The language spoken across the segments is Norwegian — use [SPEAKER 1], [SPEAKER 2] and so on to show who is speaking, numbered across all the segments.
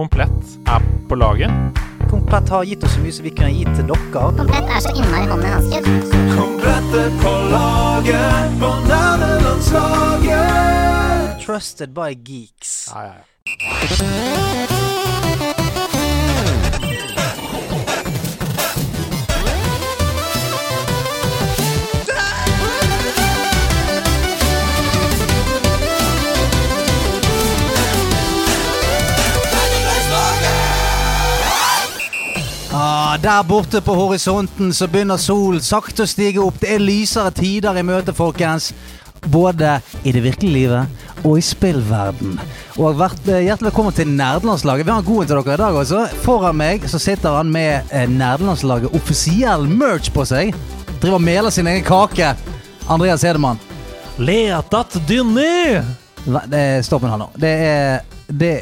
[SPEAKER 1] Komplett er på laget.
[SPEAKER 2] Komplett har gitt oss så mye som vi kunne gi til dere.
[SPEAKER 3] Komplett er så innmari hånd i hanske.
[SPEAKER 4] Komplette på laget på nerdelandslaget.
[SPEAKER 2] Trusted by geeks.
[SPEAKER 1] Ja, ja, ja.
[SPEAKER 2] Ah, der borte på horisonten så begynner solen sakte å stige opp. Det er lysere tider i møte, folkens. Både i det virkelige livet og i spillverden. Og vært, eh, Hjertelig velkommen til Nerdelandslaget. Vi har en god en til dere i dag også. Foran meg så sitter han med eh, Nerdelandslaget offisiell merch på seg. Driver og meler sin egen kake. Andreas Hedemann.
[SPEAKER 5] Letat dynni!
[SPEAKER 2] Hva- det- Stopp en halv nå. Det er, det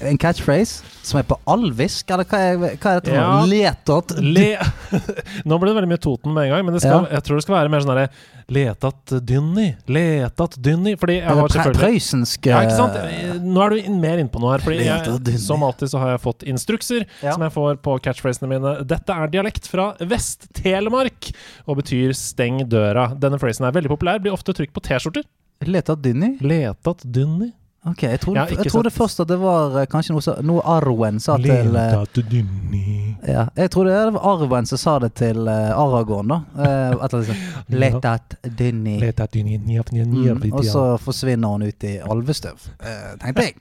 [SPEAKER 2] er en catchphrase som er på alvisk, eller hva er, hva er dette?
[SPEAKER 1] Ja.
[SPEAKER 2] for noe? Letot
[SPEAKER 5] Le...
[SPEAKER 1] Nå ble det veldig mye Toten med en gang, men det skal, jeg tror det skal være mer sånn derre Letat dynni, letat dynni Fordi jeg
[SPEAKER 2] Eller
[SPEAKER 1] var
[SPEAKER 2] pre
[SPEAKER 1] selvfølgelig
[SPEAKER 2] prøysensk
[SPEAKER 1] ja,
[SPEAKER 2] eh,
[SPEAKER 1] ikke sant? Nå er du inn- mer innpå noe her. Fordi
[SPEAKER 2] Letat dynni.
[SPEAKER 1] jeg, Som alltid så har jeg fått instrukser
[SPEAKER 2] Ja.
[SPEAKER 1] som jeg får på catchphrasene mine. Dette er dialekt fra Vest-Telemark og betyr 'steng døra'. Denne phrasen er veldig populær, blir ofte trykt på T-skjorter.
[SPEAKER 2] Leta dynni?
[SPEAKER 1] Letat dynni.
[SPEAKER 2] Ok, jeg trodde,
[SPEAKER 1] Ja, ikke
[SPEAKER 2] jeg trodde
[SPEAKER 1] sant.
[SPEAKER 2] først at det var eh, kanskje noe, så- noe Arwen sa til eh,
[SPEAKER 1] dynni
[SPEAKER 2] ja, Jeg trodde det var Arwen som sa det til eh, Aragorn, da. Eh, et eller annet sånt. Letat dynni.
[SPEAKER 1] Letat dynni njap, njap,
[SPEAKER 2] Mm,
[SPEAKER 1] njap,
[SPEAKER 2] og
[SPEAKER 1] njap.
[SPEAKER 2] så forsvinner hun ut i alvestøv, eh, tenkte jeg.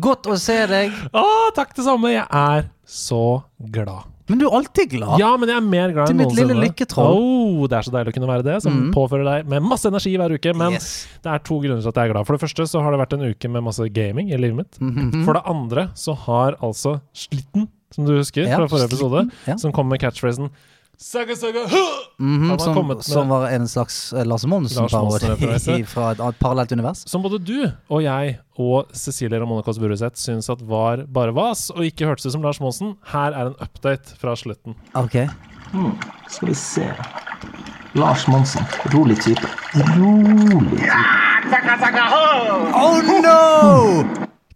[SPEAKER 2] Godt å se deg.
[SPEAKER 1] Å, takk det samme! Jeg er så glad.
[SPEAKER 2] Men du er alltid glad.
[SPEAKER 1] Ja, men jeg er mer glad
[SPEAKER 2] Til
[SPEAKER 1] enn
[SPEAKER 2] mitt
[SPEAKER 1] noensinne.
[SPEAKER 2] lille lykketroll.
[SPEAKER 1] Oh, det er så deilig å kunne være det, som
[SPEAKER 2] Mm.
[SPEAKER 1] påfører deg med masse energi hver uke. Men
[SPEAKER 2] yes.
[SPEAKER 1] det er to grunner til at jeg er glad. For det første så har det vært en uke med masse gaming i livet mitt.
[SPEAKER 2] Mhm.
[SPEAKER 1] For det andre så har altså Slitten, som du husker
[SPEAKER 2] Ja,
[SPEAKER 1] fra forrige episode,
[SPEAKER 2] Slitten, ja.
[SPEAKER 1] som kom med catchphrasen Saga, saga, huh!
[SPEAKER 2] Mhm,
[SPEAKER 1] Han har kommet
[SPEAKER 2] som,
[SPEAKER 1] med-
[SPEAKER 2] som var en slags eh, Lars
[SPEAKER 1] Monsen-referanse.
[SPEAKER 2] Monsen-parodi fra et annet parallelt univers.
[SPEAKER 1] Som både du og jeg og Cecilie Ramonacos Buruseth syns at var bare vas, og ikke hørtes ut som Lars Monsen. Her er en update fra Slutten.
[SPEAKER 2] Ok.
[SPEAKER 6] Skal vi se Lars Monsen. Rolig type. Rolig.
[SPEAKER 2] Oh no!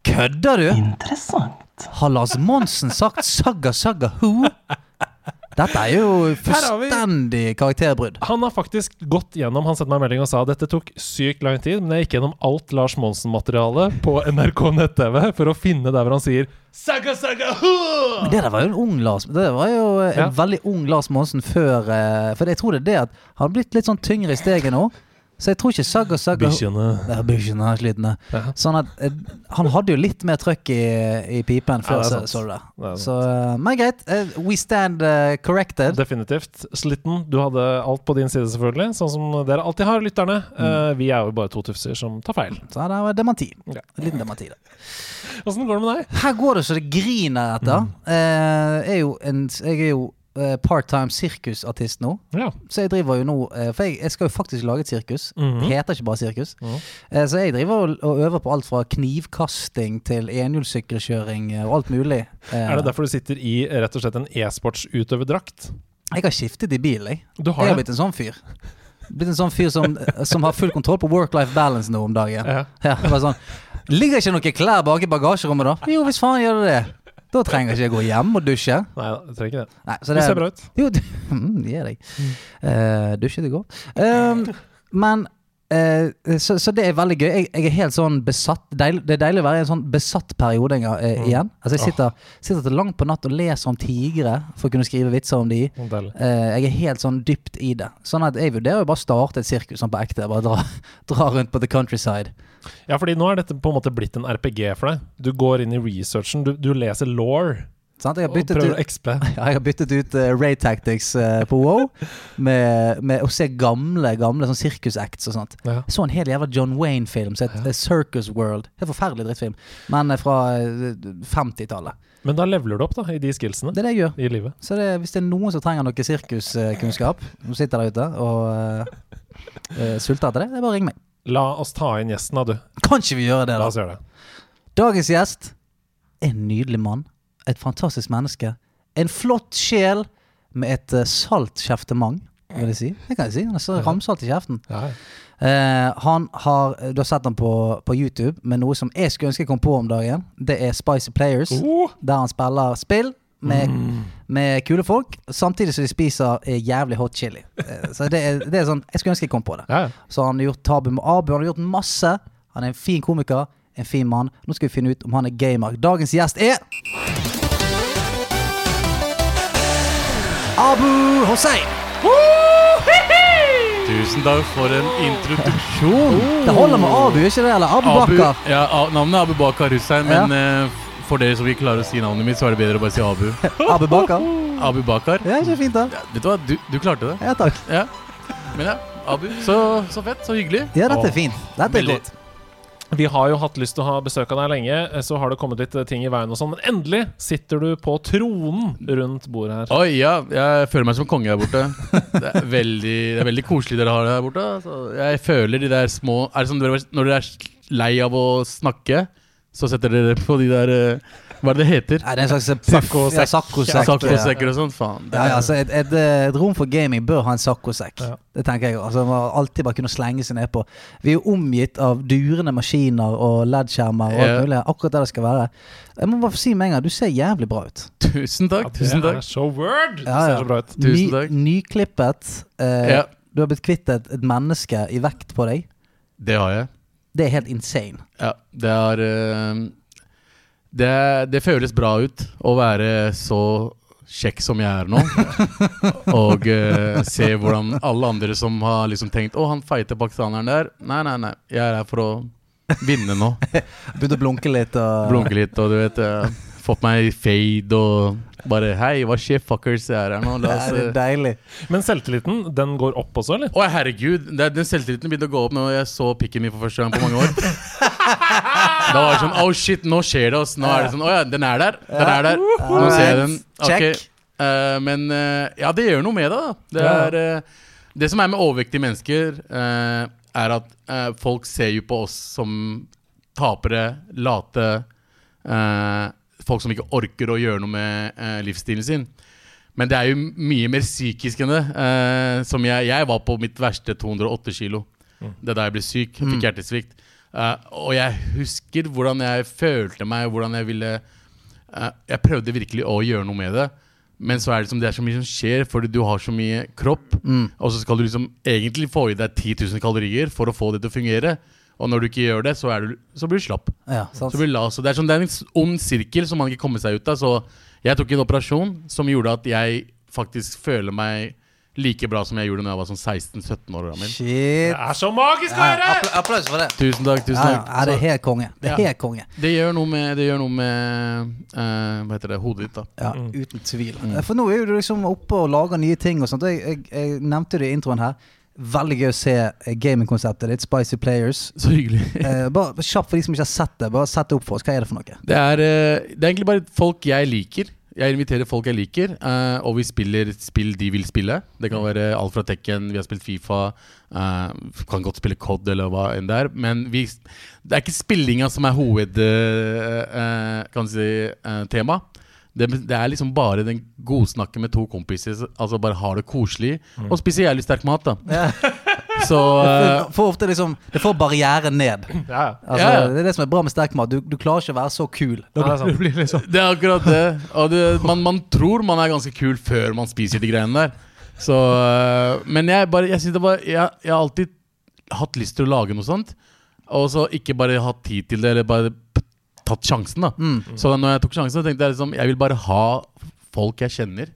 [SPEAKER 2] Kødder du?
[SPEAKER 6] Interessant.
[SPEAKER 2] Har Lars Monsen sagt 'sagga sagga who'? Dette er jo
[SPEAKER 1] har vi-
[SPEAKER 2] fullstendig karakterbrudd.
[SPEAKER 1] Han har faktisk gått gjennom Han sendte meg en melding og sa dette tok sykt lang tid, men jeg gikk gjennom alt Lars Monsen-materialet på NRK nett-TV for å finne der hvor han sier Saga, saga, huh!
[SPEAKER 2] Men det der var jo en ung Lars Det der var jo en
[SPEAKER 1] Ja.
[SPEAKER 2] veldig ung Lars Monsen før eh, For jeg tror det er det at han har blitt litt sånn tyngre i steget nå. Så jeg tror ikke 'sagga sagga who'-
[SPEAKER 1] Bikkjene.
[SPEAKER 2] Ja, bikkjene er slitne.
[SPEAKER 1] Ja.
[SPEAKER 2] Sånn at eh, Han hadde jo litt mer trøkk i, i pipen før,
[SPEAKER 1] Ja, det er
[SPEAKER 2] så,
[SPEAKER 1] sant.
[SPEAKER 2] så du det.
[SPEAKER 1] Det er sant.
[SPEAKER 2] Så, eh, men greit. eh, we stand eh, corrected.
[SPEAKER 1] Definitivt. Slitten, du hadde alt på din side, selvfølgelig. Sånn som dere alltid har, lytterne. Eh, vi er jo bare to tufser som tar feil.
[SPEAKER 2] Så det var dementi.
[SPEAKER 1] Ja.
[SPEAKER 2] En liten dementi. der.
[SPEAKER 1] Åssen går det med deg?
[SPEAKER 2] Her går det så det griner etter.
[SPEAKER 1] Mm.
[SPEAKER 2] Eh, jeg er jo, en, jeg er jo eh, part-time sirkusartist nå.
[SPEAKER 1] Ja.
[SPEAKER 2] Så jeg driver jo nå eh, For jeg, jeg skal jo faktisk lage et sirkus.
[SPEAKER 1] Mm.
[SPEAKER 2] Det heter ikke bare sirkus. Eh, Så jeg driver og, og øver på alt fra knivkasting til enhjulssykkelkjøring eh, og alt mulig. Eh,
[SPEAKER 1] Er det derfor du sitter i rett og slett en e-sportsutøverdrakt?
[SPEAKER 2] Jeg har skiftet i bil, jeg.
[SPEAKER 1] Du har
[SPEAKER 2] jeg har
[SPEAKER 1] det?
[SPEAKER 2] blitt en sånn fyr. Blitt en sånn fyr som, som har full kontroll på work-life balance nå om dagen.
[SPEAKER 1] Ja.
[SPEAKER 2] Ja, det var sånn, Ligger ikke noen klær bak i bagasjerommet, da? Jo, hvis faen gjør det det. Da trenger ikke jeg gå hjem og dusje.
[SPEAKER 1] Nei, jeg trenger ikke det.
[SPEAKER 2] Nei, så
[SPEAKER 1] Du ser bra ut.
[SPEAKER 2] Jo, det mm, det gjør jeg. Eh, dusjet i går. Um, men eh, så, så det er veldig gøy. Jeg, jeg er helt sånn besatt deil, Det er deilig å være i en sånn besatt periode en gang, eh,
[SPEAKER 1] Mm.
[SPEAKER 2] igjen. Altså Jeg sitter, sitter til langt på natt og leser om tigre for å kunne skrive vitser om de.
[SPEAKER 1] Deilig.
[SPEAKER 2] Eh, jeg er helt sånn dypt i det. Sånn at jeg vurderer jo bare å starte et sirkus sånn på ekte. Bare dra, dra rundt på the countryside.
[SPEAKER 1] Ja, fordi nå er dette på en måte blitt en RPG for deg. Du går inn i researchen, du, du leser law
[SPEAKER 2] Sant? Jeg har
[SPEAKER 1] og
[SPEAKER 2] byttet
[SPEAKER 1] prøver å
[SPEAKER 2] ut,
[SPEAKER 1] exple.
[SPEAKER 2] ja, jeg har byttet ut eh, Ray Tactics eh, på Wow med, med å se gamle gamle sånn sirkusacts og sånt.
[SPEAKER 1] Ja.
[SPEAKER 2] Jeg så en hel jævla John Wayne-film som het eh, Circus World. Helt forferdelig drittfilm, men eh, fra eh, 50-tallet.
[SPEAKER 1] Men da leveler du opp da, i de skillsene
[SPEAKER 2] Det er det jeg gjør.
[SPEAKER 1] i livet.
[SPEAKER 2] Så det, hvis det er noen som trenger noe sirkuskunnskap, som sitter der ute og eh, eh, sulter etter det, det er bare å ringe meg.
[SPEAKER 1] La oss ta inn gjesten, da, du.
[SPEAKER 2] Kan ikke vi gjøre det,
[SPEAKER 1] La
[SPEAKER 2] da?
[SPEAKER 1] oss gjøre det.
[SPEAKER 2] Dagens gjest er en nydelig mann. Et fantastisk menneske. En flott sjel med et eh, salt kjeftemang. vil jeg si. Det kan jeg si. Han er så ramsalt i kjeften.
[SPEAKER 1] Ja, ja.
[SPEAKER 2] Eh, han har, du har sett han på, på YouTube med noe som jeg skulle ønske jeg kom på om dagen. Det er Spicy Players,
[SPEAKER 1] Oh. Mm.
[SPEAKER 2] der han spiller spill med, med kule folk, samtidig som de spiser eh, jævlig hot chili. Eh, så det er, det er sånn, Jeg skulle ønske jeg kom på det.
[SPEAKER 1] Ja, ja.
[SPEAKER 2] Så han har gjort tabu med Abu. Han har gjort masse. Han er en fin komiker, en fin mann. Nå skal vi finne ut om han er gamer. Dagens gjest er Abu Hossein.
[SPEAKER 7] Tusen takk for en introduksjon.
[SPEAKER 1] Oh.
[SPEAKER 2] Det holder med Abu, ikke det? Eller Abu
[SPEAKER 7] Abu,
[SPEAKER 2] Bakar.
[SPEAKER 7] ja, A- navnet er Abu Bakar Hussein, men eh, for dere som ikke klarer å si navnet mitt, så er det bedre å bare si Abu.
[SPEAKER 2] Abu Bakar.
[SPEAKER 7] Abu Bakar.
[SPEAKER 2] Ja, ikke fint, da.
[SPEAKER 7] Vet du hva, du, du klarte det.
[SPEAKER 2] Ja, takk.
[SPEAKER 7] Ja. Men ja, Abu. Så, så fett, så hyggelig.
[SPEAKER 2] Ja, dette er fint. Dette er
[SPEAKER 7] Veldig.
[SPEAKER 2] godt.
[SPEAKER 1] Vi har jo hatt lyst til å ha besøk av deg lenge, eh, så har det kommet litt eh, ting i veien og sånn, men endelig sitter du på tronen rundt bordet her.
[SPEAKER 7] Oi, ja. Jeg føler meg som konge her borte. Det er veldig, det er veldig koselig dere har det her borte. Så jeg føler de der små Er det som dere, Når dere er lei av å snakke, så setter dere på de der eh, Hva er det det heter?
[SPEAKER 2] Nei, det er en slags
[SPEAKER 1] Saccosekk.
[SPEAKER 2] Ja, saccosekk.
[SPEAKER 7] Sakkosekker og sånn? Faen.
[SPEAKER 2] Ja, ja, altså et, et, eh, et rom for gaming bør ha en saccosekk.
[SPEAKER 1] Ja.
[SPEAKER 2] Det tenker jeg. Altså, man alltid bare kunne slenge seg nedpå. Vi er jo omgitt av durende maskiner og LED-skjermer og alt
[SPEAKER 7] Ja.
[SPEAKER 2] mulig. Akkurat der det skal være. Jeg må bare få si med en gang, du ser jævlig bra ut.
[SPEAKER 7] Tusen takk. Tusen
[SPEAKER 1] Det
[SPEAKER 7] takk.
[SPEAKER 1] er så word! Det
[SPEAKER 2] Ja, ja.
[SPEAKER 1] ser så bra ut.
[SPEAKER 7] Tusen takk.
[SPEAKER 2] nyklippet. Eh,
[SPEAKER 7] Ja.
[SPEAKER 2] Du har blitt kvitt et, et menneske i vekt på deg.
[SPEAKER 7] Det har jeg.
[SPEAKER 2] Det er helt insane.
[SPEAKER 7] Ja, det er eh, det, det føles bra ut å være så kjekk som jeg er nå. Og eh, se hvordan alle andre som har liksom tenkt Å, han feite pakistaneren der. Nei, nei, nei. Jeg er her for å vinne nå.
[SPEAKER 2] Begynte å blunke litt og
[SPEAKER 7] Blunke litt og du vet eh, Fått meg fade og bare Hei, hva skjer, fuckers? Jeg er her nå. La
[SPEAKER 2] Ja,
[SPEAKER 7] oss
[SPEAKER 2] det er
[SPEAKER 7] eh,
[SPEAKER 2] deilig.
[SPEAKER 1] Men selvtilliten, den går opp også, eller?
[SPEAKER 7] Å, herregud! Det, den selvtilliten begynte å gå opp når jeg så pikken min for første gang på mange år. da var det sånn Oh shit, nå skjer det, ass. Nå er det sånn Å ja, den er der. Den er der. Nå ser jeg den. Ok.
[SPEAKER 2] Check.
[SPEAKER 7] Eh, men eh, ja, det gjør noe med det, da. Det,
[SPEAKER 1] Ja.
[SPEAKER 7] er, eh, det som er med overvektige mennesker, eh, er at eh, folk ser jo på oss som tapere, late eh, Folk som ikke orker å gjøre noe med eh, livsstilen sin. Men det er jo m- mye mer psykisk enn det. Eh, som jeg, jeg var på mitt verste 208 kilo. Det er da jeg ble syk. Fikk hjertesvikt. Eh, og jeg husker hvordan jeg følte meg, hvordan jeg ville eh, Jeg prøvde virkelig å gjøre noe med det. Men så er det, som, det er så mye som skjer, fordi du har så mye kropp. Og så skal du liksom egentlig få i deg 10 000 kalorier for å få det til å fungere. Og når du ikke gjør det, så, er du, så blir du slapp.
[SPEAKER 2] Ja, sant.
[SPEAKER 7] Så blir det la- så det, er sånn, det er en s- ond sirkel som man ikke kommer seg ut av. Så jeg tok en operasjon som gjorde at jeg faktisk føler meg like bra som jeg gjorde da jeg var sånn 16-17 år. gammel.
[SPEAKER 1] Det
[SPEAKER 2] Shit.
[SPEAKER 1] er så magisk å
[SPEAKER 2] Ja,
[SPEAKER 1] høre!
[SPEAKER 2] appla- applaus for det.
[SPEAKER 7] Tusen takk. tusen
[SPEAKER 2] Ja, ja,
[SPEAKER 7] takk
[SPEAKER 2] ja, det er helt konge. Det er
[SPEAKER 7] Ja.
[SPEAKER 2] helt konge.
[SPEAKER 7] Så det gjør noe med, det gjør noe med eh, Hva heter det? Hodet ditt, da.
[SPEAKER 2] Ja, Uten tvil. For nå er jo du liksom oppe og lager nye ting og sånt. Jeg, jeg, jeg nevnte det i introen her. Veldig gøy å se eh, gamingkonseptet ditt, Spicy Players.
[SPEAKER 7] Så hyggelig.
[SPEAKER 2] Eh, bare bare kjapt for de som ikke har sett det. Bare sett det opp for oss. Hva er det for noe?
[SPEAKER 7] Det er, eh, det er egentlig bare folk jeg liker. Jeg inviterer folk jeg liker, eh, og vi spiller spill de vil spille. Det kan være alt fra Tekken, vi har spilt Fifa, eh, kan godt spille COD eller hva enn det er. Men vi, det er ikke spillinga som er hoved eh, eh, kan du si, eh, tema. Det, det er liksom bare den godsnakken med to kompiser. Altså bare ha det koselig, og spise jævlig sterk mat, da.
[SPEAKER 2] Ja.
[SPEAKER 7] Så eh,
[SPEAKER 2] For ofte liksom Det får barrieren ned.
[SPEAKER 1] Ja, ja.
[SPEAKER 2] Altså,
[SPEAKER 7] Ja, ja.
[SPEAKER 2] Det er det som er bra med sterk mat. Du, du klarer ikke å være så kul.
[SPEAKER 1] Ja, det er sant.
[SPEAKER 7] Det er akkurat det. Og det man, man tror man er ganske kul før man spiser de greiene der. Så, øh, men jeg, bare, jeg, synes det var, jeg, jeg har alltid hatt lyst til å lage noe sånt. Og så ikke bare hatt tid til det, eller bare p- tatt sjansen. da Så da når jeg tok sjansen, tenkte jeg liksom Jeg vil bare ha folk jeg kjenner.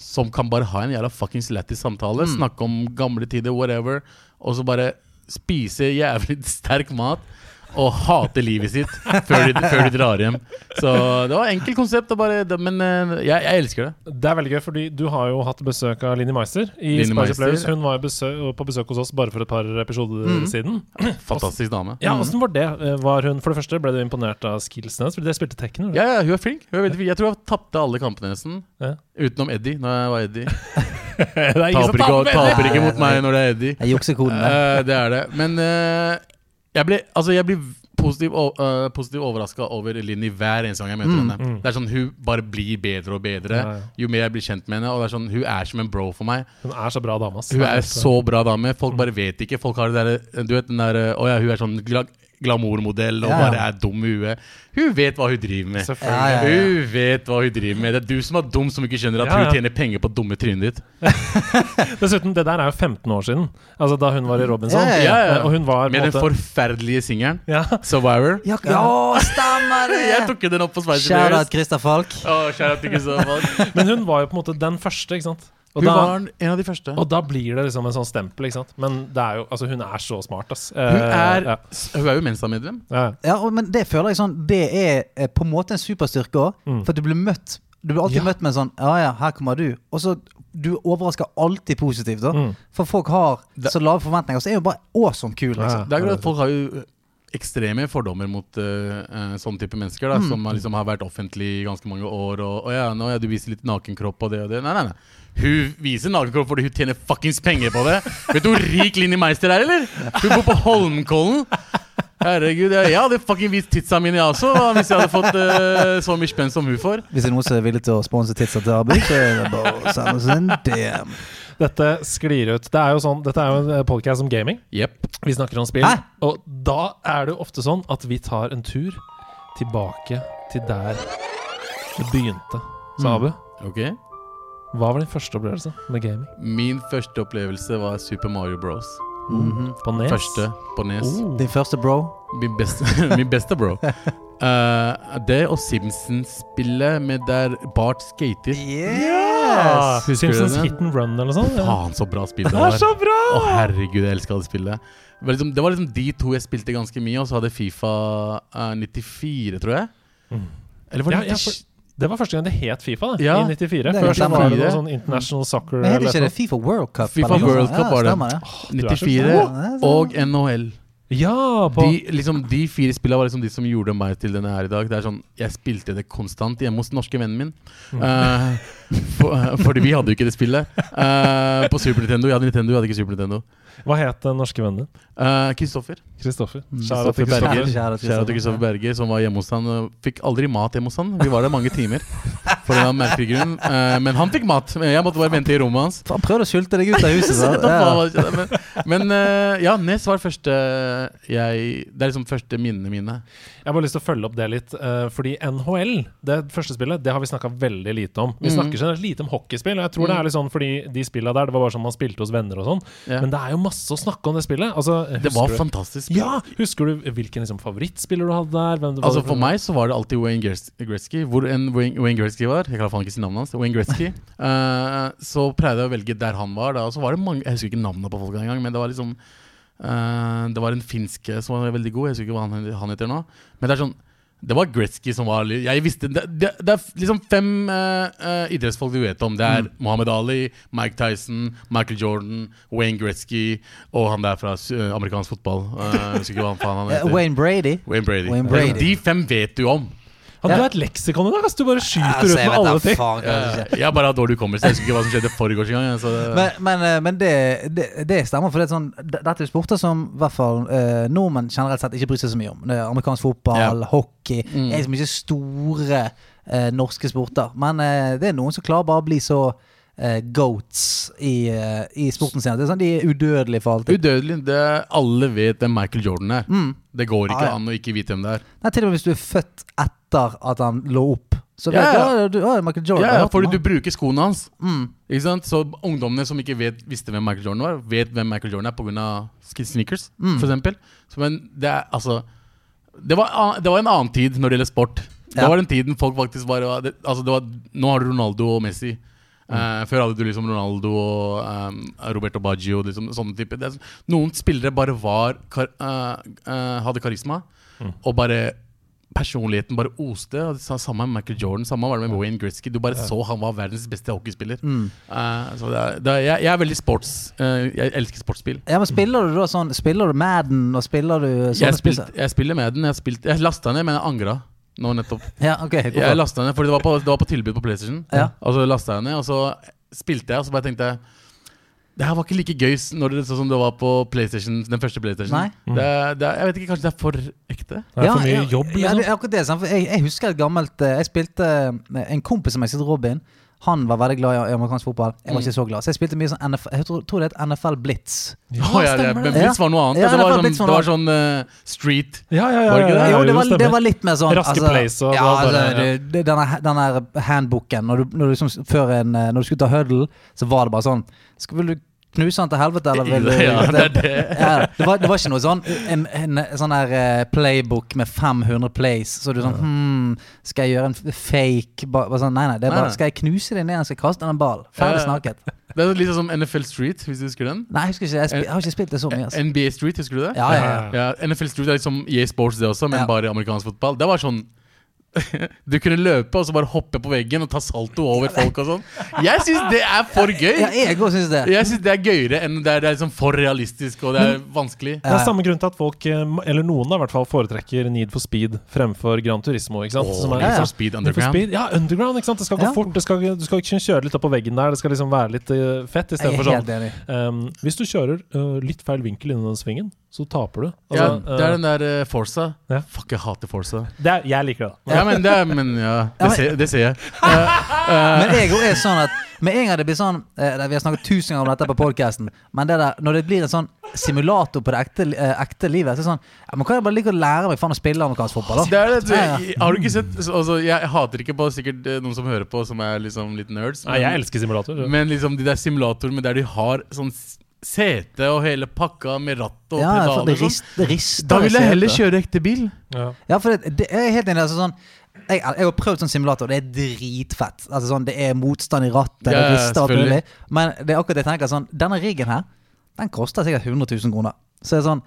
[SPEAKER 7] Som kan bare ha en jævla fuckings lættis samtale. Snakke om gamle tider, whatever. Og så bare spise jævlig sterk mat. Og hate livet sitt før de, før de drar hjem. Så det var enkelt konsept. Og bare, det, men eh, jeg, jeg elsker det.
[SPEAKER 1] Det er veldig gøy, fordi du har jo hatt besøk av Linni Meister i
[SPEAKER 7] Linni
[SPEAKER 1] Spicy
[SPEAKER 7] Meister.
[SPEAKER 1] Players. Hun var jo besø- på besøk hos oss bare for et par episoder siden.
[SPEAKER 7] Mm. Fantastisk Mm. dame.
[SPEAKER 1] Ja, åssen var det? Eh, Var hun, for det første, ble du imponert av skillsen hennes? Fordi dere spilte Tekken? eller?
[SPEAKER 7] Ja, ja, hun er flink. Hun er veldig flink. Jeg tror jeg tapte alle kampene nesten.
[SPEAKER 1] Ja.
[SPEAKER 7] Utenom Eddie, når jeg var Eddie.
[SPEAKER 1] Det er ingen som
[SPEAKER 7] Taper ikke,
[SPEAKER 1] med det!
[SPEAKER 7] taper ikke mot meg når det er Eddie.
[SPEAKER 2] Jeg jukser koden der.
[SPEAKER 7] Eh, det er det. Men eh, jeg blir altså, jeg blir positiv, o- øh, positiv overraska over Linni hver eneste gang jeg møter henne. Det er sånn, Hun bare blir bedre og bedre
[SPEAKER 1] Mm, Ja, ja.
[SPEAKER 7] jo mer jeg blir kjent med henne. Og det er sånn, Hun er som en bro for meg.
[SPEAKER 1] Hun er så bra dame, ass.
[SPEAKER 7] Hun er så bra dame. Folk bare vet ikke. Folk har det der, du vet den der øh, Å ja, hun er sånn gla glamourmodell og
[SPEAKER 2] Ja.
[SPEAKER 7] bare er dum i huet. Hun vet hva hun driver med.
[SPEAKER 1] Selvfølgelig.
[SPEAKER 2] Ja, ja, ja.
[SPEAKER 7] Hun vet hva hun driver med. Det er du som er dum som ikke skjønner at
[SPEAKER 1] Ja, ja.
[SPEAKER 7] hun tjener penger på dumme trynet ditt.
[SPEAKER 1] Dessuten, det der er jo 15 år siden. Altså da hun var i Robinson.
[SPEAKER 2] Ja, ja,
[SPEAKER 7] ja.
[SPEAKER 1] Eh, Og hun var på
[SPEAKER 7] Med
[SPEAKER 1] en
[SPEAKER 7] den
[SPEAKER 1] måte
[SPEAKER 7] forferdelige singelen
[SPEAKER 1] ja.
[SPEAKER 7] Survivor.
[SPEAKER 2] Ja, ja stemmer
[SPEAKER 7] Jeg
[SPEAKER 2] det!
[SPEAKER 7] tok ikke den opp på Spice
[SPEAKER 2] Kjære Christer Falk.
[SPEAKER 7] Å, kjære til Kristoffer.
[SPEAKER 1] Men hun var jo på en måte den første, ikke sant? Og
[SPEAKER 7] Hun
[SPEAKER 1] da,
[SPEAKER 7] var en av de første.
[SPEAKER 1] og da blir det liksom en sånn stempel, ikke sant. Men det er jo, altså, hun er så smart, ass. Eh,
[SPEAKER 7] Hun er,
[SPEAKER 1] ja.
[SPEAKER 7] hun er jo Mensa-medlem.
[SPEAKER 1] Ja.
[SPEAKER 2] Ja, og- men det føler jeg sånn Det er eh, på en måte en superstyrke òg.
[SPEAKER 7] Mm.
[SPEAKER 2] For du blir møtt Du blir alltid
[SPEAKER 1] Ja.
[SPEAKER 2] møtt med sånn Ja ja, her kommer du. Og så Du overrasker alltid positivt, da.
[SPEAKER 7] Mm.
[SPEAKER 2] For folk har så lave forventninger. Så er jo bare awesome kul, liksom.
[SPEAKER 7] Det er klart at Folk har jo ekstreme fordommer mot eh, eh, sånne type mennesker. Da, Som har liksom har vært offentlig i ganske mange år. Og, og ja, nå, ja, du viser litt nakenkropp og det og det. Nei, nei, nei. Hun viser nakenkropp fordi hun tjener fuckings penger på det. Vet du hvor rik Linni Meister er, eller? Hun bor på Holmenkollen. Herregud, jeg, jeg hadde fucking vist titsa mine, jeg også, hvis jeg hadde fått eh, så mye spenn som hun får.
[SPEAKER 2] Hvis det er noen som er villig til å sponse Titsa til Abu, så er det bare å sende oss en DM.
[SPEAKER 1] Dette sklir ut. Det er jo sånn, dette er jo en podkast om gaming.
[SPEAKER 7] Jepp.
[SPEAKER 1] Vi snakker om spill.
[SPEAKER 2] Hæ?
[SPEAKER 1] Og da er det jo ofte sånn at vi tar en tur tilbake til der det begynte.
[SPEAKER 7] Mm.
[SPEAKER 1] Så Abu,
[SPEAKER 7] Ok.
[SPEAKER 1] hva var din første opplevelse med gaming?
[SPEAKER 7] Min første opplevelse var Super Mario Bros. Mm.
[SPEAKER 1] På Nes?
[SPEAKER 7] Første på Nes.
[SPEAKER 1] Oh.
[SPEAKER 2] Mhm. Din første bro.
[SPEAKER 7] Min beste, min beste bro. Eh, det og Simpsons-spillet med der Bart skater.
[SPEAKER 1] Ah,
[SPEAKER 2] Yes!
[SPEAKER 7] Husker du
[SPEAKER 1] Simpsons
[SPEAKER 7] den?
[SPEAKER 1] Hit and Run eller noe sånt? Ja.
[SPEAKER 7] Faen, så bra spill det
[SPEAKER 1] Det
[SPEAKER 7] var.
[SPEAKER 1] er så bra!
[SPEAKER 7] Å, herregud, jeg elska det spillet. Det var, liksom, det var liksom de to jeg spilte ganske mye, og så hadde Fifa eh, 94, tror jeg. Eller var det
[SPEAKER 1] Mm. Ja, ja, for- Det var første gang det het Fifa, da,
[SPEAKER 7] Ja.
[SPEAKER 1] i 94.
[SPEAKER 2] Det er
[SPEAKER 1] Før så
[SPEAKER 2] helt
[SPEAKER 1] var det
[SPEAKER 7] stemmer.
[SPEAKER 1] noe sånn International Soccer
[SPEAKER 2] Men heter ikke
[SPEAKER 1] eller
[SPEAKER 2] det Fifa World Cup?
[SPEAKER 7] FIFA
[SPEAKER 2] eller noe
[SPEAKER 7] World
[SPEAKER 2] sånt?
[SPEAKER 7] Cup
[SPEAKER 2] ja,
[SPEAKER 7] var det.
[SPEAKER 2] stemmer det.
[SPEAKER 1] Du er så
[SPEAKER 7] 94
[SPEAKER 2] smart.
[SPEAKER 7] og NHL.
[SPEAKER 1] noe. Ja, på
[SPEAKER 7] De, liksom, de fire spillene var liksom de som gjorde meg til den jeg er i dag. Det er sånn, Jeg spilte det konstant hjemme hos den norske vennen min.
[SPEAKER 1] Mm.
[SPEAKER 7] Eh, for, fordi vi hadde jo ikke det spillet. Eh, på Super Nintendo. Jeg hadde Nintendo, jeg hadde ikke Super Nintendo.
[SPEAKER 1] Hva het den norske vennen din?
[SPEAKER 7] Eh, Kristoffer.
[SPEAKER 1] Kristoffer. Shout out
[SPEAKER 7] Kristoffer
[SPEAKER 1] til
[SPEAKER 7] Mm. Berger.
[SPEAKER 1] Kristoffer.
[SPEAKER 2] Shout out til
[SPEAKER 7] Shout out til
[SPEAKER 2] Kristoffer.
[SPEAKER 7] Kristoffer Berger, som var hjemme hos han. og Fikk aldri mat hjemme hos han. Vi var der mange timer. For en eller annen merkelig grunn. Eh, men han fikk mat. Men Jeg måtte bare vente i rommet hans.
[SPEAKER 2] Faen, prøv å sulte deg ut av huset.
[SPEAKER 7] Så
[SPEAKER 2] sant?
[SPEAKER 7] da
[SPEAKER 2] Ja.
[SPEAKER 7] faen var ikke det, Men, men eh, ja, Nes var første jeg Det er liksom første minnene mine.
[SPEAKER 1] Jeg har bare lyst til å følge opp det litt, eh, fordi NHL, det første spillet, det har vi snakka veldig lite om.
[SPEAKER 7] Mm.
[SPEAKER 1] Vi snakker generelt lite om hockeyspill, og jeg tror det er litt sånn fordi de spilla der, det var bare sånn man spilte hos venner og sånn.
[SPEAKER 7] Ja.
[SPEAKER 1] Men det er jo masse å snakke om det spillet. Altså,
[SPEAKER 7] Det var
[SPEAKER 1] husker du-
[SPEAKER 7] fantastisk.
[SPEAKER 1] Ja! Husker du hvilken liksom, favorittspiller du hadde der? Hvem det var-
[SPEAKER 7] Altså For meg så var det alltid Wayne Gres- Gretzky. Hvor enn Wayne, Wayne Gretzky var Jeg klarer faen ikke si navnet hans. Wayne Gretzky Eh, Så pleide jeg å velge der han var. Da. Og så var det mange Jeg husker ikke navnet på folka engang, men det var liksom eh, Det var en finske som var veldig god. Jeg husker ikke hva han, han heter nå. Men det er sånn det var Gretzky som var li- Jeg visste Det, det, det er liksom fem eh, eh, idrettsfolk du vet om. Det
[SPEAKER 1] Mm.
[SPEAKER 7] er Mohammed Ali, Mike Tyson, Michael Jordan, Wayne Gretzky og han der fra eh, amerikansk fotball. Eh, jeg husker ikke hva han faen han
[SPEAKER 2] Eh,
[SPEAKER 7] heter.
[SPEAKER 2] Wayne Brady.
[SPEAKER 7] Wayne Brady.
[SPEAKER 2] Wayne Brady.
[SPEAKER 7] De fem vet du om.
[SPEAKER 1] Hadde du
[SPEAKER 2] Ja.
[SPEAKER 1] et leksikon i dag? ass? Du bare skyter
[SPEAKER 2] Altså,
[SPEAKER 1] ut med
[SPEAKER 2] jeg vet da
[SPEAKER 1] alle ting.
[SPEAKER 2] faen hva det skjer.
[SPEAKER 7] Eh, Jeg bare har dårlig hukommelse. Jeg husker ikke hva som skjedde forgårs engang. jeg, Så det,
[SPEAKER 2] Men, men, eh, men det, det, det stemmer, for det er sånn, d- dette er sporter som i hvert fall eh, nordmenn generelt sett ikke bryr seg så mye om. Det er amerikansk fotball,
[SPEAKER 7] Ja. Mm.
[SPEAKER 2] hockey Det er liksom ikke store eh, norske sporter. Men eh, det er noen som klarer bare å bli så eh, goats i, eh, i sporten sin. at Det er sånn, de er udødelige for alltid.
[SPEAKER 7] udødelig. Det, alle vet hvem Michael Jordan er. Det går
[SPEAKER 2] Mm.
[SPEAKER 7] ikke
[SPEAKER 2] Ah, Ja, ja.
[SPEAKER 7] an å ikke vite hvem det er.
[SPEAKER 2] Nei, til og med hvis du er født etter at han lå opp. Så vet
[SPEAKER 7] Ja,
[SPEAKER 2] du,
[SPEAKER 7] ja.
[SPEAKER 2] «Å, du, å, Michael Jordan.
[SPEAKER 7] Ja,
[SPEAKER 2] jeg
[SPEAKER 7] ja,
[SPEAKER 2] hørte om
[SPEAKER 7] fordi
[SPEAKER 2] han».
[SPEAKER 7] du bruker skoene hans.
[SPEAKER 2] Mm.
[SPEAKER 7] Ikke sant? Så ungdommene som ikke vet, visste hvem Michael Jordan var, vet hvem Michael Jordan er pga. sneakers,
[SPEAKER 2] Mm.
[SPEAKER 7] for eksempel Så, men det er altså det var, a- det var en annen tid når det gjelder sport. Det
[SPEAKER 2] Ja.
[SPEAKER 7] var den tiden folk faktisk bare var- det, altså det var, Nå har du Ronaldo og Messi. Eh, før hadde du liksom Ronaldo og eh, Roberto Baggio. Liksom, sånne type. Det er, sånn- noen spillere bare var kar, eh, eh, hadde karisma, og bare personligheten bare oste. Og det sa- samme med Michael Jordan, samme var det med Wayne Gretzky. Du bare så han var verdens beste hockeyspiller. Eh, så det er, det er, jeg, jeg er veldig sports eh, Jeg elsker sportsspill.
[SPEAKER 2] ja, men Spiller du da sånn Spiller du Madden, og spiller du sånne
[SPEAKER 7] Jeg, spilt,
[SPEAKER 2] spill?
[SPEAKER 7] jeg spiller med den. Jeg, spilt, jeg lasta ned, men jeg angra nå nettopp.
[SPEAKER 2] Ja, ok hvorfor?
[SPEAKER 7] Jeg lasta ned, fordi det var på, det var på tilbud på PlayStation.
[SPEAKER 2] Ja.
[SPEAKER 7] Og så lasta jeg ned, og så spilte jeg, og så bare tenkte jeg Det her var ikke like gøy s- når det, sånn som det var på PlayStation, den første PlayStation.
[SPEAKER 2] Nei.
[SPEAKER 7] Det, er- det, er- jeg vet ikke, Kanskje det er for ekte?
[SPEAKER 1] Det er for mye
[SPEAKER 2] ja,
[SPEAKER 1] jobb,
[SPEAKER 2] Ja,
[SPEAKER 1] liksom.
[SPEAKER 2] det er akkurat det. sant? For jeg, jeg husker et gammelt eh, Jeg spilte eh, En kompis som jeg heter Robin. Han var veldig glad i- i amerikansk fotball. Jeg var ikke så glad. Så jeg spilte mye sånn NFL, jeg tror, tror det het NFL Blitz.
[SPEAKER 7] Å, ja, det, men Blitz var noe annet.
[SPEAKER 2] Ja,
[SPEAKER 7] det,
[SPEAKER 2] det
[SPEAKER 7] var
[SPEAKER 2] var
[SPEAKER 7] sånn,
[SPEAKER 2] Blitz var
[SPEAKER 7] det
[SPEAKER 2] noe
[SPEAKER 7] var sånn eh, street
[SPEAKER 1] Ja, ja, ja,
[SPEAKER 7] Var det ikke
[SPEAKER 1] ja, ja,
[SPEAKER 7] det?
[SPEAKER 2] Jo, det var,
[SPEAKER 1] stemmer.
[SPEAKER 2] det var litt mer sånn
[SPEAKER 1] Raske plays og
[SPEAKER 2] ja,
[SPEAKER 1] bla, bla,
[SPEAKER 2] altså,
[SPEAKER 1] bla, ja.
[SPEAKER 2] det- det- Den her- den her handbooken når du, når, du, som, før en, eh, når du skulle ta huddle, så var det bare sånn Skal, Vil du knuse han til helvete, eller vil du
[SPEAKER 7] Ja, det er det.
[SPEAKER 2] Ja, det, var, det var ikke noe sånn En, en, sånn her eh, playbook med 500 plays, så du sånn hmm, Skal jeg gjøre en f- fake ba, bare sånn, Nei, nei. det er
[SPEAKER 7] Nei,
[SPEAKER 2] bare
[SPEAKER 7] nei.
[SPEAKER 2] Skal jeg knuse deg ned, eller skal jeg kaste deg en ball? Ferdig
[SPEAKER 7] Ja.
[SPEAKER 2] snakket.
[SPEAKER 7] Det er litt sånn som NFL Street, hvis du husker den.
[SPEAKER 2] Nei, jeg husker ikke. Jeg, spi, jeg har ikke spilt det så mye. Altså.
[SPEAKER 7] NBA Street, husker du det?
[SPEAKER 2] Ja, ja, ja.
[SPEAKER 7] Ja, NFL Street er liksom EA Sports, det også, men
[SPEAKER 2] Ja.
[SPEAKER 7] bare amerikansk fotball. Det var sånn Du kunne løpe og så bare hoppe på veggen og ta salto over folk og sånn. Jeg syns det er for
[SPEAKER 2] Ja,
[SPEAKER 7] gøy!
[SPEAKER 2] jeg òg syns det.
[SPEAKER 7] Jeg syns det er gøyere enn det er, det er liksom for realistisk og det er vanskelig.
[SPEAKER 1] Det er samme grunn til at folk, eh, eller noen da, i hvert fall, foretrekker Need for Speed fremfor Gran Turismo. ikke sant?
[SPEAKER 7] Åh,
[SPEAKER 1] Som er
[SPEAKER 7] Need
[SPEAKER 1] litt
[SPEAKER 7] for
[SPEAKER 1] sånn- Need
[SPEAKER 7] Speed
[SPEAKER 1] for
[SPEAKER 7] Underground.
[SPEAKER 1] Speed, ja, underground. ikke sant? Det skal gå
[SPEAKER 2] Ja.
[SPEAKER 1] fort. Det skal, du skal ikke kunne kjøre litt opp på veggen der. Det skal liksom være litt eh, fett.
[SPEAKER 2] Jeg
[SPEAKER 1] Istedenfor
[SPEAKER 2] er
[SPEAKER 1] sånn
[SPEAKER 2] helt enig.
[SPEAKER 1] ehm, Hvis du kjører eh, litt feil vinkel innen den svingen, så taper du.
[SPEAKER 7] Ja,
[SPEAKER 1] Altså,
[SPEAKER 7] det er den der eh, Forza.
[SPEAKER 1] Ja.
[SPEAKER 7] Fuck, jeg hater Forza.
[SPEAKER 1] eh, det er, jeg liker det. da.
[SPEAKER 7] Ja, men det, er- men, ja,
[SPEAKER 2] Ja,
[SPEAKER 7] det,
[SPEAKER 2] men-
[SPEAKER 7] ser, det ser jeg.
[SPEAKER 2] Men jeg også er sånn at med en gang det blir sånn eh, Vi har snakket tusen ganger om dette på podcasten Men det der, når det blir en sånn simulator på det ekte, li- eh, ekte livet, så er det sånn ja, Men kan jeg bare like å lære meg faen å spille amerikansk fotball,
[SPEAKER 7] Det
[SPEAKER 2] da?
[SPEAKER 7] er det, du,
[SPEAKER 2] Ja,
[SPEAKER 7] Har du ikke sett altså, Jeg hater ikke på sikkert eh, noen som hører på, som er liksom litt nerds.
[SPEAKER 1] Nei, jeg elsker simulator. ja.
[SPEAKER 7] Men liksom de der simulatorene der de har sånn s- sete og hele pakka med ratt og
[SPEAKER 2] Ja, for det
[SPEAKER 7] pedaler og sånn.
[SPEAKER 2] rist, det rister
[SPEAKER 7] Da vil
[SPEAKER 2] i
[SPEAKER 7] jeg heller
[SPEAKER 2] setet.
[SPEAKER 7] kjøre ekte bil.
[SPEAKER 1] Ja.
[SPEAKER 2] Ja, for det, det jeg er helt enig. Altså sånn jeg, jeg har prøvd sånn simulator, det er dritfett. Altså sånn, Det er motstand i rattet,
[SPEAKER 7] Ja,
[SPEAKER 2] det
[SPEAKER 7] ja,
[SPEAKER 2] rister alt
[SPEAKER 7] selvfølgelig.
[SPEAKER 2] mulig. Men det er akkurat det jeg tenker sånn Denne riggen her, den koster sikkert 100 000 kroner. Så det er sånn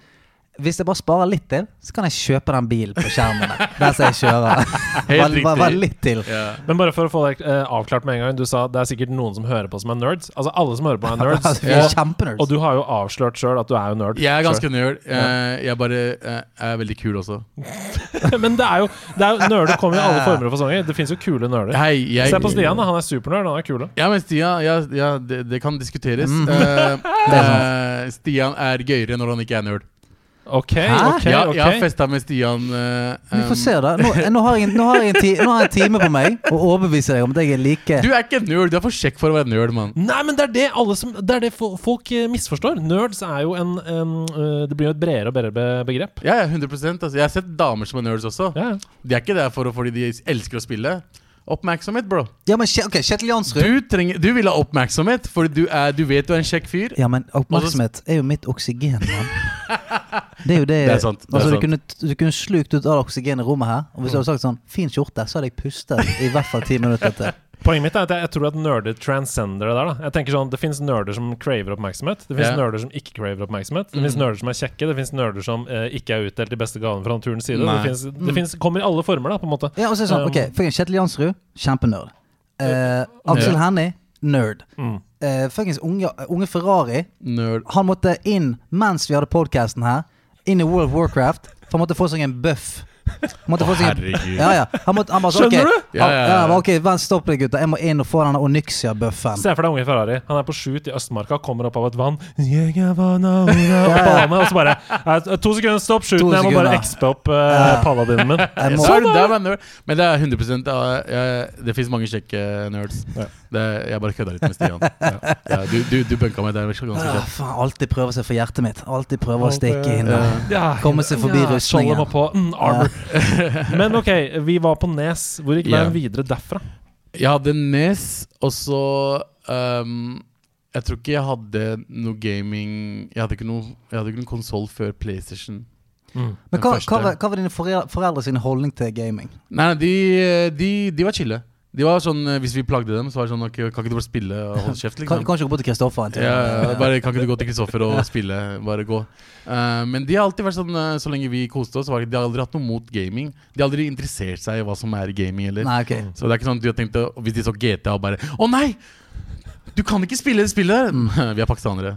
[SPEAKER 2] hvis jeg bare sparer litt til, så kan jeg kjøpe den bilen på skjermen der, der som jeg kjører. Bare, bare, bare litt til.
[SPEAKER 7] Ja.
[SPEAKER 1] Men bare for å få det eh, avklart med en gang. Du sa det er sikkert noen som hører på som er nerds. Altså alle som hører på er nerds.
[SPEAKER 2] Altså, vi er
[SPEAKER 1] og-
[SPEAKER 2] kjempenerds.
[SPEAKER 1] Og du har jo avslørt sjøl at du er jo nerd.
[SPEAKER 7] Jeg er
[SPEAKER 1] selv.
[SPEAKER 7] ganske nerd. eh, Jeg bare eh, er veldig kul også.
[SPEAKER 1] Men det er jo, det er jo nerder kommer i alle former og fasonger. Det fins jo kule nerder.
[SPEAKER 7] Hei, jeg
[SPEAKER 1] Se på Stian, da. han er supernerd. Han er kule.
[SPEAKER 7] Ja, men Stian ja, ja, det, det kan diskuteres. Eh, eh, Stian er gøyere når han ikke er nerd.
[SPEAKER 1] Ok,
[SPEAKER 2] Hæ?
[SPEAKER 1] ok,
[SPEAKER 7] Ja,
[SPEAKER 1] ok.
[SPEAKER 7] Jeg har festa med Stian eh,
[SPEAKER 2] Vi får
[SPEAKER 7] em,
[SPEAKER 2] se, da. Nå, nå, har jeg, en- nå, har jeg en ti, nå har jeg en time på meg å overbevise deg om at jeg er like
[SPEAKER 7] Du er ikke nerd. Du er for kjekk for å være nerd, mann.
[SPEAKER 1] Nei, men det er det, alle som, det er det fo- folk eh, misforstår. Nerds er jo en, en eh, Det blir jo et bredere og bredere be- begrep.
[SPEAKER 7] Ja, ja, 100 altså. Jeg har sett damer som er nerds også.
[SPEAKER 1] Ja.
[SPEAKER 7] De er ikke der for, å- fordi de elsker å spille. Oppmerksomhet, bro.
[SPEAKER 2] Ja, men Kje- ok, Kjetil Jansrud
[SPEAKER 7] Du, trenger, du vil ha oppmerksomhet, for du, er, du vet du er en kjekk fyr.
[SPEAKER 2] Ja, men oppmerksomhet er jo mitt oksygen, mann. Det er jo det,
[SPEAKER 7] Det er sant, det er
[SPEAKER 2] altså,
[SPEAKER 7] sant. Mm.
[SPEAKER 2] Du, kunne, du kunne slukt ut all oksygen i rommet her. Og hvis du hadde sagt sånn 'fin skjorte', så hadde jeg pustet i hvert fall ti minutter til.
[SPEAKER 1] Poenget mitt er at jeg, jeg tror at nerder transcender det der. da Jeg tenker sånn, Det fins nerder som craver oppmerksomhet. Det fins
[SPEAKER 7] Ja. Mm.
[SPEAKER 1] nerder som ikke craver oppmerksomhet. Det fins nerder som er kjekke. Det fins nerder som eh, ikke er utdelt de beste gavene fra naturens side.
[SPEAKER 7] Nei. Mm.
[SPEAKER 1] Det, finnes, det finnes, kommer i alle former, da, på en måte.
[SPEAKER 2] Ja, og så er det sånn,
[SPEAKER 1] Um,
[SPEAKER 2] ok, fucking Kjetil Jansrud, kjempenerd. Eh, Aksel Hennie, nerd. Eh, fuckings unge, unge Ferrari,
[SPEAKER 7] Nerd.
[SPEAKER 2] han måtte inn mens vi hadde podcasten her, inn i World of Warcraft, for han måtte få seg en buff. Han måtte få seg en
[SPEAKER 7] Herregud.
[SPEAKER 2] ja, ja. Han måtte, han bare, så,
[SPEAKER 1] Skjønner
[SPEAKER 2] ok,
[SPEAKER 1] du?
[SPEAKER 7] Ja,
[SPEAKER 2] Han,
[SPEAKER 7] ja,
[SPEAKER 2] ja,
[SPEAKER 7] ja.
[SPEAKER 2] men ok, vent, stopp deg, gutter. Jeg må inn og få denne Onyxia-buffen.
[SPEAKER 1] Se for deg unge Ferrari. Han er på shoot i Østmarka, kommer opp av et vann. Jeg er vana, vana, opp bane, og så bare eh, To sekunder, stopp shooten.
[SPEAKER 2] To
[SPEAKER 1] Jeg må bare
[SPEAKER 2] sekunder.
[SPEAKER 1] XP opp uh, paladinen min.
[SPEAKER 2] Jeg må,
[SPEAKER 7] Så Sånn er det, der var nerd. Men det er 100 av, jeg, Det fins mange kjekke nerds. Det, jeg bare kødda litt med Stian. Ja. du, du, du bunka meg der. jeg var Ganske
[SPEAKER 2] Ah,
[SPEAKER 7] kjekk.
[SPEAKER 2] faen, alltid prøve seg for hjertet mitt. Alltid prøve å stikke inn.
[SPEAKER 7] Ja.
[SPEAKER 1] Ja,
[SPEAKER 2] Komme seg forbi rustningen.
[SPEAKER 1] skjoldet må på. Mm, armor. Men OK, vi var på Nes. Hvor gikk
[SPEAKER 7] Ja.
[SPEAKER 1] veien videre derfra?
[SPEAKER 7] Jeg hadde Nes, og så ehm, Jeg tror ikke jeg hadde noe gaming Jeg hadde ikke noe, jeg hadde ikke noen konsoll før PlayStation.
[SPEAKER 1] Mm.
[SPEAKER 2] Men hva,
[SPEAKER 7] første.
[SPEAKER 2] hva, var- hva var dine foreldre, foreldre sin holdning til gaming?
[SPEAKER 7] Nei, nei, de, de, de var chille. De var sånn, eh, Hvis vi plagde dem, så var det sånn ok, Kan ikke du bare spille og holde kjeft?
[SPEAKER 2] Kan,
[SPEAKER 7] liksom
[SPEAKER 2] kan ikke gå bort til Kristoffer en tur?
[SPEAKER 7] ja, ja, bare Kan ikke du gå til Kristoffer og spille? Bare gå. Eh, men de har alltid vært sånn eh, så lenge vi koste oss. Var, det- de har aldri hatt noe mot gaming. De har aldri interessert seg i hva som er gaming. Eller.
[SPEAKER 2] Nei, ok.
[SPEAKER 7] Så det er ikke sånn at du har tenkt å- Hvis de så GTA og bare Å nei! Mm, Du kan ikke spille det spillet der! Vi er pakistanere.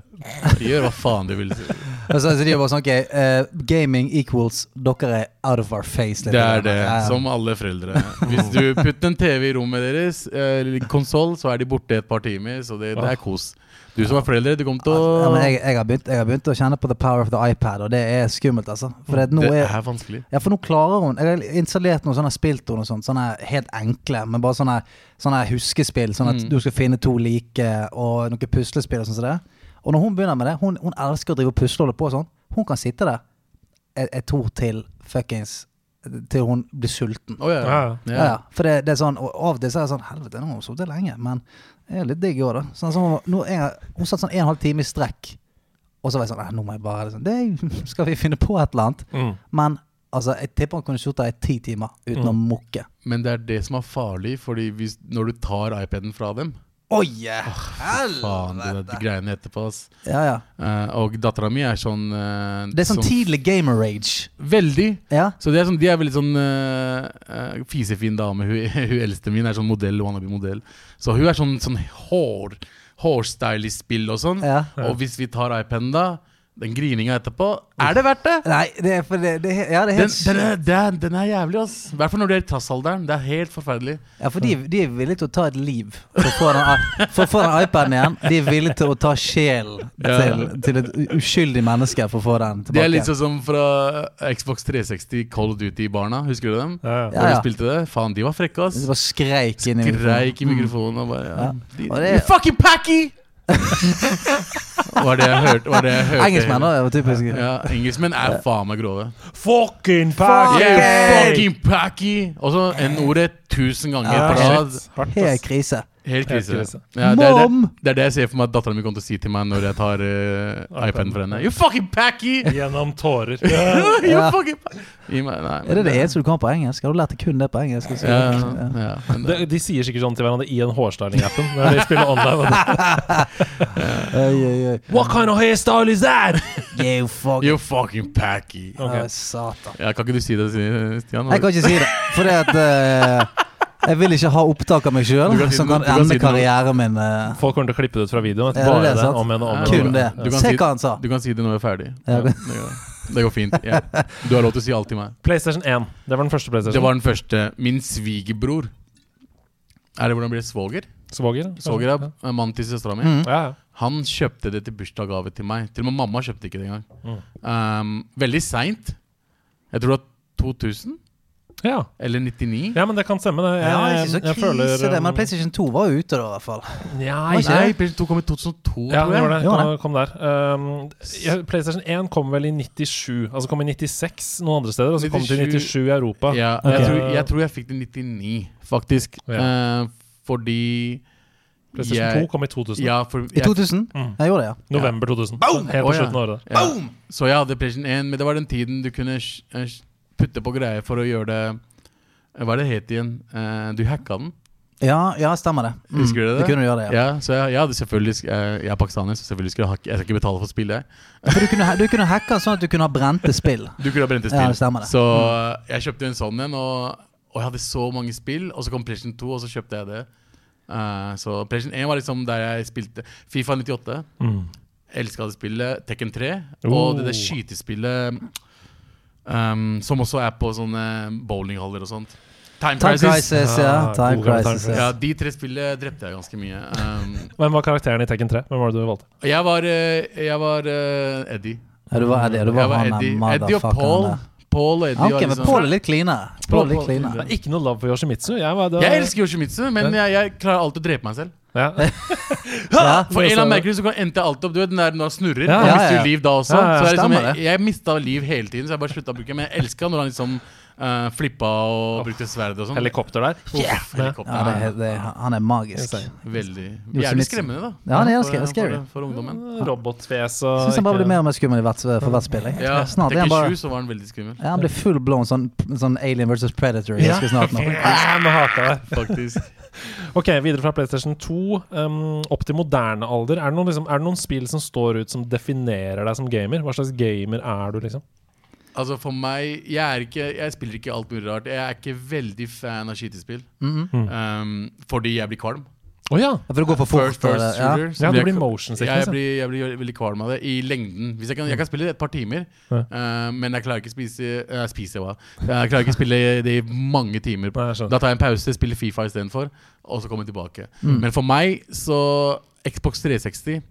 [SPEAKER 7] Vi gjør hva faen du vil.
[SPEAKER 2] Og så, så de var bare sånn OK, eh, gaming equals Dere er out of our face. litt.
[SPEAKER 7] Det er det,
[SPEAKER 2] Ja, ja.
[SPEAKER 7] som alle foreldre. Hvis du putter en TV i rommet deres, eh, konsoll, så er de borte et par timer. Så det, det er kos. Du som er foreldre, du kommer til
[SPEAKER 2] ja, men
[SPEAKER 7] å
[SPEAKER 2] jeg, jeg, har begynt, jeg har begynt å kjenne på the power of the iPad, og det er skummelt, altså. For det, at nå
[SPEAKER 7] Det
[SPEAKER 2] er,
[SPEAKER 7] er vanskelig.
[SPEAKER 2] ja, for nå klarer hun Jeg har installert noen sånne spill til henne og sånt, sånne helt enkle, men bare sånne, sånne huskespill. Sånn at du skal finne to like, og noen puslespill og sånn som det. Og når hun begynner med det, hun, hun elsker å drive og pusle og holde på og sånn. Hun kan sitte der et, et ord til fuckings Til hun blir sulten.
[SPEAKER 7] Å ja.
[SPEAKER 1] Ja,
[SPEAKER 2] Ja, ja. For det, det er sånn, og av og til så er det sånn Helvete, nå har hun sittet lenge, men det er litt digg òg, da. Sånn, som hun- nå er, jeg- hun satt sånn en og en halv time i strekk, og så var jeg sånn Nei, nå må jeg bare liksom, det, Skal vi finne på et eller annet?
[SPEAKER 1] Mm.
[SPEAKER 2] Men altså, jeg tipper han kunne sittet der i ti timer uten å
[SPEAKER 7] Mm.
[SPEAKER 2] mukke.
[SPEAKER 7] Men det er det som er farlig, Fordi hvis, når du tar iPaden fra dem
[SPEAKER 2] Oi! yeah.
[SPEAKER 7] Faen, det er de greiene etterpå, ass.
[SPEAKER 2] Ja, ja.
[SPEAKER 7] Eh, og dattera mi er sånn eh,
[SPEAKER 2] Det er sånn
[SPEAKER 7] som-
[SPEAKER 2] tidlig gamer-rage.
[SPEAKER 7] Veldig.
[SPEAKER 2] Ja.
[SPEAKER 7] Så det er sånn, De er veldig sånn eh, eh, fisefin dame. Hun, hun eldste min er sånn modell, wannabe-modell. Så hun er sånn, sånn hår, hårstylish spill og sånn.
[SPEAKER 2] Ja.
[SPEAKER 7] Og hvis vi tar iPaden da, den grininga etterpå, er det verdt det?
[SPEAKER 2] Nei, det er for det, det, er he- ja, det er
[SPEAKER 7] Den,
[SPEAKER 2] helt
[SPEAKER 7] den, er, den, er, den er jævlig, ass. I hvert fall når du er i trassalderen. Det er helt forferdelig.
[SPEAKER 2] Ja, for de, de er villige til å ta et liv for å få den, i- for å få den iPaden igjen. De er villige til å ta sjelen til, til et u- uskyldig menneske for å få den
[SPEAKER 7] Det er
[SPEAKER 2] tilbake.
[SPEAKER 7] litt sånn som fra Xbox 360 Cold Duty-barna. Husker du dem?
[SPEAKER 1] ja, ja.
[SPEAKER 2] Ja,
[SPEAKER 7] Når de
[SPEAKER 2] ja.
[SPEAKER 7] spilte det? Faen, de var frekke, ass.
[SPEAKER 2] Det bare skreik inn i
[SPEAKER 7] Skreik i mikrofonen og bare ja. De,
[SPEAKER 2] Og det-
[SPEAKER 7] You fucking packy! var det jeg hørte. Var det jeg hørte
[SPEAKER 2] Engelskmenn da, det var typisk.
[SPEAKER 7] Ja, engelskmenn er faen meg grove.
[SPEAKER 1] Fucking
[SPEAKER 2] Fuck
[SPEAKER 1] pack!
[SPEAKER 7] Yeah, you
[SPEAKER 2] Hey!
[SPEAKER 7] fucking packy! Og så N-ordet tusen ganger
[SPEAKER 2] Ja,
[SPEAKER 7] på rad.
[SPEAKER 1] Shit. Hardt,
[SPEAKER 2] Helt
[SPEAKER 1] ass.
[SPEAKER 2] krise.
[SPEAKER 7] Helt krise.
[SPEAKER 1] Helt krise.
[SPEAKER 7] Ja, det, er det,
[SPEAKER 2] Mom!
[SPEAKER 7] det er det jeg ser for meg at dattera mi kommer til å si til meg når jeg tar eh, iPaden fra henne. You fucking packy!
[SPEAKER 1] Gjennom tårer.
[SPEAKER 7] you
[SPEAKER 2] Ja.
[SPEAKER 7] fucking packy! Gi meg- nei, men
[SPEAKER 2] Er det det eneste du kan på engelsk? Har du lært deg kun det på engelsk? Og så-
[SPEAKER 7] Ja,
[SPEAKER 2] Ja.
[SPEAKER 7] ja, men det-
[SPEAKER 1] De, de sier sikkert sånn til hverandre i den hårstyling-appen. Når de spiller online
[SPEAKER 2] Oi, oi, oi.
[SPEAKER 1] What kind of hairstyle is that?
[SPEAKER 2] You fuck.
[SPEAKER 7] You fucking packy!
[SPEAKER 2] Å, Satan.
[SPEAKER 7] Ja, kan ikke du si det, Stian?
[SPEAKER 2] Jeg kan ikke si det, for det at eh, Jeg vil ikke ha opptak av meg sjøl
[SPEAKER 7] Du kan si
[SPEAKER 2] som
[SPEAKER 7] det nå,
[SPEAKER 2] kan
[SPEAKER 7] du kan si
[SPEAKER 2] ende
[SPEAKER 7] det nå.
[SPEAKER 2] karrieren min. eh,
[SPEAKER 1] Folk kommer til å klippe det ut fra videoen.
[SPEAKER 2] Ja, det er
[SPEAKER 1] bare
[SPEAKER 2] det,
[SPEAKER 1] det,
[SPEAKER 2] sant?
[SPEAKER 1] om igjen og om
[SPEAKER 7] Ja,
[SPEAKER 1] igjen.
[SPEAKER 2] Kun det.
[SPEAKER 7] Du kan
[SPEAKER 2] Se
[SPEAKER 7] si-
[SPEAKER 2] hva han sa.
[SPEAKER 7] Du kan si det når vi er ferdig.
[SPEAKER 2] Ja.
[SPEAKER 7] Ja, det, går, det går fint. Ja. Du har lov til å si alt til meg.
[SPEAKER 1] PlayStation 1. Det var den første PlayStation.
[SPEAKER 2] sånn.
[SPEAKER 7] Det var den første. Min svigerbror Er det hvordan blir det? Svoger?
[SPEAKER 1] Svoger.
[SPEAKER 7] Svoger er er mannen til søstera mi.
[SPEAKER 2] Mm.
[SPEAKER 1] Ja, ja.
[SPEAKER 7] Han kjøpte det til bursdagsgave til meg. Til og med mamma kjøpte ikke det engang. Um, veldig seint. Jeg tror det var 2000
[SPEAKER 1] ja.
[SPEAKER 7] eller 99.
[SPEAKER 1] ja, men det kan stemme, det. Jeg,
[SPEAKER 2] Ja, ikke så
[SPEAKER 1] jeg føler
[SPEAKER 2] krise det, men
[SPEAKER 1] um,
[SPEAKER 2] PlayStation 2 var jo ute da, i hvert fall.
[SPEAKER 1] Nei,
[SPEAKER 7] Nei, PS2 kom i 2002,
[SPEAKER 1] Ja,
[SPEAKER 7] tror
[SPEAKER 1] det
[SPEAKER 7] jeg.
[SPEAKER 1] var det.
[SPEAKER 2] Det var
[SPEAKER 1] Kom, kom der. Um, ja, PlayStation 1 kom vel i 97. Altså kom i 96 noen andre steder, og så kom det til
[SPEAKER 7] 97
[SPEAKER 1] 97 i Europa.
[SPEAKER 7] Ja,
[SPEAKER 1] Ok.
[SPEAKER 7] jeg, tror, jeg tror jeg fikk det i 99, faktisk.
[SPEAKER 1] Ja.
[SPEAKER 7] Eh, fordi
[SPEAKER 1] PlayStation 2 kom i 2000.
[SPEAKER 7] Ja, for
[SPEAKER 2] I
[SPEAKER 7] jeg
[SPEAKER 2] 2000? Jeg gjorde det, ja.
[SPEAKER 1] November 2000. Helt
[SPEAKER 7] Å,
[SPEAKER 1] på
[SPEAKER 7] ja.
[SPEAKER 1] slutten av året.
[SPEAKER 7] Ja. Så jeg hadde PlayStation 1, men det var den tiden du kunne sj- eh, sj- putte på greier for å gjøre det Hva er det het igjen? Eh, du hacka den.
[SPEAKER 2] Ja, ja stemmer det. Mm.
[SPEAKER 7] Husker du det?
[SPEAKER 2] Du kunne gjøre det, ja.
[SPEAKER 7] Ja, så jeg, jeg hadde selvfølgelig sk- eh, Jeg er pakistaner, så selvfølgelig skulle jeg hacke. Jeg skal ikke betale for spill, jeg.
[SPEAKER 2] For du kunne, ha- du kunne hacka sånn at du kunne ha brente spill.
[SPEAKER 7] Du kunne ha brent et
[SPEAKER 2] Ja,
[SPEAKER 7] spill.
[SPEAKER 2] det stemmer det. Mm.
[SPEAKER 7] Så eh, jeg kjøpte en sånn en, og, og jeg hadde så mange spill. Og så kom PlayStation 2, og så kjøpte jeg det. Eh, så PlayStation 1 var liksom der jeg spilte Fifa 98. Elska det spillet. Tekken 3. Og det der skytespillet um, som også er på sånne bowlinghaller og sånt. Time,
[SPEAKER 2] Time
[SPEAKER 7] Crisis.
[SPEAKER 2] Crisis, ja.
[SPEAKER 1] Ah,
[SPEAKER 2] Time
[SPEAKER 1] god gammel Time
[SPEAKER 2] Crisis.
[SPEAKER 7] Ja,
[SPEAKER 2] Ja.
[SPEAKER 7] De tre spillene drepte jeg ganske mye. Um,
[SPEAKER 1] Hvem var karakteren i Tekken 3? Hvem var det du valgte?
[SPEAKER 7] og jeg var, eh, jeg var eh, Eddie.
[SPEAKER 2] Ja, du var Eddie, du var
[SPEAKER 7] jeg var
[SPEAKER 2] han
[SPEAKER 7] Eddie.
[SPEAKER 2] der
[SPEAKER 7] Eddie og
[SPEAKER 2] motherfuckeren
[SPEAKER 7] Paul.
[SPEAKER 2] der.
[SPEAKER 7] Paul og
[SPEAKER 2] Ja,
[SPEAKER 7] Eddie
[SPEAKER 2] ok,
[SPEAKER 7] var
[SPEAKER 2] men
[SPEAKER 7] liksom-
[SPEAKER 2] Paul er litt cleanere. Paul er litt cleanere.
[SPEAKER 1] Ikke noe love for Yoshimitsu. Jeg, var, det var-
[SPEAKER 7] Jeg elsker Yoshimitsu, men jeg, jeg klarer alltid å drepe meg selv.
[SPEAKER 1] ja.
[SPEAKER 2] Ja.
[SPEAKER 7] For en eller annen merkelig så kan endte jeg alltid opp Du vet den der når han snurrer.
[SPEAKER 1] Ja,
[SPEAKER 7] han
[SPEAKER 2] ja,
[SPEAKER 7] mister
[SPEAKER 2] ja.
[SPEAKER 7] jo liv da også.
[SPEAKER 1] Ja, ja,
[SPEAKER 7] så det er liksom,
[SPEAKER 2] stemmer
[SPEAKER 7] jeg, jeg mista liv hele tiden, så jeg bare slutta å bruke den. Men jeg elska når han liksom eh, flippa og brukte sverd og sånn.
[SPEAKER 1] Helikopter der.
[SPEAKER 7] Yeah.
[SPEAKER 2] Ja, det, er-
[SPEAKER 7] Helikopter.
[SPEAKER 2] det, er- han er magisk.
[SPEAKER 1] Insane.
[SPEAKER 7] Veldig Jævlig skremmende, da.
[SPEAKER 2] Ja, han er
[SPEAKER 7] For-
[SPEAKER 2] ganske scary.
[SPEAKER 7] For, for ungdommen.
[SPEAKER 1] Robotfjes
[SPEAKER 2] Jeg
[SPEAKER 1] og
[SPEAKER 2] synes han bare
[SPEAKER 1] ikke-
[SPEAKER 2] blir mer og mer skummel i hvert, eh, for hvert spill. jeg.
[SPEAKER 7] Ja,
[SPEAKER 2] Snart er han
[SPEAKER 7] Tekken
[SPEAKER 2] bare
[SPEAKER 7] 7 så var han veldig skummel,
[SPEAKER 2] ja, han blir full blown sånn, sånn Alien versus Predator ganske snart nå.
[SPEAKER 1] Ah, nå hater jeg det.
[SPEAKER 7] faktisk.
[SPEAKER 1] Ok, Videre fra PlayStation 2 um, opp til moderne alder. Er det, noen, liksom, er det noen spill som står ut som definerer deg som gamer? Hva slags gamer er du, liksom?
[SPEAKER 7] Altså For meg Jeg, er ikke, jeg spiller
[SPEAKER 2] Mm-hmm.
[SPEAKER 7] ikke alt mulig rart. Jeg er ikke veldig fan av skytespill. um, fordi jeg blir kvalm.
[SPEAKER 1] Å ja.
[SPEAKER 2] Ja, For det går for fort.
[SPEAKER 7] First person
[SPEAKER 2] eller- ja.
[SPEAKER 7] shooter. så
[SPEAKER 1] Ja, det
[SPEAKER 7] jeg-
[SPEAKER 1] blir motion sickness,
[SPEAKER 7] Ja,
[SPEAKER 1] ja.
[SPEAKER 7] jeg, blir, jeg blir veldig kvalm av det i lengden. Hvis jeg, kan, jeg kan spille det et par timer, eh, men jeg klarer ikke spise, eh, spise hva? Jeg klarer ikke spille det i mange timer.
[SPEAKER 1] Nei, jeg skjønner.
[SPEAKER 7] da tar jeg en pause, spiller Fifa istedenfor, og så kommer jeg tilbake.
[SPEAKER 2] Mm.
[SPEAKER 7] Men for meg så Xbox 360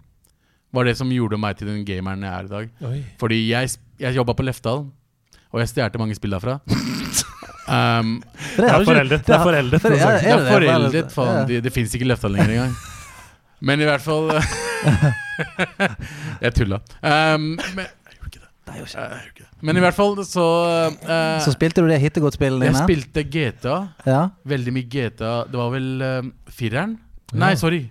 [SPEAKER 7] var det som gjorde meg til den gameren jeg er i dag.
[SPEAKER 1] Oi.
[SPEAKER 7] Fordi jeg, sp- jeg jobba på Lefdal, og jeg stjal mange spill derfra. um,
[SPEAKER 2] Det
[SPEAKER 1] Det
[SPEAKER 2] har
[SPEAKER 1] er
[SPEAKER 2] du ikke-
[SPEAKER 1] foreldet. Det sånn. er foreldet.
[SPEAKER 2] for- ja,
[SPEAKER 7] det
[SPEAKER 2] er
[SPEAKER 7] er
[SPEAKER 2] det det?
[SPEAKER 7] foreldet, faen.
[SPEAKER 2] Ja.
[SPEAKER 7] Det, det fins ikke Løfta lenger engang. Men i hvert fall eh, Jeg tulla. Um, men, jeg gjorde ikke det. Eh,
[SPEAKER 2] Det er jo ikke-
[SPEAKER 7] Jeg gjorde ikke det. men i hvert fall så eh,
[SPEAKER 2] Så spilte du det hittegodt-spillet
[SPEAKER 7] Jeg
[SPEAKER 2] dine?
[SPEAKER 7] spilte GTA.
[SPEAKER 2] Ja.
[SPEAKER 7] Veldig mye GTA. Det var vel eh, fireren? Nei, sorry.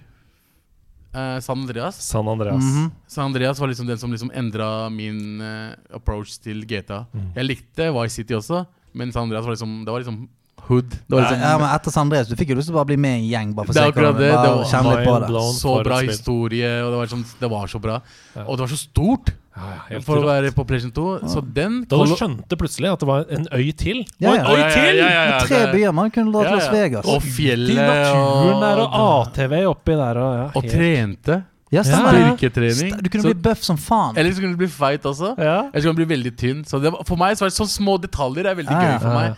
[SPEAKER 7] Eh, San Andreas.
[SPEAKER 1] San Andreas.
[SPEAKER 2] Mhm.
[SPEAKER 7] San Andreas var liksom den som liksom endra min eh, approach til GTA. Jeg likte Vice City også, men San Andreas var liksom Det var liksom hood. Det var liksom
[SPEAKER 2] ja, men etter Sandres, du fikk jo lyst til å bare bli med i en gjeng. Bare for å
[SPEAKER 7] Det
[SPEAKER 2] se
[SPEAKER 7] er
[SPEAKER 2] hvordan
[SPEAKER 7] akkurat det,
[SPEAKER 2] bare
[SPEAKER 7] det var-
[SPEAKER 2] kjenne litt på det.
[SPEAKER 1] Mindblown
[SPEAKER 7] Så
[SPEAKER 1] for et
[SPEAKER 7] bra
[SPEAKER 1] spill.
[SPEAKER 7] historie, og det var, liksom, det var så bra. Og det var så stort
[SPEAKER 1] Ja, ja, helt
[SPEAKER 7] for å
[SPEAKER 1] rått.
[SPEAKER 7] være på PlayStation 2. Så den
[SPEAKER 1] Da du skjønte plutselig at det var en øy til.
[SPEAKER 2] Ja,
[SPEAKER 1] Og
[SPEAKER 2] ja.
[SPEAKER 1] en øy til!
[SPEAKER 2] Med tre byer man kunne dra til Las Vegas.
[SPEAKER 7] Og
[SPEAKER 1] Til
[SPEAKER 7] fjellet
[SPEAKER 1] naturen der og
[SPEAKER 7] og,
[SPEAKER 1] ATV oppi der og ja,
[SPEAKER 7] og trente.
[SPEAKER 2] Ja, stemmer det.
[SPEAKER 7] Styrketrening.
[SPEAKER 2] St- Du kunne bli
[SPEAKER 7] Så-
[SPEAKER 2] bøff som faen.
[SPEAKER 7] eller så kunne du bli feit også.
[SPEAKER 1] Ja.
[SPEAKER 7] Eller så kunne du bli veldig tynn. Så det var, for meg så var det sånne små detaljer er veldig
[SPEAKER 2] Ja, ja.
[SPEAKER 7] gøy for
[SPEAKER 1] Ja, ja.
[SPEAKER 7] meg.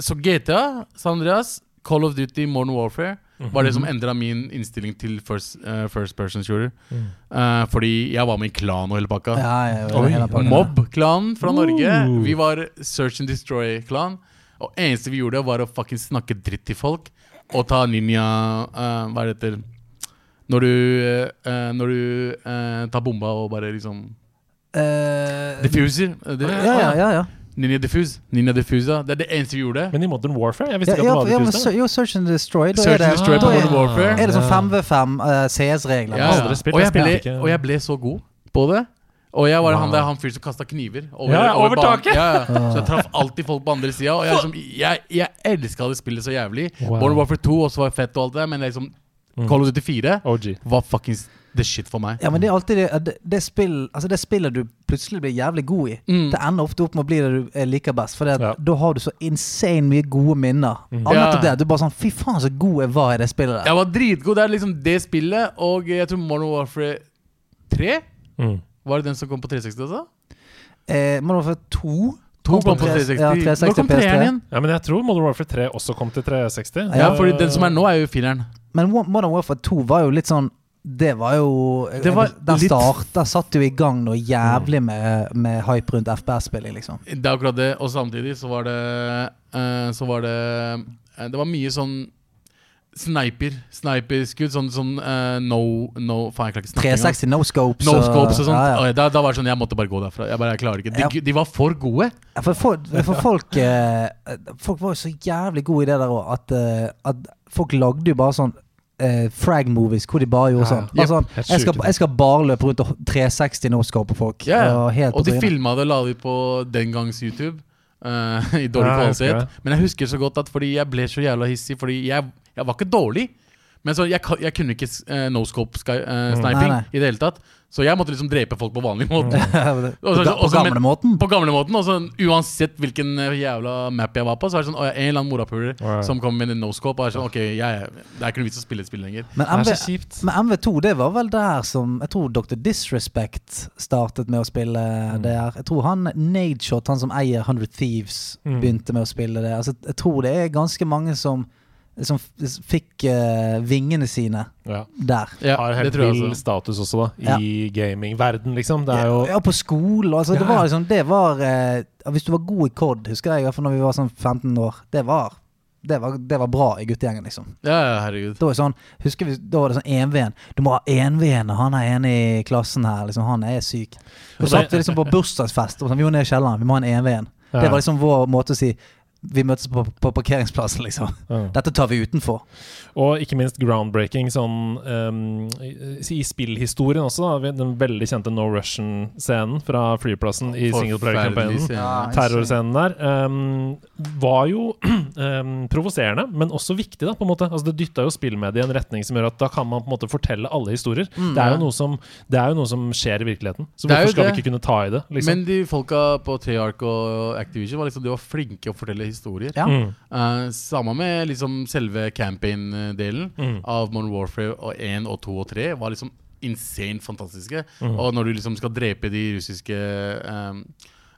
[SPEAKER 7] Så GTA, San Andreas, Call of Duty, Modern Warfare var det som
[SPEAKER 2] Mhm.
[SPEAKER 7] endra min innstilling til first, eh, first person shooter. Eh, fordi jeg var med i klan og hele
[SPEAKER 2] Mm.
[SPEAKER 7] pakka.
[SPEAKER 2] Ja, ja, ja, hele
[SPEAKER 7] Oi,
[SPEAKER 2] pakken.
[SPEAKER 7] Mobb-klanen fra Norge. Vi var Search and Destroy-klan. Og eneste vi gjorde, var å fucking snakke dritt til folk og ta ninja eh, Hva er det heter Når du, eh, når du eh, tar bomba og bare liksom
[SPEAKER 2] Eh,
[SPEAKER 7] Diffuser. eh, det-
[SPEAKER 2] ja, ja, ja, ja.
[SPEAKER 7] Ninja diffuse. Ninja diffusa. Det er det eneste vi gjorde.
[SPEAKER 1] Men i Modern Warfare? Jeg
[SPEAKER 2] ja,
[SPEAKER 1] visste ikke
[SPEAKER 2] ja,
[SPEAKER 1] at
[SPEAKER 2] for-
[SPEAKER 1] det
[SPEAKER 2] ja
[SPEAKER 1] var
[SPEAKER 2] men,
[SPEAKER 1] det tusen.
[SPEAKER 2] så- jo, Search and Destroy. Da er
[SPEAKER 7] Search
[SPEAKER 2] det,
[SPEAKER 7] and Destroy
[SPEAKER 2] da
[SPEAKER 7] på
[SPEAKER 2] er,
[SPEAKER 7] Modern Warfare.
[SPEAKER 2] er det sånn 5v5 CS-regler.
[SPEAKER 7] Ja,
[SPEAKER 1] aldri spilt,
[SPEAKER 7] og,
[SPEAKER 1] jeg
[SPEAKER 7] jeg ble,
[SPEAKER 1] spilte ikke.
[SPEAKER 7] og jeg ble så god på det. Og jeg var han der han fyren som kasta kniver. Over,
[SPEAKER 1] Ja, ja, over
[SPEAKER 7] banen.
[SPEAKER 1] taket.
[SPEAKER 7] Ja, ja. Så jeg traff alltid folk på andre sida. Og jeg, liksom, jeg, jeg elska det spillet så jævlig.
[SPEAKER 1] Wow.
[SPEAKER 7] Modern Warfare 2 også var fett, og alt det der, men liksom Call of Duty 4
[SPEAKER 1] OG.
[SPEAKER 7] var fuckings the shit for meg.
[SPEAKER 2] Ja, men det er alltid det, det, det, spill, altså det spillet du plutselig blir jævlig god i.
[SPEAKER 7] Mm.
[SPEAKER 2] Det ender ofte opp med å bli det du eh, liker best. For
[SPEAKER 1] Ja.
[SPEAKER 2] da har du så insane mye gode minner. Av
[SPEAKER 7] Mm. Ja.
[SPEAKER 2] nettopp det. Du er bare sånn Fy faen, så god jeg var i det spillet der.
[SPEAKER 7] Jeg var dritgod. Det er liksom det spillet, og jeg tror Modern Warfare 3
[SPEAKER 1] Mm.
[SPEAKER 7] var det den som kom på 360 også?
[SPEAKER 2] Eh, må du få to?
[SPEAKER 7] To kom på 360.
[SPEAKER 2] Ja, 360
[SPEAKER 7] Når kom
[SPEAKER 2] PS3?
[SPEAKER 7] treeren igjen?
[SPEAKER 1] Ja, men jeg tror Modern Warfare 3 også kom til 360.
[SPEAKER 7] Ja, fordi den som er nå, er jo fireren.
[SPEAKER 2] Men Wa- Modern Warfare 2 var jo litt sånn det var jo eh,
[SPEAKER 7] Det var
[SPEAKER 2] Den
[SPEAKER 7] litt- Mm.
[SPEAKER 2] starta satt jo i gang noe jævlig med, med hype rundt FPS-spilling, liksom.
[SPEAKER 7] Det er akkurat det, og samtidig så var det eh, Så var det eh, Det var mye sånn sniper. Sniperskudd. Sånn, sånn eh, no, no Faen, jeg klarer ikke snakke engang.
[SPEAKER 2] 360 no scopes.
[SPEAKER 7] No scopes og sånt.
[SPEAKER 2] Ja, ja.
[SPEAKER 7] Og Da, da var det sånn Jeg måtte bare gå derfra. Jeg bare, jeg klarer ikke. De,
[SPEAKER 2] Ja.
[SPEAKER 7] de var for gode.
[SPEAKER 2] Ja, For, for, for folk eh, Folk var jo så jævlig gode i det der òg, at, eh, at folk lagde jo bare sånn eh, frag-movies hvor de bare gjorde sånn. Bare
[SPEAKER 7] Jep.
[SPEAKER 2] sånn
[SPEAKER 1] Helt
[SPEAKER 2] jeg, skal,
[SPEAKER 1] sykt.
[SPEAKER 2] jeg skal bare løpe rundt og 360 no scope på folk.
[SPEAKER 7] Ja, ja.
[SPEAKER 2] Og helt
[SPEAKER 7] Og
[SPEAKER 2] på
[SPEAKER 7] de
[SPEAKER 2] trynet.
[SPEAKER 7] filma det og la det ut på den gangs YouTube. eh, I dårlig
[SPEAKER 1] Ja, jeg husker
[SPEAKER 7] kvalitet. Men jeg husker så godt at fordi jeg ble så jævla hissig. Fordi jeg, jeg var ikke dårlig. Men så jeg, ka- jeg kunne ikke uh,
[SPEAKER 1] Mm.
[SPEAKER 2] Nei,
[SPEAKER 7] noscope-sniping
[SPEAKER 2] nei.
[SPEAKER 7] i det hele tatt. Så jeg måtte liksom drepe folk på vanlig måte.
[SPEAKER 1] Mm.
[SPEAKER 2] På,
[SPEAKER 7] Og så-
[SPEAKER 2] på
[SPEAKER 7] og så- men-
[SPEAKER 2] gamlemåten.
[SPEAKER 7] På gamlemåten. Og så uansett hvilken eh, jævla map jeg var på, så er det sånn å, ja, en eller annen morapuler
[SPEAKER 1] Right.
[SPEAKER 7] som kommer med en noscope. Og er sånn, ok, jeg, det er ikke noe vits å spille et spill lenger.
[SPEAKER 1] Det
[SPEAKER 2] Men
[SPEAKER 1] er
[SPEAKER 2] MV,
[SPEAKER 1] så kjipt.
[SPEAKER 2] Men MV2, det var vel der som Jeg tror Dr. Disrespect startet med å spille
[SPEAKER 1] Mm.
[SPEAKER 2] det her. Jeg tror han Nadeshot, han som eier 100 Thieves,
[SPEAKER 1] Mm.
[SPEAKER 2] begynte med å spille det. Altså, jeg tror det er ganske mange som, som f- fikk eh, vingene sine
[SPEAKER 1] Ja.
[SPEAKER 2] der.
[SPEAKER 7] Ja,
[SPEAKER 1] Har
[SPEAKER 7] det
[SPEAKER 1] helt
[SPEAKER 7] tror jeg
[SPEAKER 1] vill
[SPEAKER 7] altså.
[SPEAKER 1] status også, da. I gamingverden, liksom. Det er jo
[SPEAKER 2] Ja, på skolen. Altså, det
[SPEAKER 1] Ja, ja.
[SPEAKER 2] var liksom Det var eh, Hvis du var god i COD, husker jeg i hvert fall når vi var sånn 15 år. Det var, det var, det var bra i guttegjengen, liksom.
[SPEAKER 7] Ja, ja, herregud.
[SPEAKER 2] Da, var det sånn, husker vi, da var det sånn 1V-en. Du må ha 1V-en, og han er enig i klassen her. Liksom, han er syk. Og så satt vi liksom på bursdagsfest og sånn, vi må ned i kjelleren. Vi må ha en 1V-en.
[SPEAKER 1] Ja.
[SPEAKER 2] Det var liksom vår måte å si vi møtes på, på parkeringsplassen, liksom.
[SPEAKER 1] Ja.
[SPEAKER 2] Dette tar vi utenfor.
[SPEAKER 1] Og ikke minst groundbreaking sånn ehm, i- i spillhistorien også. Da. Den veldig kjente No Russian-scenen fra flyplassen i
[SPEAKER 7] Forferdelig
[SPEAKER 1] singleplayer-kampanjen.
[SPEAKER 7] scene.
[SPEAKER 1] Terrorscenen der ehm, var jo ehm, provoserende, men også viktig. da, på en måte. Altså, det dytta jo spillmediet i en retning som gjør at da kan man på en måte fortelle alle historier. det, er jo noe som, det er jo noe som skjer i virkeligheten. Så
[SPEAKER 7] Mm, Det er jo
[SPEAKER 1] hvorfor skal vi
[SPEAKER 7] det.
[SPEAKER 1] ikke kunne ta i det? liksom?
[SPEAKER 7] Men de folka på Treyarch og Activision var liksom, de var flinke å fortelle historier.
[SPEAKER 2] Ja.
[SPEAKER 1] Mm.
[SPEAKER 7] Eh, samme med liksom selve campaign-delen
[SPEAKER 1] Mm.
[SPEAKER 7] av Modern Warfare og 1 og 2 og 3 var liksom insane fantastiske.
[SPEAKER 1] Mm.
[SPEAKER 7] Og når du liksom skal drepe de russiske ehm,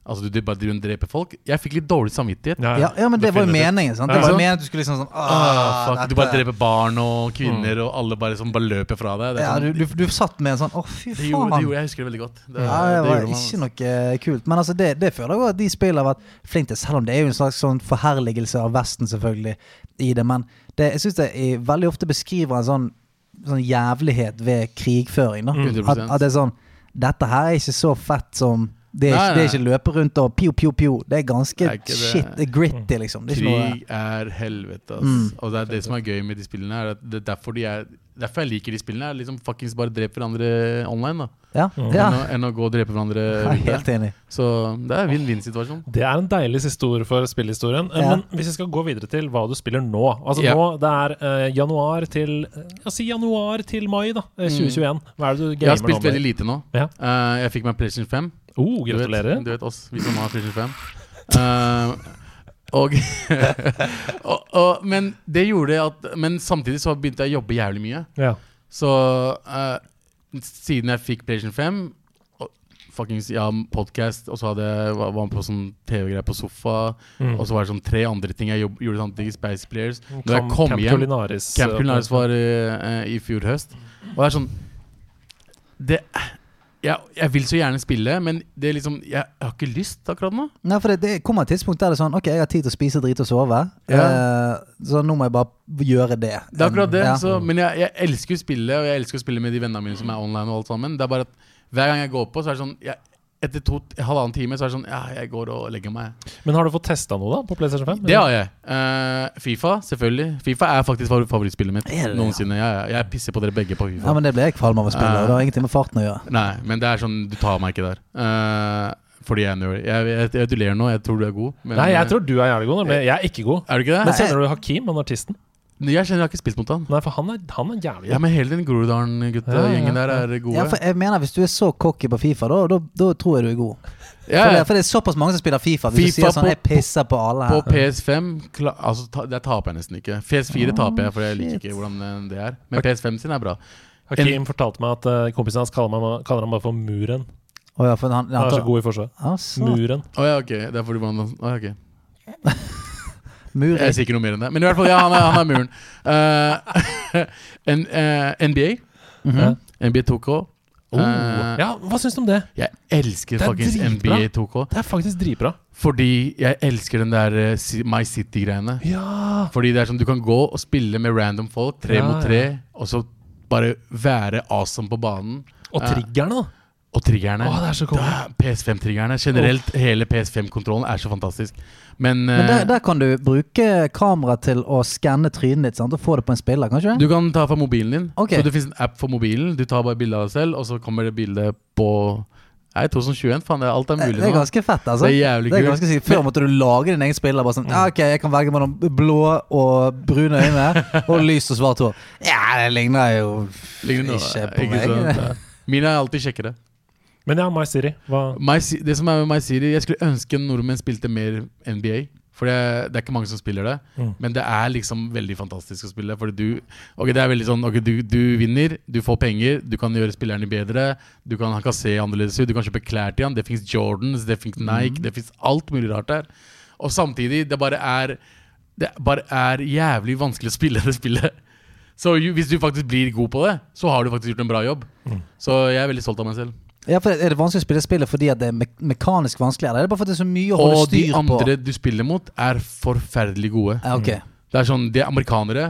[SPEAKER 7] Altså du dre- bare driver og dreper folk. Jeg fikk litt dårlig samvittighet.
[SPEAKER 1] Ja,
[SPEAKER 2] Ja, ja, men det var jo
[SPEAKER 7] Definitivt.
[SPEAKER 2] meningen. sant?
[SPEAKER 1] Ja,
[SPEAKER 2] Det var jo
[SPEAKER 7] sant?
[SPEAKER 2] meningen at du skulle liksom sånn
[SPEAKER 7] Ah,
[SPEAKER 2] «Åh,
[SPEAKER 7] fuck, du bare
[SPEAKER 2] dette-
[SPEAKER 7] dreper barn og kvinner,
[SPEAKER 1] Mm.
[SPEAKER 7] og alle bare, som bare løper fra deg. Det, er
[SPEAKER 2] ja,
[SPEAKER 7] sånn,
[SPEAKER 2] du, du, du satt med en sånn Å, fy
[SPEAKER 7] det, gjorde, det
[SPEAKER 2] faen.
[SPEAKER 7] gjorde jeg husker det veldig godt.
[SPEAKER 2] Ja,
[SPEAKER 7] Det,
[SPEAKER 2] det var
[SPEAKER 7] gjorde man, altså.
[SPEAKER 2] ikke noe kult. Men altså, det, det føler jeg også at de spillene har vært flinke til, selv om det er jo en slags sånn forherligelse av Vesten selvfølgelig i det. Men det, jeg syns det i- veldig ofte beskriver en sånn, sånn jævlighet ved krigføring. Da. At,
[SPEAKER 7] 100%.
[SPEAKER 2] at det er sånn Dette her er ikke så fett som Det er,
[SPEAKER 7] Nei,
[SPEAKER 2] ikke, det er
[SPEAKER 7] nei.
[SPEAKER 2] ikke løpe rundt og pjo, pjo, pjo. Det er ganske
[SPEAKER 7] Det er ikke det.
[SPEAKER 2] shit det er gritty, liksom. Det er ikke noe Mm.
[SPEAKER 7] Krig er helvete, ass. Og det er det som er gøy med de spillene. her, at Det er derfor, de er, derfor jeg liker de spillene. Er liksom fuckings bare drep hverandre online, da.
[SPEAKER 2] Ja, ja.
[SPEAKER 7] Enn, å, enn å gå og drepe hverandre.
[SPEAKER 2] Jeg er
[SPEAKER 7] ute.
[SPEAKER 2] helt enig.
[SPEAKER 7] Så det er vinn-vinn-situasjon.
[SPEAKER 1] Det er en deilig siste ord for spillhistorien. Eh,
[SPEAKER 2] Ja.
[SPEAKER 1] Men hvis jeg skal gå videre til hva du spiller nå Altså
[SPEAKER 7] Ja.
[SPEAKER 1] nå, Det er eh, januar til eh, Si januar til mai, da. eh, 2021. Hva er det du gamer nå?
[SPEAKER 7] Mm. Jeg har spilt veldig lite nå.
[SPEAKER 1] Ja.
[SPEAKER 7] Eh, jeg fikk meg PlayStation 5.
[SPEAKER 1] Oh,
[SPEAKER 7] Du vet-
[SPEAKER 1] gratulerer.
[SPEAKER 7] Du vet oss, vi som har PlayStation 5. Eh, og, og, og, men det gjorde at Men samtidig så begynte jeg å jobbe jævlig mye.
[SPEAKER 1] Ja.
[SPEAKER 7] Så eh, siden jeg fikk PlayStation 5 og Fuckings, ja, podcast, og så hadde jeg, var var med på sånn TV-greier på sofa.
[SPEAKER 1] Mm.
[SPEAKER 7] Og så var det sånn tre andre ting jeg jobb, gjorde samtidig. Spice Players. Når jeg
[SPEAKER 1] Camp-
[SPEAKER 7] kom
[SPEAKER 1] Camp
[SPEAKER 7] hjem
[SPEAKER 1] Culinaris.
[SPEAKER 7] Camp
[SPEAKER 1] eh,
[SPEAKER 7] Culinaris var eh, eh, i fjor høst. Og det er sånn Det jeg, jeg vil så gjerne spille, men det er liksom Jeg, jeg har ikke lyst akkurat nå.
[SPEAKER 2] Nei, for det, det kommer et tidspunkt der det er sånn Ok, jeg har tid til å spise, drite og sove.
[SPEAKER 7] Ja.
[SPEAKER 2] Eh, så nå må jeg bare gjøre det.
[SPEAKER 7] Det er akkurat det.
[SPEAKER 2] Ja.
[SPEAKER 7] Så, men jeg, jeg elsker å spille, og jeg elsker å spille med de vennene mine som er online. og alt sammen Det er bare at Hver gang jeg går på, så er det sånn jeg, Etter to, halvannen time så er det sånn Ja, jeg går og legger meg.
[SPEAKER 1] Men har du fått testa noe, da? På PlayStation 5?
[SPEAKER 7] Det har jeg. Eh, Fifa, selvfølgelig. Fifa er faktisk favor- favorittspillet mitt
[SPEAKER 2] Er det det,
[SPEAKER 7] noensinne. Ja, ja. Jeg pisser på dere begge på Fifa.
[SPEAKER 2] Ja, men det ble jeg kvalm av å spille. og Det har ingenting med farten å gjøre.
[SPEAKER 7] Nei, men det er sånn Du tar meg ikke der. Eh, fordi jeg er nerd. Jeg, jeg, jeg, du ler nå, jeg tror du er god. Men, eh,
[SPEAKER 1] Nei, jeg tror du er jævlig god, men jeg er ikke god.
[SPEAKER 7] Er du ikke
[SPEAKER 1] Men
[SPEAKER 7] det?
[SPEAKER 1] kjenner du Hakim, han artisten?
[SPEAKER 7] Jeg kjenner jeg har ikke spist mot han.
[SPEAKER 1] Nei, for han er, han er jævlig
[SPEAKER 7] Ja,
[SPEAKER 1] god.
[SPEAKER 7] men hele den Groruddalen-guttegjengen
[SPEAKER 1] Ja, ja, ja.
[SPEAKER 7] der er gode.
[SPEAKER 2] Ja, for jeg mener Hvis du er så cocky på Fifa, da, da, da tror jeg du er god.
[SPEAKER 7] Ja,
[SPEAKER 2] For,
[SPEAKER 7] ja.
[SPEAKER 2] det, for det er såpass mange som spiller Fifa. Hvis du
[SPEAKER 7] FIFA
[SPEAKER 2] sier sånn
[SPEAKER 7] på-
[SPEAKER 2] Jeg pisser på alle
[SPEAKER 7] På
[SPEAKER 2] her.
[SPEAKER 7] PS5 kla altså, ta Der taper jeg nesten ikke. PS4 taper jeg, for jeg liker ikke hvordan eh, det er. Men PS5 sin er bra.
[SPEAKER 1] Hakim fortalte meg at eh, kompisen hans kaller, meg, kaller han bare for Muren.
[SPEAKER 2] Å ja, for han, han,
[SPEAKER 1] Han er
[SPEAKER 2] tar-
[SPEAKER 1] så god i forsvar.
[SPEAKER 2] Altså,
[SPEAKER 1] Muren.
[SPEAKER 7] Å ja, ok. Det er fordi hvordan han- Å ja, ok.
[SPEAKER 2] mur
[SPEAKER 7] Jeg sier ikke noe mer enn det. Men i hvert fall, ja, han er, han er muren. Eh, en, eh, NBA.
[SPEAKER 1] Mhm.
[SPEAKER 7] NBA 2K.
[SPEAKER 1] Oh.
[SPEAKER 7] Eh,
[SPEAKER 1] Ja, hva syns du om det?
[SPEAKER 7] Jeg elsker
[SPEAKER 1] Det er
[SPEAKER 7] fuckings
[SPEAKER 1] dritbra.
[SPEAKER 7] NBA 2K.
[SPEAKER 1] Det er faktisk dritbra.
[SPEAKER 7] Fordi jeg elsker den der eh, si- My City-greiene.
[SPEAKER 1] Ja
[SPEAKER 7] Fordi det er sånn du kan gå og spille med random folk, tre
[SPEAKER 1] Ja,
[SPEAKER 7] mot tre, og så bare være awesome på banen.
[SPEAKER 1] Og
[SPEAKER 7] Eh,
[SPEAKER 1] triggerne, da.
[SPEAKER 7] Og triggerne.
[SPEAKER 1] Å, det er så konge.
[SPEAKER 7] Da- PS5-triggerne. Generelt, hele PS5-kontrollen er så fantastisk. Men,
[SPEAKER 2] Men der,
[SPEAKER 7] eh,
[SPEAKER 2] der kan du bruke kamera til å skanne trynet ditt sant? og få det på en spiller, kan du ikke det?
[SPEAKER 7] eh, du kan ta fra mobilen din.
[SPEAKER 2] Ok.
[SPEAKER 7] Så det finnes en app for mobilen. Du tar bare bilde av deg selv, og så kommer det bilde på Nei, 2021. Faen, det er- alt er
[SPEAKER 2] Det
[SPEAKER 7] mulig
[SPEAKER 2] det er
[SPEAKER 7] nå.
[SPEAKER 2] ganske fett, altså.
[SPEAKER 7] Det er jævlig Mm.
[SPEAKER 2] det er
[SPEAKER 7] kult.
[SPEAKER 2] ganske sykt. Før måtte du lage din egen spiller. Bare sånn, ja, ok, Jeg kan velge mellom blå og brune øyne og lyst og svart hår. Ja, det ligner jo
[SPEAKER 7] Ligner sånn. nå,
[SPEAKER 2] ikke på
[SPEAKER 7] sant?
[SPEAKER 2] meg.
[SPEAKER 7] Ja. Mine er alltid kjekkere.
[SPEAKER 1] Men ja, My City. Hva
[SPEAKER 7] My, Si- det som er med My City, jeg skulle ønske nordmenn spilte mer NBA. For det, det er ikke mange som spiller det. Men det er liksom veldig fantastisk å spille. Fordi du Ok, det er veldig sånn Ok, du, du vinner, du får penger, du kan gjøre spillerne bedre. Du kan, han kan se annerledes ut, du kan kjøpe klær til han. Det fins Jordans, det fins Nike, det fins alt mulig rart der. Og samtidig, det bare er Det bare er jævlig vanskelig å spille det spillet. Så ju- hvis du faktisk blir god på det, så har du faktisk gjort en bra jobb. Så jeg er veldig stolt av meg selv.
[SPEAKER 2] Ja, for Er det vanskelig å spille spillet fordi at det er me mekanisk vanskelig? Eller er det bare fordi det er så mye å holde
[SPEAKER 7] Og de
[SPEAKER 2] styr på?
[SPEAKER 7] andre du spiller mot, er forferdelig gode.
[SPEAKER 2] Ja, ok.
[SPEAKER 7] Det er sånn, De er amerikanere,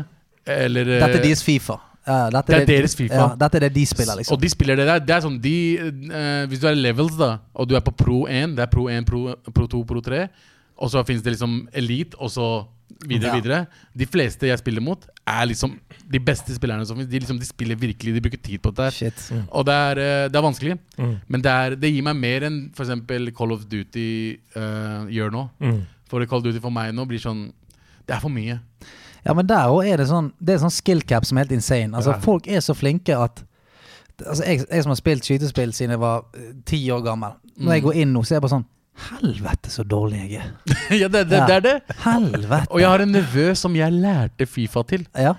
[SPEAKER 7] eller
[SPEAKER 2] Dette er deres Fifa. Ja, dette
[SPEAKER 7] Eh, Det er deres FIFA.
[SPEAKER 2] Ja, dette er det de spiller, liksom.
[SPEAKER 7] eh, Og de spiller det der. Det er sånn, de, eh, Hvis du er levels, da, og du er på pro 1, det er pro 1, pro, pro 2, pro 3, og så fins det liksom elite, og så videre
[SPEAKER 2] Ja.
[SPEAKER 7] videre. De fleste jeg spiller mot, er liksom de beste spillerne som fins. De, liksom, de spiller virkelig, de bruker tid på dette. her.
[SPEAKER 2] Shit.
[SPEAKER 7] Og det er, eh, det er vanskelig,
[SPEAKER 2] Mm.
[SPEAKER 7] men det, er, det gir meg mer enn f.eks. Call of Duty eh, gjør nå.
[SPEAKER 2] Mm.
[SPEAKER 7] For Call of Duty for meg nå blir sånn Det er for mye.
[SPEAKER 2] Ja, men der også er det sånn Det er sånn skill cap som er helt insane. Altså,
[SPEAKER 1] Ja.
[SPEAKER 2] Folk er så flinke at
[SPEAKER 7] Mm.
[SPEAKER 2] Altså, jeg, jeg som har spilt skytespill siden jeg var eh, ti år gammel Når jeg går inn nå, så er jeg bare sånn Helvete, så dårlig jeg er.
[SPEAKER 7] ja, det, det, det er det.
[SPEAKER 2] Helvete.
[SPEAKER 7] Og jeg har en nevø som jeg lærte Fifa til.
[SPEAKER 2] Ja.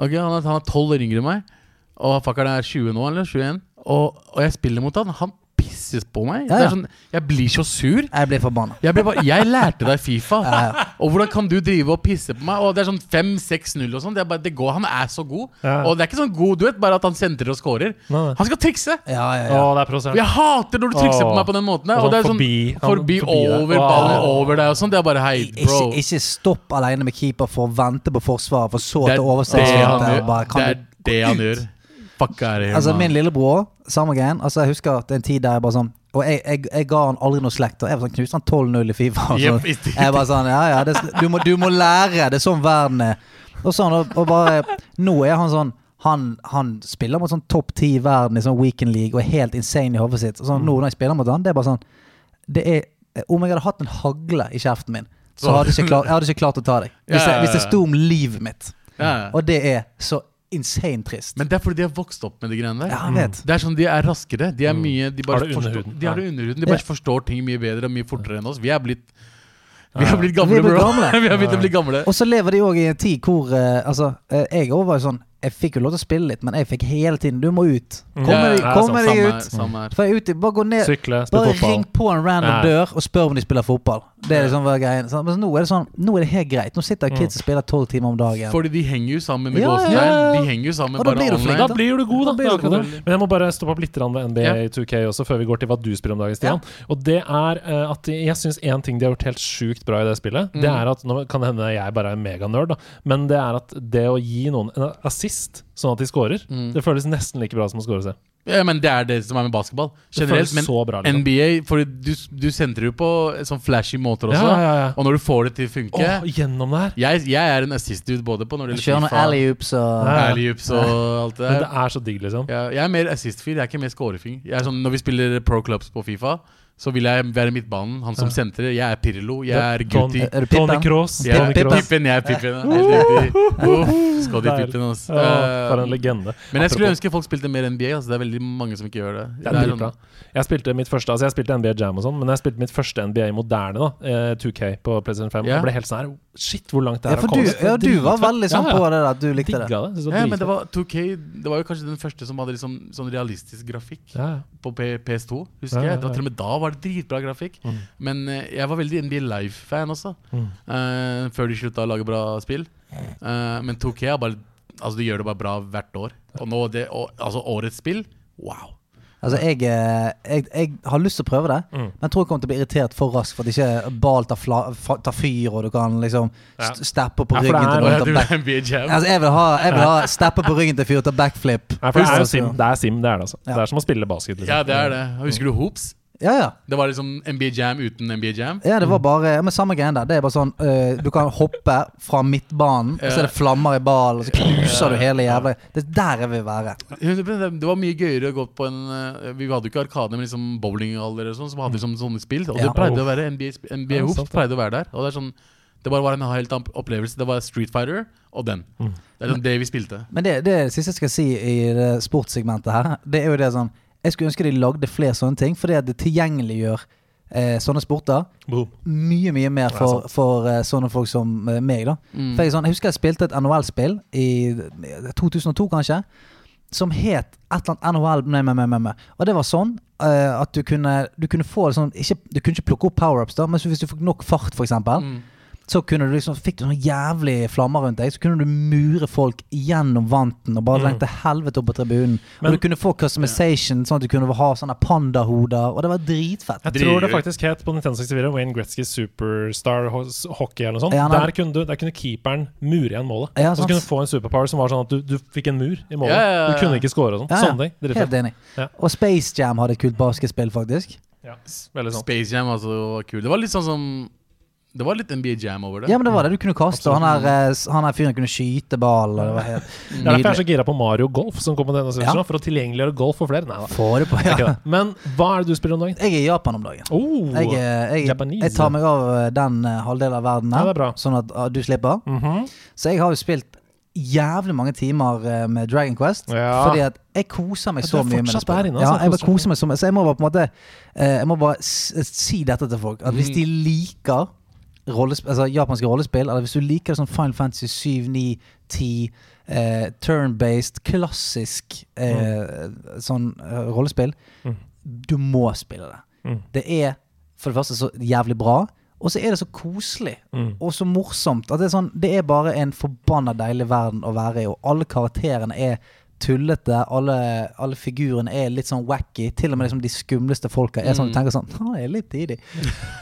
[SPEAKER 7] Ok, han, er, han er 12 år yngre enn meg, og fuckeren er 20 nå, eller 21. Og, og jeg spiller mot han. Han pisses på
[SPEAKER 2] Ja,
[SPEAKER 7] meg. Det
[SPEAKER 2] ja.
[SPEAKER 7] er sånn, jeg blir så sur.
[SPEAKER 2] Jeg blir forbanna.
[SPEAKER 7] Jeg, ble bare, jeg lærte deg Fifa.
[SPEAKER 2] Ja, ja.
[SPEAKER 7] Og hvordan kan du drive og pisse på meg? Og Det er sånn 5-6-0 og sånn. Det er bare, det går, han er så god.
[SPEAKER 1] Ja.
[SPEAKER 7] Og det er ikke sånn god duett, bare at han sentrer og scorer.
[SPEAKER 1] Nei, nei.
[SPEAKER 7] Han skal trikse!
[SPEAKER 2] Ja, ja,
[SPEAKER 1] Å,
[SPEAKER 2] ja.
[SPEAKER 1] det er provosert.
[SPEAKER 7] Jeg hater når du trikser på meg på den måten. der.
[SPEAKER 1] Og
[SPEAKER 7] Og det
[SPEAKER 1] sånn
[SPEAKER 7] er sånn Forbi,
[SPEAKER 1] forbi- han- forbi deg.
[SPEAKER 7] over
[SPEAKER 1] Wow.
[SPEAKER 7] ballen, over deg og sånn. Det er bare hei,
[SPEAKER 2] Ikke,
[SPEAKER 7] bro.
[SPEAKER 2] ikke stopp aleine med keeper for å vente på forsvaret, for så at
[SPEAKER 7] Det er
[SPEAKER 2] det
[SPEAKER 7] det han
[SPEAKER 2] overstegsvante.
[SPEAKER 7] gjør.
[SPEAKER 2] Bare,
[SPEAKER 7] Det
[SPEAKER 2] kan
[SPEAKER 7] er det han gjør. Fuck er det
[SPEAKER 2] Altså Min
[SPEAKER 7] man.
[SPEAKER 2] lillebror, samme greien. Altså Jeg husker at det er en tid der jeg bare sånn Og jeg, jeg, jeg ga han aldri noe slekt. Og jeg var sånn knuste han 12-0 i Fifa. Og
[SPEAKER 7] Jep,
[SPEAKER 2] sånn.
[SPEAKER 7] i stil.
[SPEAKER 2] Jeg bare sånn Ja, ja, det, du, må, du må lære. Det er sånn verden er. Og sånn, og, og bare Nå er han sånn han, han spiller mot sånn topp ti i verden i sånn weekend league og er helt insane i hodet sitt. Og sånn, nå når jeg spiller mot han, det er bare sånn det er, Om jeg hadde hatt en hagle i kjeften min, så hadde jeg ikke klart, jeg hadde ikke klart å ta deg. Hvis, jeg, hvis det sto om livet mitt.
[SPEAKER 7] Ja, ja.
[SPEAKER 2] Og det er så insane trist.
[SPEAKER 7] Men det er fordi de har vokst opp med de greiene der.
[SPEAKER 2] Ja, jeg vet.
[SPEAKER 7] Det er sånn, De er raskere. De er mye De
[SPEAKER 1] Mm. Har det
[SPEAKER 7] bare
[SPEAKER 1] under
[SPEAKER 7] forstår,
[SPEAKER 1] huden.
[SPEAKER 7] de har det under huden. De bare forstår ting mye bedre og mye fortere enn oss. Vi er blitt Vi
[SPEAKER 1] Ja.
[SPEAKER 7] er blitt
[SPEAKER 2] Vi
[SPEAKER 7] gamle,
[SPEAKER 2] er blitt
[SPEAKER 7] bro.
[SPEAKER 2] gamle.
[SPEAKER 7] Vi har begynt å bli gamle.
[SPEAKER 2] Og så lever de òg i en tid hvor eh, Altså, eh, jeg også var jo sånn Jeg fikk jo lov til å spille litt, men jeg fikk hele tiden Du må ut. Kommer
[SPEAKER 7] Mm. Ja,
[SPEAKER 2] deg
[SPEAKER 7] ja,
[SPEAKER 1] ja,
[SPEAKER 2] kommer deg
[SPEAKER 7] Samme her,
[SPEAKER 2] ut.
[SPEAKER 7] samme her.
[SPEAKER 2] For jeg er ute, bare gå ned
[SPEAKER 1] Sykle, spille
[SPEAKER 2] Bare
[SPEAKER 1] fotball.
[SPEAKER 2] ring på en random
[SPEAKER 1] Ja.
[SPEAKER 2] dør og spør om de spiller fotball. Det er liksom hva greien sånn. Men nå er det sånn Nå er det helt greit. Nå sitter kids og spiller tolv timer om dagen.
[SPEAKER 7] Mm. Fordi de henger jo sammen med
[SPEAKER 2] Ja, ja,
[SPEAKER 7] gåsene.
[SPEAKER 2] ja.
[SPEAKER 7] De henger jo sammen
[SPEAKER 2] Og da
[SPEAKER 7] bare
[SPEAKER 2] blir du flink,
[SPEAKER 7] online.
[SPEAKER 1] Da blir du god, da.
[SPEAKER 2] blir
[SPEAKER 1] Det
[SPEAKER 2] du
[SPEAKER 1] er akkurat
[SPEAKER 2] god.
[SPEAKER 1] det. Men jeg må bare stoppe opp litt grann ved NBA 2K også, før vi går til hva du spiller om dagen, Stian. Og det er eh, at jeg syns én ting de har gjort helt sjukt bra i det spillet, det er at Nå kan det hende jeg bare er en meganerd, da, men det er at det å gi noen en assist sånn at de scorer, det føles nesten like bra som å score selv.
[SPEAKER 7] Ja, men Det er det som er med basketball.
[SPEAKER 1] Det
[SPEAKER 7] Generelt,
[SPEAKER 1] føles
[SPEAKER 7] men
[SPEAKER 1] så bra, liksom.
[SPEAKER 7] NBA Fordi du, du sentrer jo på sånn flashy måter også.
[SPEAKER 1] Ja, ja, ja.
[SPEAKER 7] Og når du får det til å funke
[SPEAKER 1] Åh, gjennom det her!
[SPEAKER 7] jeg, jeg er en assist-dude både på når det
[SPEAKER 2] Kjør noen alley-oops og
[SPEAKER 1] Ja.
[SPEAKER 7] alley-oops og alt det
[SPEAKER 1] Men
[SPEAKER 7] der.
[SPEAKER 1] det er så digg, liksom.
[SPEAKER 7] Ja, jeg er mer assist-fyr, jeg er ikke mer scorefyr. Jeg er sånn, når vi spiller pro clubs på Fifa, så vil jeg være midtbanen, han som sentrer. Jeg er Pirlo, jeg er
[SPEAKER 1] Don-
[SPEAKER 7] Guti.
[SPEAKER 2] Er du
[SPEAKER 1] Tony
[SPEAKER 2] Pippen?
[SPEAKER 1] Cross.
[SPEAKER 7] Jeg er
[SPEAKER 1] Tony Cross.
[SPEAKER 7] Pippen, jeg er Pippen. Helt riktig. Uff, skal de Pippen, ass.
[SPEAKER 1] Åh, For en
[SPEAKER 7] Eh,
[SPEAKER 1] legende.
[SPEAKER 7] Men jeg
[SPEAKER 1] Apropos-
[SPEAKER 7] skulle ønske folk spilte mer NBA. Altså, det er veldig mange som ikke gjør det.
[SPEAKER 1] Det er
[SPEAKER 7] Det er
[SPEAKER 1] dritbra.
[SPEAKER 7] sånn-
[SPEAKER 1] Jeg spilte mitt første Altså jeg spilte NBA Jam og sånn, men jeg spilte mitt første NBA moderne, da eh, 2K, på PlayStation 5.
[SPEAKER 7] Ja.
[SPEAKER 1] Og ble helt sånn her Shit, hvor langt det
[SPEAKER 2] Ja,
[SPEAKER 1] her har
[SPEAKER 2] for du,
[SPEAKER 1] kommet.
[SPEAKER 2] ja, du var veldig sånn
[SPEAKER 1] Ja,
[SPEAKER 2] på
[SPEAKER 1] ja.
[SPEAKER 2] det der at du
[SPEAKER 1] Jeg
[SPEAKER 2] likte det.
[SPEAKER 1] Digga det. Synes det
[SPEAKER 7] Ja,
[SPEAKER 1] var
[SPEAKER 7] men
[SPEAKER 1] dritfett.
[SPEAKER 7] det var 2K Det var jo kanskje den første som hadde liksom, sånn realistisk grafikk.
[SPEAKER 1] ja, ja.
[SPEAKER 7] på P PS2, husker
[SPEAKER 1] Ja, ja,
[SPEAKER 7] jeg. Det
[SPEAKER 1] ja.
[SPEAKER 7] var
[SPEAKER 1] Mm.
[SPEAKER 7] til og med da var det dritbra grafikk. Men eh, jeg var veldig NBA Live-fan også, eh, før de slutta å lage bra spill. Eh, men 2K er bare Altså, de gjør det bare bra hvert år. Og nå det, og, altså årets spill wow.
[SPEAKER 2] Altså, jeg, eh, jeg, jeg har lyst til å prøve det,
[SPEAKER 1] Mm.
[SPEAKER 2] men jeg tror jeg kommer til å bli irritert for raskt for at ikke ball tar, fla, fa- tar fyr, og du kan liksom st steppe på
[SPEAKER 1] Ja, for det
[SPEAKER 2] ryggen
[SPEAKER 1] er-
[SPEAKER 2] til
[SPEAKER 7] Og
[SPEAKER 2] noen
[SPEAKER 7] jeg
[SPEAKER 2] og ta
[SPEAKER 7] tror det
[SPEAKER 2] back
[SPEAKER 7] er NBA Jam.
[SPEAKER 2] Altså, jeg vil ha, jeg vil ha steppe på ryggen til fyr og ta backflip.
[SPEAKER 1] Nei, for det er jo
[SPEAKER 2] Altså,
[SPEAKER 1] sim. Det er sim, det er det, altså.
[SPEAKER 2] Ja.
[SPEAKER 1] Det er som å spille basket, liksom.
[SPEAKER 7] Ja, det er det. Husker du Hoops?
[SPEAKER 2] Ja, ja.
[SPEAKER 7] Det var liksom NBA Jam uten NBA Jam.
[SPEAKER 2] Ja, det var bare ja, men Samme greien der. Det er bare sånn øh, Du kan hoppe fra midtbanen, og så er det flammer i ballen, og så knuser du hele jævla Det er der jeg vil være.
[SPEAKER 7] 100%. Det var mye gøyere å gå på en eh, Vi hadde jo ikke Arkade, men liksom bowlinghaller og sånn, som hadde liksom sånne spill. Og det
[SPEAKER 2] Ja.
[SPEAKER 7] pleide å være NBA, sp- NBA
[SPEAKER 1] Ja,
[SPEAKER 7] Hoops
[SPEAKER 1] sant det.
[SPEAKER 7] pleide å være der. Og Det er sånn Det bare var en helt annen opplevelse. Det var Street Fighter og den. Det er sånn det vi spilte.
[SPEAKER 2] Men det, det siste jeg skal si i det sportssegmentet her, det er jo det sånn Jeg skulle ønske de lagde flere sånne ting, fordi at det tilgjengeliggjør eh, sånne sporter
[SPEAKER 1] Boom.
[SPEAKER 2] mye, mye mer for, for eh, sånne folk som eh, meg, da. For jeg, er sånn, jeg husker jeg spilte et NHL-spill i eh, 2002, kanskje. Som het et eller annet NHL nei, nei, nei, nei, nei. Og det var sånn eh, at du kunne, du kunne få det sånn ikke, Du kunne ikke plukke opp power-ups, da, men så hvis du fikk nok fart, f.eks. eksempel Så kunne du liksom, fikk du sånn jævlig flammer rundt deg. Så kunne du mure folk gjennom vanten og bare mm. lengte helvete opp på tribunen.
[SPEAKER 1] Men-
[SPEAKER 2] og du kunne få customization, sånn at du kunne ha sånne pandahoder. Og det var dritfett.
[SPEAKER 1] Jeg tror det
[SPEAKER 7] Driver.
[SPEAKER 1] faktisk het på Nintendo 64 Wayne Gretzky Superstar Ho- Hockey eller noe sånt.
[SPEAKER 2] Ja, nei.
[SPEAKER 1] der, kunne du, der kunne keeperen mure igjen målet.
[SPEAKER 2] Ja,
[SPEAKER 1] og så
[SPEAKER 2] sant.
[SPEAKER 1] kunne du få en superpower som var sånn at du, du fikk en mur i målet.
[SPEAKER 7] Ja, ja, ja.
[SPEAKER 1] Du kunne ikke score og sånn.
[SPEAKER 2] Ja, ja.
[SPEAKER 1] Sånne ting. Dritfett.
[SPEAKER 2] Helt enig.
[SPEAKER 1] Ja.
[SPEAKER 2] Og Space Jam hadde et kult basketspill, faktisk.
[SPEAKER 1] Ja, veldig sånn.
[SPEAKER 7] Space Jam altså, var kul. Det var litt sånn som Det var litt NBA Jam over det.
[SPEAKER 2] Ja, men det var det. Du kunne kaste, og han her, eh, s- han her fyren kunne skyte ball. Og det var helt
[SPEAKER 1] Det er derfor jeg er
[SPEAKER 2] nydelig.
[SPEAKER 1] så gira på Mario Golf, som kom på denne
[SPEAKER 2] Ja.
[SPEAKER 1] sesjonen, for å tilgjengeliggjøre golf for flere. Nei da.
[SPEAKER 2] Få det på,
[SPEAKER 1] Det er ikke
[SPEAKER 2] ja.
[SPEAKER 1] det. Men hva er det du spiller om dagen?
[SPEAKER 2] Jeg er i Japan om dagen.
[SPEAKER 1] Oh,
[SPEAKER 2] Jeg, eh, jeg,
[SPEAKER 1] Japanese.
[SPEAKER 2] jeg tar meg av eh, den eh, halvdelen av verden
[SPEAKER 1] Ja, det
[SPEAKER 2] her,
[SPEAKER 1] er bra. Mhm.
[SPEAKER 2] sånn at ah, du slipper. Så jeg har jo spilt jævlig mange timer eh, med Dragon Quest.
[SPEAKER 1] Ja.
[SPEAKER 2] Fordi at jeg koser meg
[SPEAKER 1] Ja,
[SPEAKER 2] så
[SPEAKER 1] du er
[SPEAKER 2] mye med det.
[SPEAKER 1] fortsatt der inne,
[SPEAKER 2] ja,
[SPEAKER 1] altså.
[SPEAKER 2] jeg bare koser meg så mye. Så jeg må bare på en måte eh, Jeg må bare s si dette til folk. At hvis
[SPEAKER 1] Mm.
[SPEAKER 2] de liker rollesp altså japanske rollespill, eller hvis du liker sånn Final Fantasy 7, 9, 10 eh, Turn-based, klassisk eh,
[SPEAKER 1] Mm.
[SPEAKER 2] sånn eh, rollespill, du må spille det.
[SPEAKER 1] Mm.
[SPEAKER 2] Det er for det første så jævlig bra, og så er det så koselig og så morsomt. At det, er sånn, det er bare en forbanna deilig verden å være i, og alle karakterene er tullete. Alle, alle figurene er litt sånn wacky. Til og med liksom de skumleste folka er sånn du tenker sånn «Å, det er litt tidig.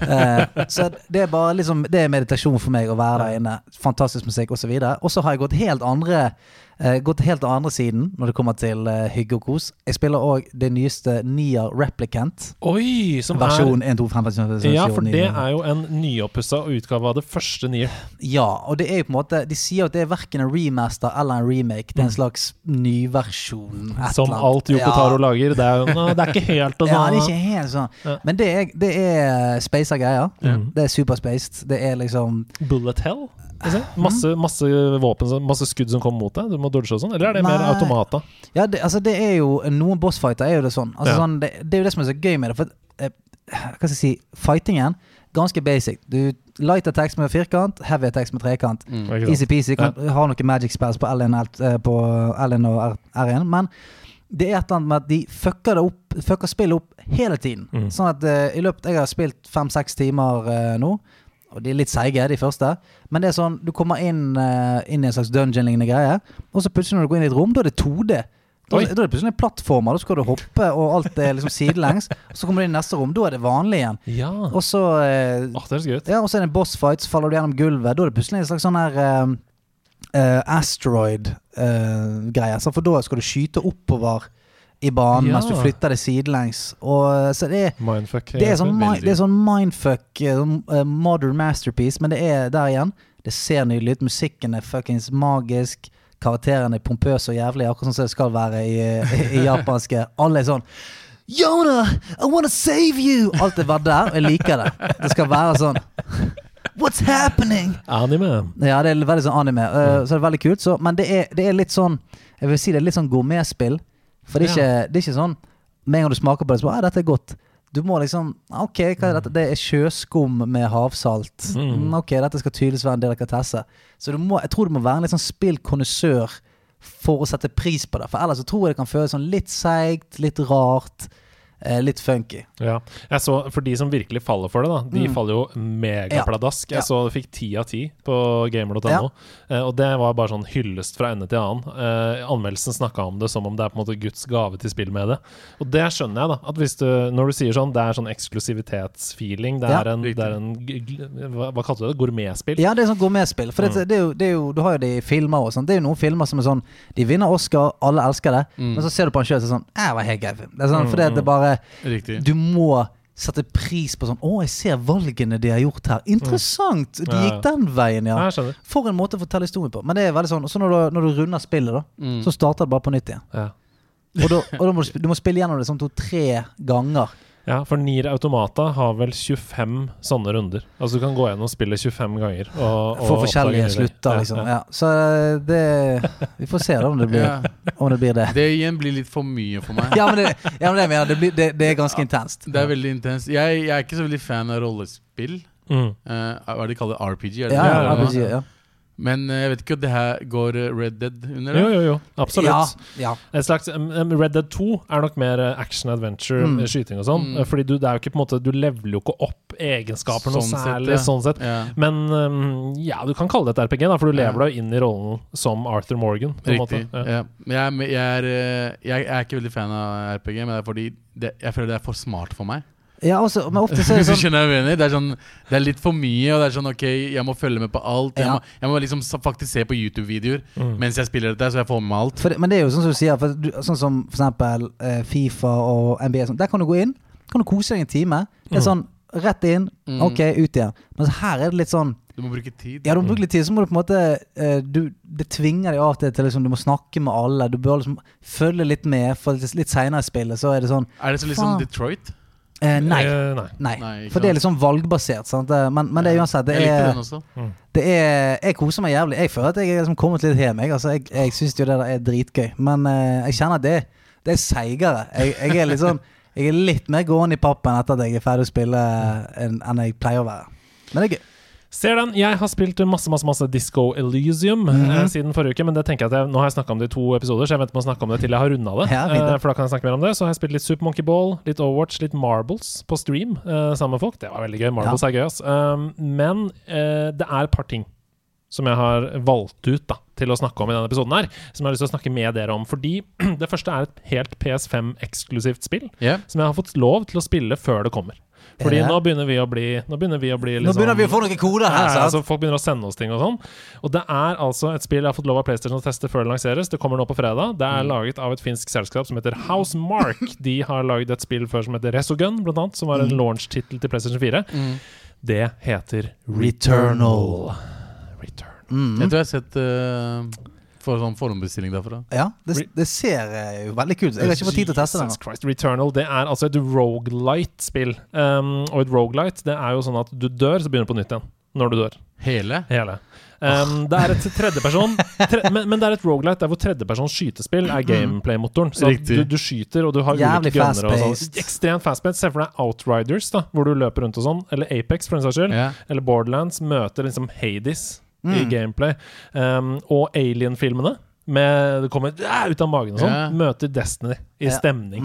[SPEAKER 2] Eh, så det er bare liksom Det er meditasjon for meg å være der inne. Fantastisk musikk osv. Og så har jeg gått helt andre eh, Gått helt til andre siden når det kommer til eh, hygge og kos. Jeg spiller òg det nyeste Nier Replicant.
[SPEAKER 1] Oi! Som er
[SPEAKER 2] Versjon 1, 2, 5, 5, 6, 7,
[SPEAKER 1] ja, for
[SPEAKER 2] 9,
[SPEAKER 1] det er jo en nyoppussa utgave av det første nye.
[SPEAKER 2] Ja, og det er jo på en måte De sier jo at det er verken en remaster eller en remake. Det er en slags nyversjon. et
[SPEAKER 1] Mm. Som
[SPEAKER 2] eller annet.
[SPEAKER 1] alt Yokotaro lager. Det er, jo, Nå, det er ikke helt det
[SPEAKER 2] Ja, ja, det er
[SPEAKER 1] samme.
[SPEAKER 2] ikke helt sånn.
[SPEAKER 1] Ja.
[SPEAKER 2] Men det er, det er eh, spacer greier. Det er superspaced. Det er liksom
[SPEAKER 1] Bullet hell? liksom.
[SPEAKER 2] Mhm.
[SPEAKER 1] Masse, masse våpen, som- masse skudd som kommer mot deg. Du må dodge og sånn. Eller er det mer
[SPEAKER 2] Nei.
[SPEAKER 1] automata?
[SPEAKER 2] Ja, det, altså det er jo Noen bossfighter er jo det sånn. Altså
[SPEAKER 1] Ja.
[SPEAKER 2] sånn det, det er jo det som er så gøy med det. For at, eh, hva skal jeg si Fightingen, ganske basic. Du Light attacks med firkant, heavy attacks med trekant.
[SPEAKER 1] Ikke sant?
[SPEAKER 2] Easy-peasy. Kan, Har noen magic spells på L1, og L- eh, på L1 og R- R1. Men det er et eller annet med at de fucker, det opp, fucker spillet opp hele tiden.
[SPEAKER 1] Mm.
[SPEAKER 2] Sånn at eh, i løpet Jeg har spilt fem-seks timer eh, nå. Og de er litt seige, de første. Men det er sånn, du kommer inn, eh, inn i en slags dungeon-lignende greie, og så plutselig når du går inn i et rom, da er det 2D. Da,
[SPEAKER 1] Oi.
[SPEAKER 2] da er det plutselig en plattformer, da skal du hoppe, og alt er liksom sidelengs. Og så kommer du inn i neste rom, da er det vanlig igjen.
[SPEAKER 1] Ja. Åh,
[SPEAKER 2] Og så eh,
[SPEAKER 1] det høres gøy ut.
[SPEAKER 2] ja, og så er det en bossfight, så faller du gjennom gulvet. Da er det plutselig en slags sånn her eh, eh, asteroid-greie. for da skal du skyte oppover i banen
[SPEAKER 1] Ja.
[SPEAKER 2] mens du flytter det sidelengs. Og, eh, så det er
[SPEAKER 1] Mindfuck.
[SPEAKER 2] det er sånn, mi-
[SPEAKER 7] veldig.
[SPEAKER 2] det er sånn mindfuck, eh, sånn, eh, modern masterpiece, men det er der igjen. Det ser nydelig ut. Musikken er fuckings magisk. Karakterene er pompøse og jævlig, akkurat sånn som det skal være i, i, i japanske. Alle er sånn Yoda, I wanna save you! Alt er bare der, og jeg liker det. Det skal være sånn What's happening?
[SPEAKER 1] Anime.
[SPEAKER 2] Ja, det er veldig sånn anime. eh, så det er veldig kult. Så, men det er, det er litt sånn Jeg vil si det er litt sånn gourmetspill. For det er, ikke, det er ikke sånn Med en gang du smaker på det, så bare «Å, dette er godt. Du må liksom OK, hva er dette? Det er sjøskum med havsalt. Mm, ok, dette skal tydeligvis være en del av kartesse. Så du må, jeg tror du må være en litt sånn spillkonnissør for å sette pris på det. For ellers så tror jeg det kan føles sånn litt seigt, litt rart, eh, litt funky.
[SPEAKER 1] Ja. Jeg så, for de som virkelig faller for det, da, de faller jo megapladask.
[SPEAKER 2] Mm. Ja.
[SPEAKER 1] Jeg så det fikk ti av ti på gamer.no,
[SPEAKER 2] Ja.
[SPEAKER 1] eh, og det var bare sånn hyllest fra ende til annen. Eh, anmeldelsen snakka om det som om det er på en måte Guds gave til spillmediet. Og det skjønner jeg, da. At hvis du, når du sier sånn, det er sånn eksklusivitetsfeeling, det
[SPEAKER 2] Ja.
[SPEAKER 1] er en, det er en g- g- hva, hva kalte du det? Gourmetspill? Mm.
[SPEAKER 2] Ja, det er sånn gourmetspill. For det, det er jo, det er jo, du har jo det i filmer og sånn. Det er jo noen filmer som er sånn De vinner Oscar, alle elsker det,
[SPEAKER 1] Mm.
[SPEAKER 2] men så ser du på en sjøl og er sånn «Eh, Det var helt grei film. Det er sånn, for det, det er bare
[SPEAKER 7] Riktig.
[SPEAKER 2] Du må sette pris på sånn Å, jeg ser valgene de har gjort her. Interessant! De
[SPEAKER 1] Mm. Ja,
[SPEAKER 2] gikk den veien, ja.
[SPEAKER 1] Ja, jeg skjønner.
[SPEAKER 2] For en måte å fortelle historien på. Men det er veldig sånn Og så når du, når du runder spillet, da,
[SPEAKER 1] Mm.
[SPEAKER 2] så starter det bare på nytt igjen.
[SPEAKER 1] Ja.
[SPEAKER 2] Og, da, og da må du, sp- du må spille gjennom det sånn to-tre ganger.
[SPEAKER 1] ja, for Nier Automata har vel 25 sånne runder. Altså du kan gå gjennom spillet 25 ganger. Og, og
[SPEAKER 2] For
[SPEAKER 1] oppdage nye
[SPEAKER 2] forskjellige
[SPEAKER 1] ting.
[SPEAKER 2] slutter,
[SPEAKER 1] Ja,
[SPEAKER 2] liksom.
[SPEAKER 1] ja.
[SPEAKER 2] Ja, så det Vi får se da om det blir,
[SPEAKER 7] Ja.
[SPEAKER 2] om det, blir det.
[SPEAKER 7] Det igjen blir litt for mye for meg.
[SPEAKER 2] ja, men det, ja, men det, mener jeg. det, blir, det, det er ganske intenst.
[SPEAKER 7] Det er veldig intenst. Jeg, jeg er ikke så veldig fan av rollespill.
[SPEAKER 1] Mm.
[SPEAKER 7] Eh, hva er det de kaller det? RPG? Er
[SPEAKER 2] Ja,
[SPEAKER 7] det
[SPEAKER 2] ja,
[SPEAKER 7] det?
[SPEAKER 2] RPG, ja.
[SPEAKER 7] Men eh, jeg vet ikke om det her går eh, Red Dead under det?
[SPEAKER 1] Jo, jo, jo. Absolutt.
[SPEAKER 2] Ja, ja.
[SPEAKER 1] Et slags, um, um, Red Dead 2 er nok mer eh, action adventure,
[SPEAKER 2] Mm.
[SPEAKER 1] eh, skyting og sånn.
[SPEAKER 7] Mm.
[SPEAKER 1] Eh, Fordi du, det er jo ikke på en måte Du leveler jo ikke opp egenskaper noe
[SPEAKER 7] Sånn sett,
[SPEAKER 1] særlig,
[SPEAKER 7] ja.
[SPEAKER 1] sånn sett.
[SPEAKER 7] Ja.
[SPEAKER 1] Men um, ja, du kan kalle det et RPG, da, for du
[SPEAKER 7] Ja.
[SPEAKER 1] lever deg jo inn i rollen som Arthur Morgan. På en måte.
[SPEAKER 7] Riktig. Ja. Men jeg, er med- jeg, er, eh, jeg er ikke veldig fan av RPG, men det er fordi det, jeg føler det er for smart for meg.
[SPEAKER 2] ja også, men ofte så er
[SPEAKER 7] Hvis
[SPEAKER 2] det
[SPEAKER 7] du
[SPEAKER 2] sånn
[SPEAKER 7] skjønner hva jeg mener? Det er, sånn, det er litt for mye, og det er sånn OK, jeg må følge med på alt. Jeg,
[SPEAKER 2] Ja.
[SPEAKER 7] må, jeg må liksom sa- faktisk se på YouTube-videoer mens jeg spiller dette, så jeg får med meg alt.
[SPEAKER 2] for det, Men det er jo sånn som du sier, for du, sånn som for eksempel eh, Fifa og NBA. Sånn. Der kan du gå inn, kan du kose deg en time. Det
[SPEAKER 7] Mm.
[SPEAKER 2] er sånn rett inn, ok, ut igjen. Men her er det litt sånn
[SPEAKER 7] Du må bruke tid.
[SPEAKER 2] Ja, du må bruke litt tid, så må du på en måte eh, du, Det tvinger deg av og til til liksom, du må snakke med alle. Du bør liksom følge litt med, for litt seinere i spillet så er det sånn
[SPEAKER 7] Er det så litt
[SPEAKER 2] Faen.
[SPEAKER 7] som Detroit?
[SPEAKER 2] Eh, nei.
[SPEAKER 1] Eh, nei.
[SPEAKER 2] Nei.
[SPEAKER 7] Nei, ikke
[SPEAKER 2] For det er
[SPEAKER 7] sant.
[SPEAKER 2] litt sånn valgbasert. Sant? Eh, Men, men det er uansett det
[SPEAKER 7] Jeg likte
[SPEAKER 2] er,
[SPEAKER 7] den også.
[SPEAKER 2] det er, Jeg koser meg jævlig. Jeg føler at jeg er liksom kommet litt hjem. Jeg, altså, jeg, jeg syns jo det der er dritgøy. Men eh, jeg kjenner at det, det er seigere. Jeg, jeg er litt sånn Jeg er litt mer gående i pappen etter at jeg er ferdig å spille eh, enn enn jeg pleier å være. Men det er gøy.
[SPEAKER 1] Ser den. Jeg har spilt masse masse, masse Disco Elysium
[SPEAKER 2] Mhm.
[SPEAKER 1] eh, siden forrige uke. Men det tenker jeg at jeg, nå har jeg snakka om det i to episoder, så jeg venter med å snakke om det til jeg har runda det.
[SPEAKER 2] Ja, fint det.
[SPEAKER 1] Eh, for da kan jeg snakke mer om det. Så har jeg spilt litt Super Monkey Ball, litt Overwatch, litt Marbles på stream eh, sammen med folk. Det var veldig gøy. Marbles
[SPEAKER 2] Ja.
[SPEAKER 1] er gøy, ass. Um, men eh, det er et par ting som jeg har valgt ut da, til å snakke om i denne episoden her, som jeg har lyst til å snakke med dere om. Fordi det første er et helt PS5-eksklusivt spill,
[SPEAKER 7] Ja.
[SPEAKER 1] som jeg har fått lov til å spille før det kommer. Fordi
[SPEAKER 2] Ja.
[SPEAKER 1] nå begynner vi å bli, nå begynner vi å bli
[SPEAKER 2] Nå
[SPEAKER 1] liksom,
[SPEAKER 2] begynner vi å få noen koder
[SPEAKER 1] ja,
[SPEAKER 2] her.
[SPEAKER 1] ja,
[SPEAKER 2] sant?
[SPEAKER 1] altså, folk begynner å sende oss ting og sånn. Og det er altså et spill jeg har fått lov av PlayStation å teste før det lanseres. Det kommer nå på fredag. Det
[SPEAKER 2] Mm.
[SPEAKER 1] er laget av et finsk selskap som heter Housemark. De har lagd et spill før som heter Resogun, blant annet, som var
[SPEAKER 2] Mm.
[SPEAKER 1] en launch-tittel til PlayStation 4. Det heter
[SPEAKER 2] Returnal.
[SPEAKER 1] Return.
[SPEAKER 2] Mm,
[SPEAKER 7] Jeg tror jeg har sett eh, for sånn forhåndsbestilling derfra.
[SPEAKER 2] Ja, det, det ser eh, jo veldig kult ut. Jeg har ikke fått tid til å teste den.
[SPEAKER 1] Jesus
[SPEAKER 2] nå.
[SPEAKER 1] Christ. Returnal det er altså et roguelite-spill. Um, og et roguelite det er jo sånn at du dør, så begynner du på nytt igjen. Når du dør.
[SPEAKER 7] Hele?
[SPEAKER 1] Hele. Um, det er et tredjeperson tre, men, men det er et roguelite der hvor tredjepersons skytespill er gameplay-motoren. Så at du,
[SPEAKER 7] Riktig.
[SPEAKER 1] du skyter, og du har
[SPEAKER 2] Jævlig
[SPEAKER 1] ulike gunner og sånn.
[SPEAKER 2] fast-paced.
[SPEAKER 1] Ekstremt fast-paced. Se for deg Outriders, da, hvor du løper rundt og sånn. Eller Apex, for den saks skyld.
[SPEAKER 7] Ja.
[SPEAKER 1] Eller Borderlands møter liksom Hades i gameplay. Um, og Alien-filmene. Med, det kommer "Ah!" ut av magen og sånn.
[SPEAKER 7] Ja.
[SPEAKER 1] Møter Destiny i
[SPEAKER 2] Ja.
[SPEAKER 1] stemning.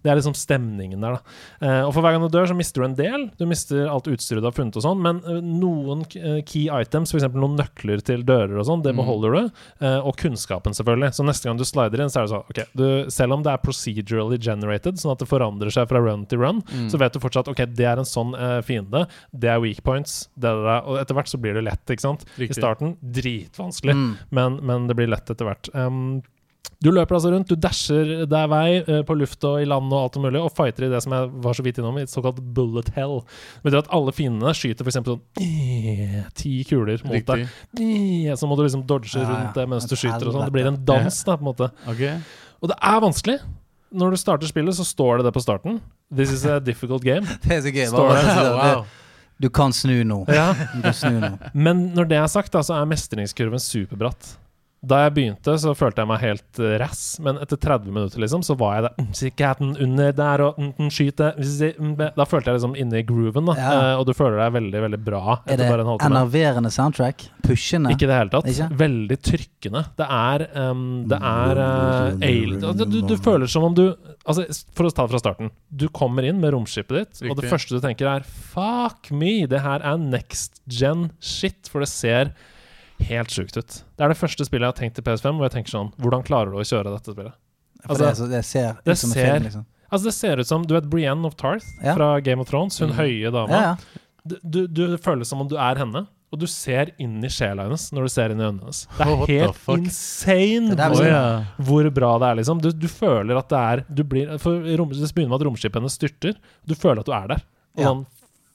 [SPEAKER 1] Det er liksom stemningen der, da. Eh, og for hver gang du dør, så mister du en del. Du mister alt utstyret du har funnet og sånn, men eh, noen eh, key items, f.eks. noen nøkler til dører og sånn, det beholder du. Eh, og kunnskapen, selvfølgelig. Så neste gang du slider inn, så er det sånn OK, du, selv om det er procedurally generated, sånn at det forandrer seg fra run til run, så vet du fortsatt OK, det er en sånn eh, fiende, det er weak points, det er det, og etter hvert så blir det lett, ikke sant?
[SPEAKER 7] Riktig.
[SPEAKER 1] I starten dritvanskelig,
[SPEAKER 2] Mm.
[SPEAKER 1] men, men det blir lett etter hvert. Um, du løper altså rundt, du dasher deg vei eh, på luft og i land og alt mulig, og fighter i det som jeg var så vidt innom, i et såkalt bullet hell. Det betyr at alle fiendene skyter f.eks. sånn eh, ti kuler mot
[SPEAKER 7] Riktig.
[SPEAKER 1] deg. Eh, Så må du liksom dodge
[SPEAKER 2] Ja, ja.
[SPEAKER 1] rundt det mens du
[SPEAKER 2] Et
[SPEAKER 1] skyter og sånn.
[SPEAKER 2] helvete.
[SPEAKER 1] Det blir en dans, da, på en måte.
[SPEAKER 7] Ok.
[SPEAKER 1] Og det er vanskelig. Når du starter spillet, så står det det på starten. This is a difficult game.
[SPEAKER 2] Det er så gøy.
[SPEAKER 1] Står
[SPEAKER 2] Bare,
[SPEAKER 1] det.
[SPEAKER 2] bare,
[SPEAKER 7] Wow.
[SPEAKER 2] Du kan snu nå. Du kan snu nå.
[SPEAKER 1] Men når det er sagt, da, så er mestringskurven superbratt. Da jeg begynte, så følte jeg meg helt eh, rass, men etter 30 minutter liksom, så var jeg der. Mm, sikkerheten under der, og mm, mm, skyte mm, mm, be- Da følte jeg liksom inne i grooven, da.
[SPEAKER 2] Ja.
[SPEAKER 1] Eh, og du føler deg veldig, veldig bra
[SPEAKER 2] Er
[SPEAKER 1] etter
[SPEAKER 2] det
[SPEAKER 1] bare en halvtime.
[SPEAKER 2] enerverende soundtrack? Pushende?
[SPEAKER 1] Ikke i det hele tatt.
[SPEAKER 2] Ikke?
[SPEAKER 1] Veldig trykkende. Det er ehm, Det er eh, alien altså, du, du føler som om du Altså, s- for å ta det fra starten. Du kommer inn med romskipet ditt, og det
[SPEAKER 7] Riktig.
[SPEAKER 1] første du tenker er Fuck me! Det her er next gen shit, for det ser helt sjukt ut. Det er det første spillet jeg har tenkt til PS5, hvor jeg tenker sånn Hvordan klarer du å kjøre dette spillet?
[SPEAKER 2] For det, er så- det ser
[SPEAKER 1] altså,
[SPEAKER 2] ut
[SPEAKER 1] det
[SPEAKER 2] som en
[SPEAKER 1] ser-
[SPEAKER 2] film, liksom.
[SPEAKER 1] Altså Det ser ut som Du vet Brienne of Tarth
[SPEAKER 2] Ja. Mm.
[SPEAKER 1] fra Game of Thrones? Hun høye dama.
[SPEAKER 2] Ja, ja.
[SPEAKER 1] du, du, du føler som om du er henne, og du ser inn i sjela hennes når du ser inn i øynene hennes. Det er
[SPEAKER 7] What the
[SPEAKER 1] helt
[SPEAKER 7] fuck?
[SPEAKER 1] insane
[SPEAKER 2] Det er
[SPEAKER 1] hvor,
[SPEAKER 2] liksom-
[SPEAKER 1] hvor bra det er, liksom. Du, du føler at det er du blir, for rom, Det begynner med at romskipet hennes styrter. Du føler at du er der. Og
[SPEAKER 2] Ja. Mm.
[SPEAKER 1] sånn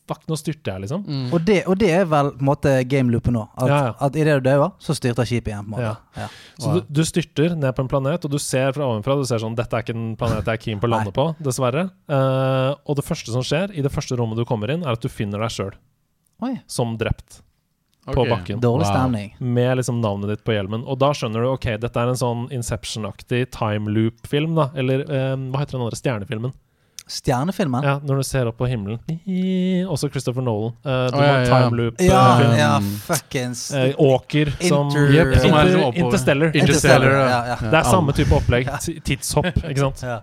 [SPEAKER 1] Fuck, nå styrter jeg, liksom.
[SPEAKER 2] Og, det, og det er vel på en måte gameloopen nå. At,
[SPEAKER 1] Ja, ja.
[SPEAKER 2] at idet du dauer, så styrter skipet igjen. på en måte
[SPEAKER 1] Ja.
[SPEAKER 2] Ja.
[SPEAKER 1] Så du, du styrter ned på en planet, og du ser fra ovenfra Du ser sånn Dette er ikke en planet jeg er keen på å lande på, dessverre. Eh, og det første som skjer i det første rommet du kommer inn, er at du finner deg sjøl
[SPEAKER 2] Oi,
[SPEAKER 1] som drept på
[SPEAKER 7] Ok.
[SPEAKER 1] bakken.
[SPEAKER 2] dårlig
[SPEAKER 7] Wow.
[SPEAKER 2] stemning.
[SPEAKER 1] med liksom navnet ditt på hjelmen. Og da skjønner du ok, dette er en sånn Inception-aktig time loop-film. da Eller eh, hva heter den andre stjernefilmen?
[SPEAKER 2] Stjernefilmen?
[SPEAKER 1] Ja, Når du ser opp på himmelen. Også Christopher Nolan. Eh, du
[SPEAKER 7] Å,
[SPEAKER 1] må
[SPEAKER 7] ja,
[SPEAKER 1] en
[SPEAKER 7] ja.
[SPEAKER 1] time loop.
[SPEAKER 2] Ja,
[SPEAKER 1] eh,
[SPEAKER 2] ja,
[SPEAKER 1] film.
[SPEAKER 2] fuckings
[SPEAKER 1] Eh, Åker som
[SPEAKER 2] Inter-
[SPEAKER 7] Jep, som er liksom
[SPEAKER 1] Inter-
[SPEAKER 7] oppover.
[SPEAKER 1] Interstellar.
[SPEAKER 7] Interstellar, ja.
[SPEAKER 2] Ja, ja.
[SPEAKER 1] Det er samme type opplegg. Ti- Tidshopp, ikke sant.
[SPEAKER 2] Ja.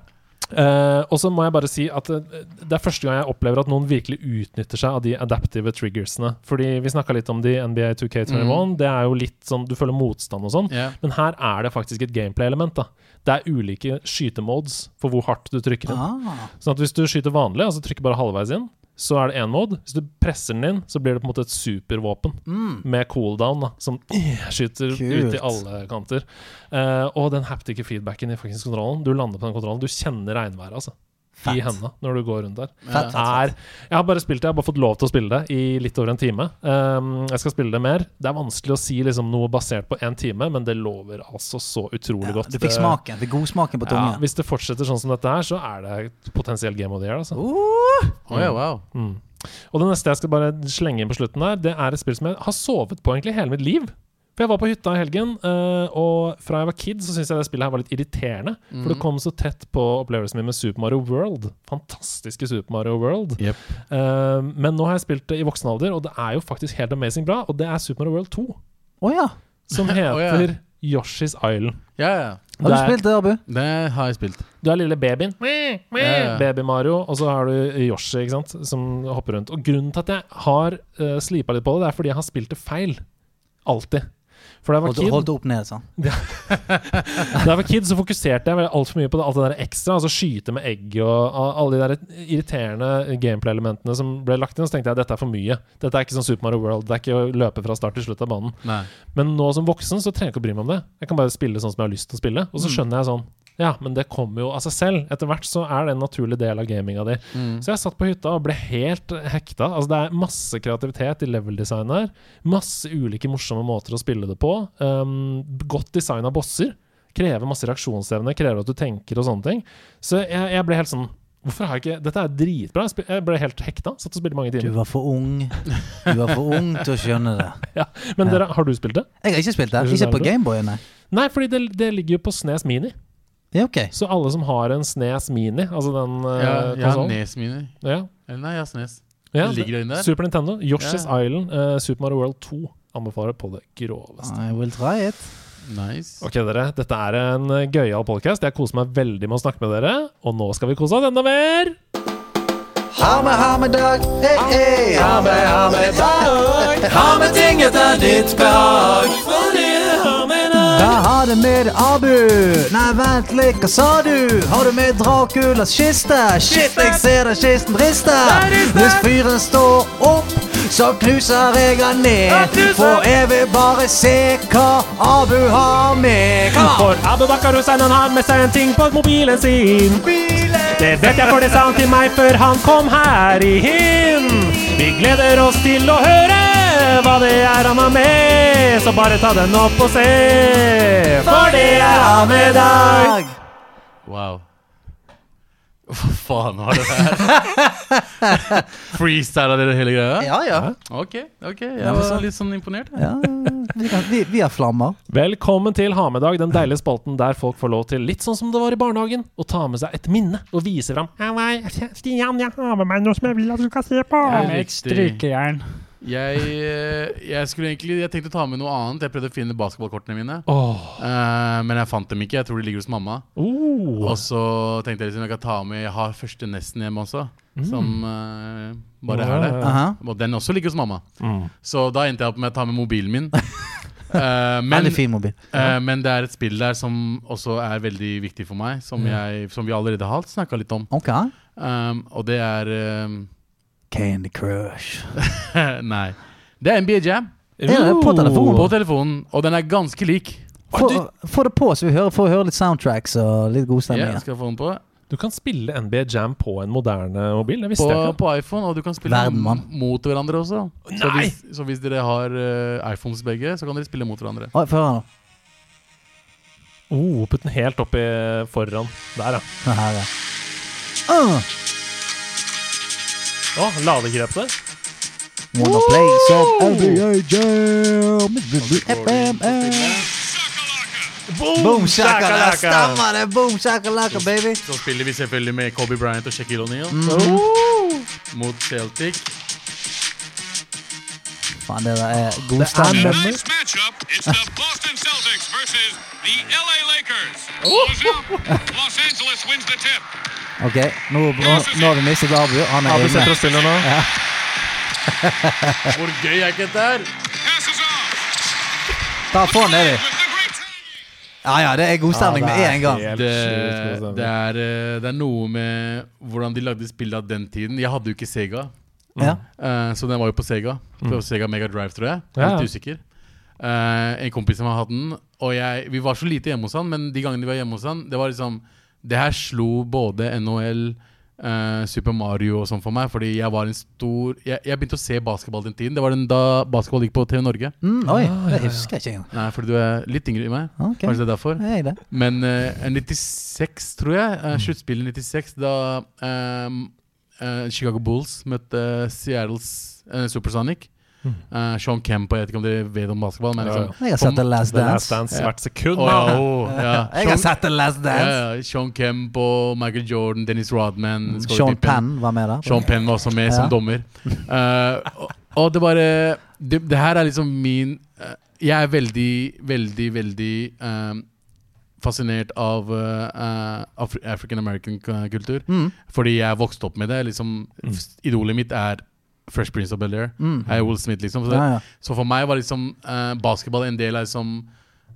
[SPEAKER 1] Eh, og så må jeg bare si at eh, det er første gang jeg opplever at noen virkelig utnytter seg av de adaptive triggersene. Fordi vi snakka litt om de NBA 2K21.
[SPEAKER 2] Mm.
[SPEAKER 1] Det er jo litt sånn du føler motstand og sånn.
[SPEAKER 7] Ja.
[SPEAKER 1] Men her er det faktisk et gameplay-element. da Det er ulike skytemodes for hvor hardt du trykker inn.
[SPEAKER 2] Ah,
[SPEAKER 1] Sånn at Hvis du skyter vanlig, altså trykker bare halvveis inn, så er det én mode. Hvis du presser den inn, så blir det på en måte et supervåpen
[SPEAKER 2] mm,
[SPEAKER 1] med cooldown da som skyter
[SPEAKER 2] Kult.
[SPEAKER 1] ut i alle kanter. Eh, og den haptiske feedbacken i faktisk kontrollen. Du lander på den kontrollen, du kjenner regnværet. altså i
[SPEAKER 2] Fett.
[SPEAKER 1] henda når du går rundt der.
[SPEAKER 2] Fett, fett,
[SPEAKER 1] Er, jeg har bare spilt det, jeg har bare fått lov til å spille det i litt over en time. Um, jeg skal spille det mer. Det er vanskelig å si liksom, noe basert på én time, men det lover altså så utrolig
[SPEAKER 2] Ja,
[SPEAKER 1] godt. eh,
[SPEAKER 2] du fikk
[SPEAKER 1] Det-
[SPEAKER 2] smaken. Fikk godsmaken på
[SPEAKER 1] Ja,
[SPEAKER 2] tungen.
[SPEAKER 1] hvis det fortsetter sånn som dette her, så er det et potensielt game of the year. Altså.
[SPEAKER 2] Uh,
[SPEAKER 7] Å ja, wow.
[SPEAKER 1] Mm. Og det neste jeg skal bare slenge inn på slutten her, det er et spill som jeg har sovet på egentlig hele mitt liv. For jeg var på hytta i helgen, eh, og fra jeg var kid så syntes jeg det spillet her var litt irriterende. For
[SPEAKER 7] Mm.
[SPEAKER 1] det kom så tett på opplevelsen min med Super Mario World. Fantastiske Super Mario World.
[SPEAKER 7] Jep.
[SPEAKER 1] Eh, men nå har jeg spilt det i voksen alder, og det er jo faktisk helt amazing bra. Og det er Super Mario World 2,
[SPEAKER 2] Å ja.
[SPEAKER 1] som heter
[SPEAKER 7] ja.
[SPEAKER 1] Yoshi's Island.
[SPEAKER 7] Ja, ja.
[SPEAKER 2] Har du
[SPEAKER 1] Det er-
[SPEAKER 2] spilt det, Abu?
[SPEAKER 7] Det har jeg spilt.
[SPEAKER 1] Du er lille babyen.
[SPEAKER 7] ja.
[SPEAKER 1] Baby-Mario. Og så har du Yoshi, ikke sant, som hopper rundt. Og grunnen til at jeg har uh, slipa litt på det, det er fordi jeg har spilt det feil. Alltid. For da jeg var
[SPEAKER 2] Holdt,
[SPEAKER 1] kid,
[SPEAKER 2] holdt opp ned, sånn.
[SPEAKER 1] da jeg var kid så fokuserte jeg altfor mye på det, alt det der ekstra. Altså skyte med egg og a- alle de der irriterende gameplay-elementene som ble lagt inn. Så tenkte jeg dette er for mye. Dette er ikke sånn Super Mario World. Det er ikke å løpe fra start til slutt av banen.
[SPEAKER 7] Nei.
[SPEAKER 1] Men nå som voksen så trenger jeg ikke å bry meg om det. Jeg kan bare spille sånn som jeg har lyst til å spille. Og så skjønner jeg sånn Ja, men det kommer jo av seg selv. Etter hvert så er det en naturlig del av gaminga di. Så jeg satt på hytta og ble helt hekta. Altså Det er masse kreativitet i level-design her. Masse ulike morsomme måter å spille det på. Um, godt design av bosser. Krever masse reaksjonsevne, krever at du tenker og sånne ting. Så jeg, jeg ble helt sånn Hvorfor har jeg ikke Dette er dritbra. Jeg, spil, jeg ble helt hekta. Satt og spilte mange
[SPEAKER 2] Du
[SPEAKER 1] timer.
[SPEAKER 2] var for ung. Du var for ung til å skjønne det.
[SPEAKER 1] Ja. Men dere, har du spilt det?
[SPEAKER 2] Jeg har ikke spilt det.
[SPEAKER 1] Er du
[SPEAKER 2] Ikke på
[SPEAKER 1] nærmere?
[SPEAKER 2] Gameboy, nei.
[SPEAKER 1] Nei, fordi det, det ligger jo på Snes Mini.
[SPEAKER 2] Ja, ok.
[SPEAKER 1] Så alle som har en Snes Mini, altså den eh,
[SPEAKER 7] Ja, jeg har
[SPEAKER 1] konsollen
[SPEAKER 7] Nes mine.
[SPEAKER 1] ja,
[SPEAKER 7] Eller nei, jeg har Snes.
[SPEAKER 1] ja,
[SPEAKER 7] Det ligger inne der.
[SPEAKER 1] Super Nintendo, Yoshi's
[SPEAKER 7] Ja.
[SPEAKER 1] Island, eh, Super Mario World 2 anbefaler på det groveste.
[SPEAKER 2] I will try it.
[SPEAKER 7] Nice.
[SPEAKER 1] Ok, dere. Dette er en eh, gøyal podkast. Jeg koser meg veldig med å snakke med dere. Og nå skal vi kose oss enda mer!
[SPEAKER 2] Ha med, ha med dag. Hey, hey. Ha med, ha med dag. Ha med ting etter ditt behag. Da har du med deg Abu. Nei, vent litt, hva sa du? Har du med Draculas kiste? Shit, jeg ser den kisten rister. Hvis fyren står opp, så knuser jeg han ned. For jeg vil bare se hva Abu har med. Kom an!
[SPEAKER 1] For Abu Bakar Husseinen har med seg en ting på mobilen sin. Det vet jeg, for det sa han til meg før han kom her i hind. Vi gleder oss til å høre hva det er han har med, så bare ta den opp og se. For det er han med deg.
[SPEAKER 7] Wow. Hva faen var det der? Freestyla dere hele greia?
[SPEAKER 2] Ja, ja.
[SPEAKER 7] Ok, ok. Jeg var litt sånn imponert. jeg.
[SPEAKER 2] ja vi, kan, vi, vi har flammer.
[SPEAKER 1] Velkommen til Ha med dag, den deilige spalten der folk får lov til, litt sånn som det var i barnehagen, å ta med seg et minne og vise fram.
[SPEAKER 5] Stian, jeg har med meg noe som jeg vil at du skal se på.
[SPEAKER 7] Riktig.
[SPEAKER 5] Strykejern.
[SPEAKER 7] Jeg, eh, jeg skulle egentlig Jeg tenkte å ta med noe annet. Jeg prøvde å finne basketballkortene mine. Eh, men jeg fant dem ikke. Jeg tror de ligger hos mamma.
[SPEAKER 1] oh,
[SPEAKER 7] Og så tenkte jeg liksom jeg kan ta med Jeg har første Nesten hjemme også, som eh, bare er der.
[SPEAKER 2] Aha.
[SPEAKER 7] Og den også ligger hos mamma.
[SPEAKER 1] mm.
[SPEAKER 7] Så da endte jeg opp med å ta med mobilen min. Eh, men,
[SPEAKER 2] Veldig fin mobil.
[SPEAKER 7] eh, men det er et spill der som også er veldig viktig for meg,
[SPEAKER 2] Mm.
[SPEAKER 7] som, jeg, som vi allerede har snakka litt om.
[SPEAKER 2] Ok.
[SPEAKER 7] Um, og det er um,
[SPEAKER 2] Candy Crush.
[SPEAKER 7] Nei. Det er NBA Jam
[SPEAKER 2] Er det på telefonen?
[SPEAKER 1] Oh.
[SPEAKER 7] på telefonen, og den er ganske lik.
[SPEAKER 2] Få, få det på, så vi hører, får høre litt soundtracks og litt god stemning.
[SPEAKER 7] Ja, skal jeg få den på.
[SPEAKER 1] Du kan spille NBA Jam på en moderne mobil, det
[SPEAKER 7] På,
[SPEAKER 1] visste jeg ikke.
[SPEAKER 7] på iPhone, og du kan spille
[SPEAKER 2] Verden, mann.
[SPEAKER 7] mot hverandre også. Så hvis, så hvis dere har eh, iPhones begge, så kan dere spille mot hverandre.
[SPEAKER 2] Oi, Få høre nå.
[SPEAKER 1] Oh, putt den helt oppi foran. Der, ja.
[SPEAKER 2] Den her, ja. Uh,
[SPEAKER 1] Å, ladekrepset.
[SPEAKER 2] wanna play some NBA Jam. FMM. Boom shakalaka. Stemmer det. Boom shakalaka, baby.
[SPEAKER 7] Så spiller vi selvfølgelig med Kobe Bryant og Shaquille O'Neal
[SPEAKER 2] Mm.
[SPEAKER 7] mot Celtic.
[SPEAKER 2] Faen, det der er god
[SPEAKER 1] er
[SPEAKER 2] stemning.
[SPEAKER 1] memmer.
[SPEAKER 8] Tonight's matchup is the Boston Celtics versus the LA Lakers. Close out. Los Angeles wins the tip.
[SPEAKER 2] Ok, nå, nå, nå har vi mistet Abu. Han er
[SPEAKER 1] Abu setter
[SPEAKER 2] inne.
[SPEAKER 1] oss til nå.
[SPEAKER 7] Hvor gøy er ikke dette her?
[SPEAKER 8] Passes off
[SPEAKER 2] Ta få han nedi.
[SPEAKER 8] with the great timing.
[SPEAKER 2] Ja, ja, det er god stemning med en gang.
[SPEAKER 1] Helt
[SPEAKER 7] Det,
[SPEAKER 1] sjukt god stemning.
[SPEAKER 7] det, er, eh, det er noe med hvordan de lagde spill av den tiden. Jeg hadde jo ikke Sega,
[SPEAKER 2] Ja.
[SPEAKER 7] eh, så den var jo på Sega. På Sega Mega Drive, tror jeg. Jeg
[SPEAKER 1] Ja,
[SPEAKER 7] er
[SPEAKER 1] ja.
[SPEAKER 7] litt usikker. Eh, en kompis som har hatt den, og jeg, vi var så lite hjemme hos han, men de gangene vi var hjemme hos han, det var liksom Det her slo både NHL, eh, Super Mario og sånn for meg, fordi jeg var en stor Jeg, jeg begynte å se basketball den tiden. Det var den da basketball gikk på TV Norge.
[SPEAKER 2] Mm, oi, det husker jeg ikke engang.
[SPEAKER 7] Nei, fordi du er litt yngre enn meg.
[SPEAKER 2] Ok.
[SPEAKER 7] Kanskje det er derfor.
[SPEAKER 2] Jeg er det.
[SPEAKER 7] Men eh, 96, tror jeg. Uh, Sluttspillet 96, da eh, eh, Chicago Bulls møtte eh, Seattles eh, Supersonic. Eh, Sean Kemp, og jeg vet ikke om dere vet om basketball, men
[SPEAKER 1] Ja,
[SPEAKER 7] liksom,
[SPEAKER 2] Jeg har sett The Last
[SPEAKER 1] The Last
[SPEAKER 2] Dance.
[SPEAKER 1] Dance hvert sekund.
[SPEAKER 7] Å, ja, å, ja.
[SPEAKER 2] Jeg har
[SPEAKER 7] Sean-
[SPEAKER 2] sett The Last Dance.
[SPEAKER 7] ja, ja. Sean Kemp og Michael Jordan, Dennis Rodman Scottie
[SPEAKER 2] Sean
[SPEAKER 7] Pippen.
[SPEAKER 2] Penn var med der.
[SPEAKER 7] Sean Penn var også med
[SPEAKER 2] Ja.
[SPEAKER 7] som dommer. Eh, og, og det bare det, det her er liksom min eh, Jeg er veldig, veldig, veldig eh, fascinert av eh, eh, Afri African American-kultur.
[SPEAKER 2] Mm,
[SPEAKER 7] Fordi jeg vokste opp med det. Liksom, Idolet mitt er Fresh Prince of Bel-Air. Jeg er Will Smith, liksom. Så, det,
[SPEAKER 2] mm. Ja, ja.
[SPEAKER 7] så for meg var liksom eh, basketball en del av liksom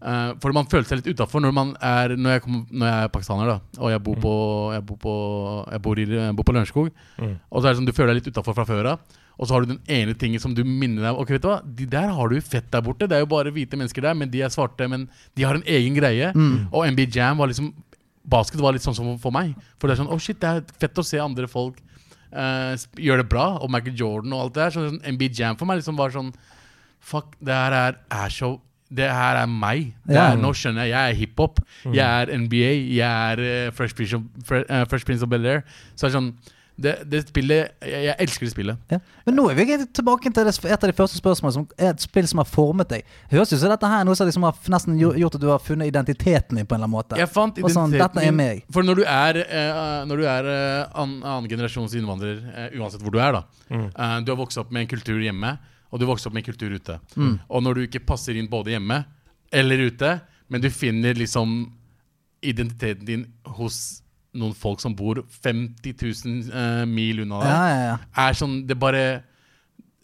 [SPEAKER 7] eh, Fordi man følte seg litt utafor når man er Når jeg, kom, når jeg er pakistaner, da, og jeg bor på Jeg bor på, jeg bor i, jeg bor på Lørenskog. Og så er det sånn, du føler deg litt utafor fra før av. Og så har du den ene tingen som du minner deg Ok, vet du hva? De der har du jo fett der borte. Det er jo bare hvite mennesker der, men de er svarte. Men de har en egen greie. Og MB Jam var liksom Basket var litt sånn som for meg. For det er sånn Å, shit, det er fett å se andre folk eh, sp- gjøre det bra. Og Michael Jordan og alt det der. Så sånn, MB Jam for meg liksom var sånn Fuck, det her er, er så det her er meg. Det
[SPEAKER 2] Ja.
[SPEAKER 7] er, nå skjønner jeg. Jeg er hiphop. Jeg er NBA. Jeg er eh, Fresh, Prince of, Fre- eh, Fresh Prince of Bel-Air. Så det er sånn Det, det spillet jeg, jeg elsker det spillet.
[SPEAKER 2] Ja. Men nå er vi egentlig tilbake til det, et av de første spørsmålene som er et spill som har formet deg. Høres ut som dette her er noe som liksom har nesten gjo- gjort at du har funnet identiteten din på en eller annen måte.
[SPEAKER 7] Jeg fant
[SPEAKER 2] Og sånn,
[SPEAKER 7] identiteten
[SPEAKER 2] dette er
[SPEAKER 7] min-
[SPEAKER 2] meg.
[SPEAKER 7] For når du er, eh, når du er eh, an, annen generasjons innvandrer, eh, uansett hvor du er, da eh, Du har vokst opp med en kultur hjemme, og du har vokst opp med en kultur ute.
[SPEAKER 2] Mm.
[SPEAKER 7] Og når du ikke passer inn både hjemme eller ute, men du finner liksom identiteten din hos noen folk som bor 50 000 eh, mil unna deg,
[SPEAKER 2] Ja, ja, ja.
[SPEAKER 7] er sånn Det bare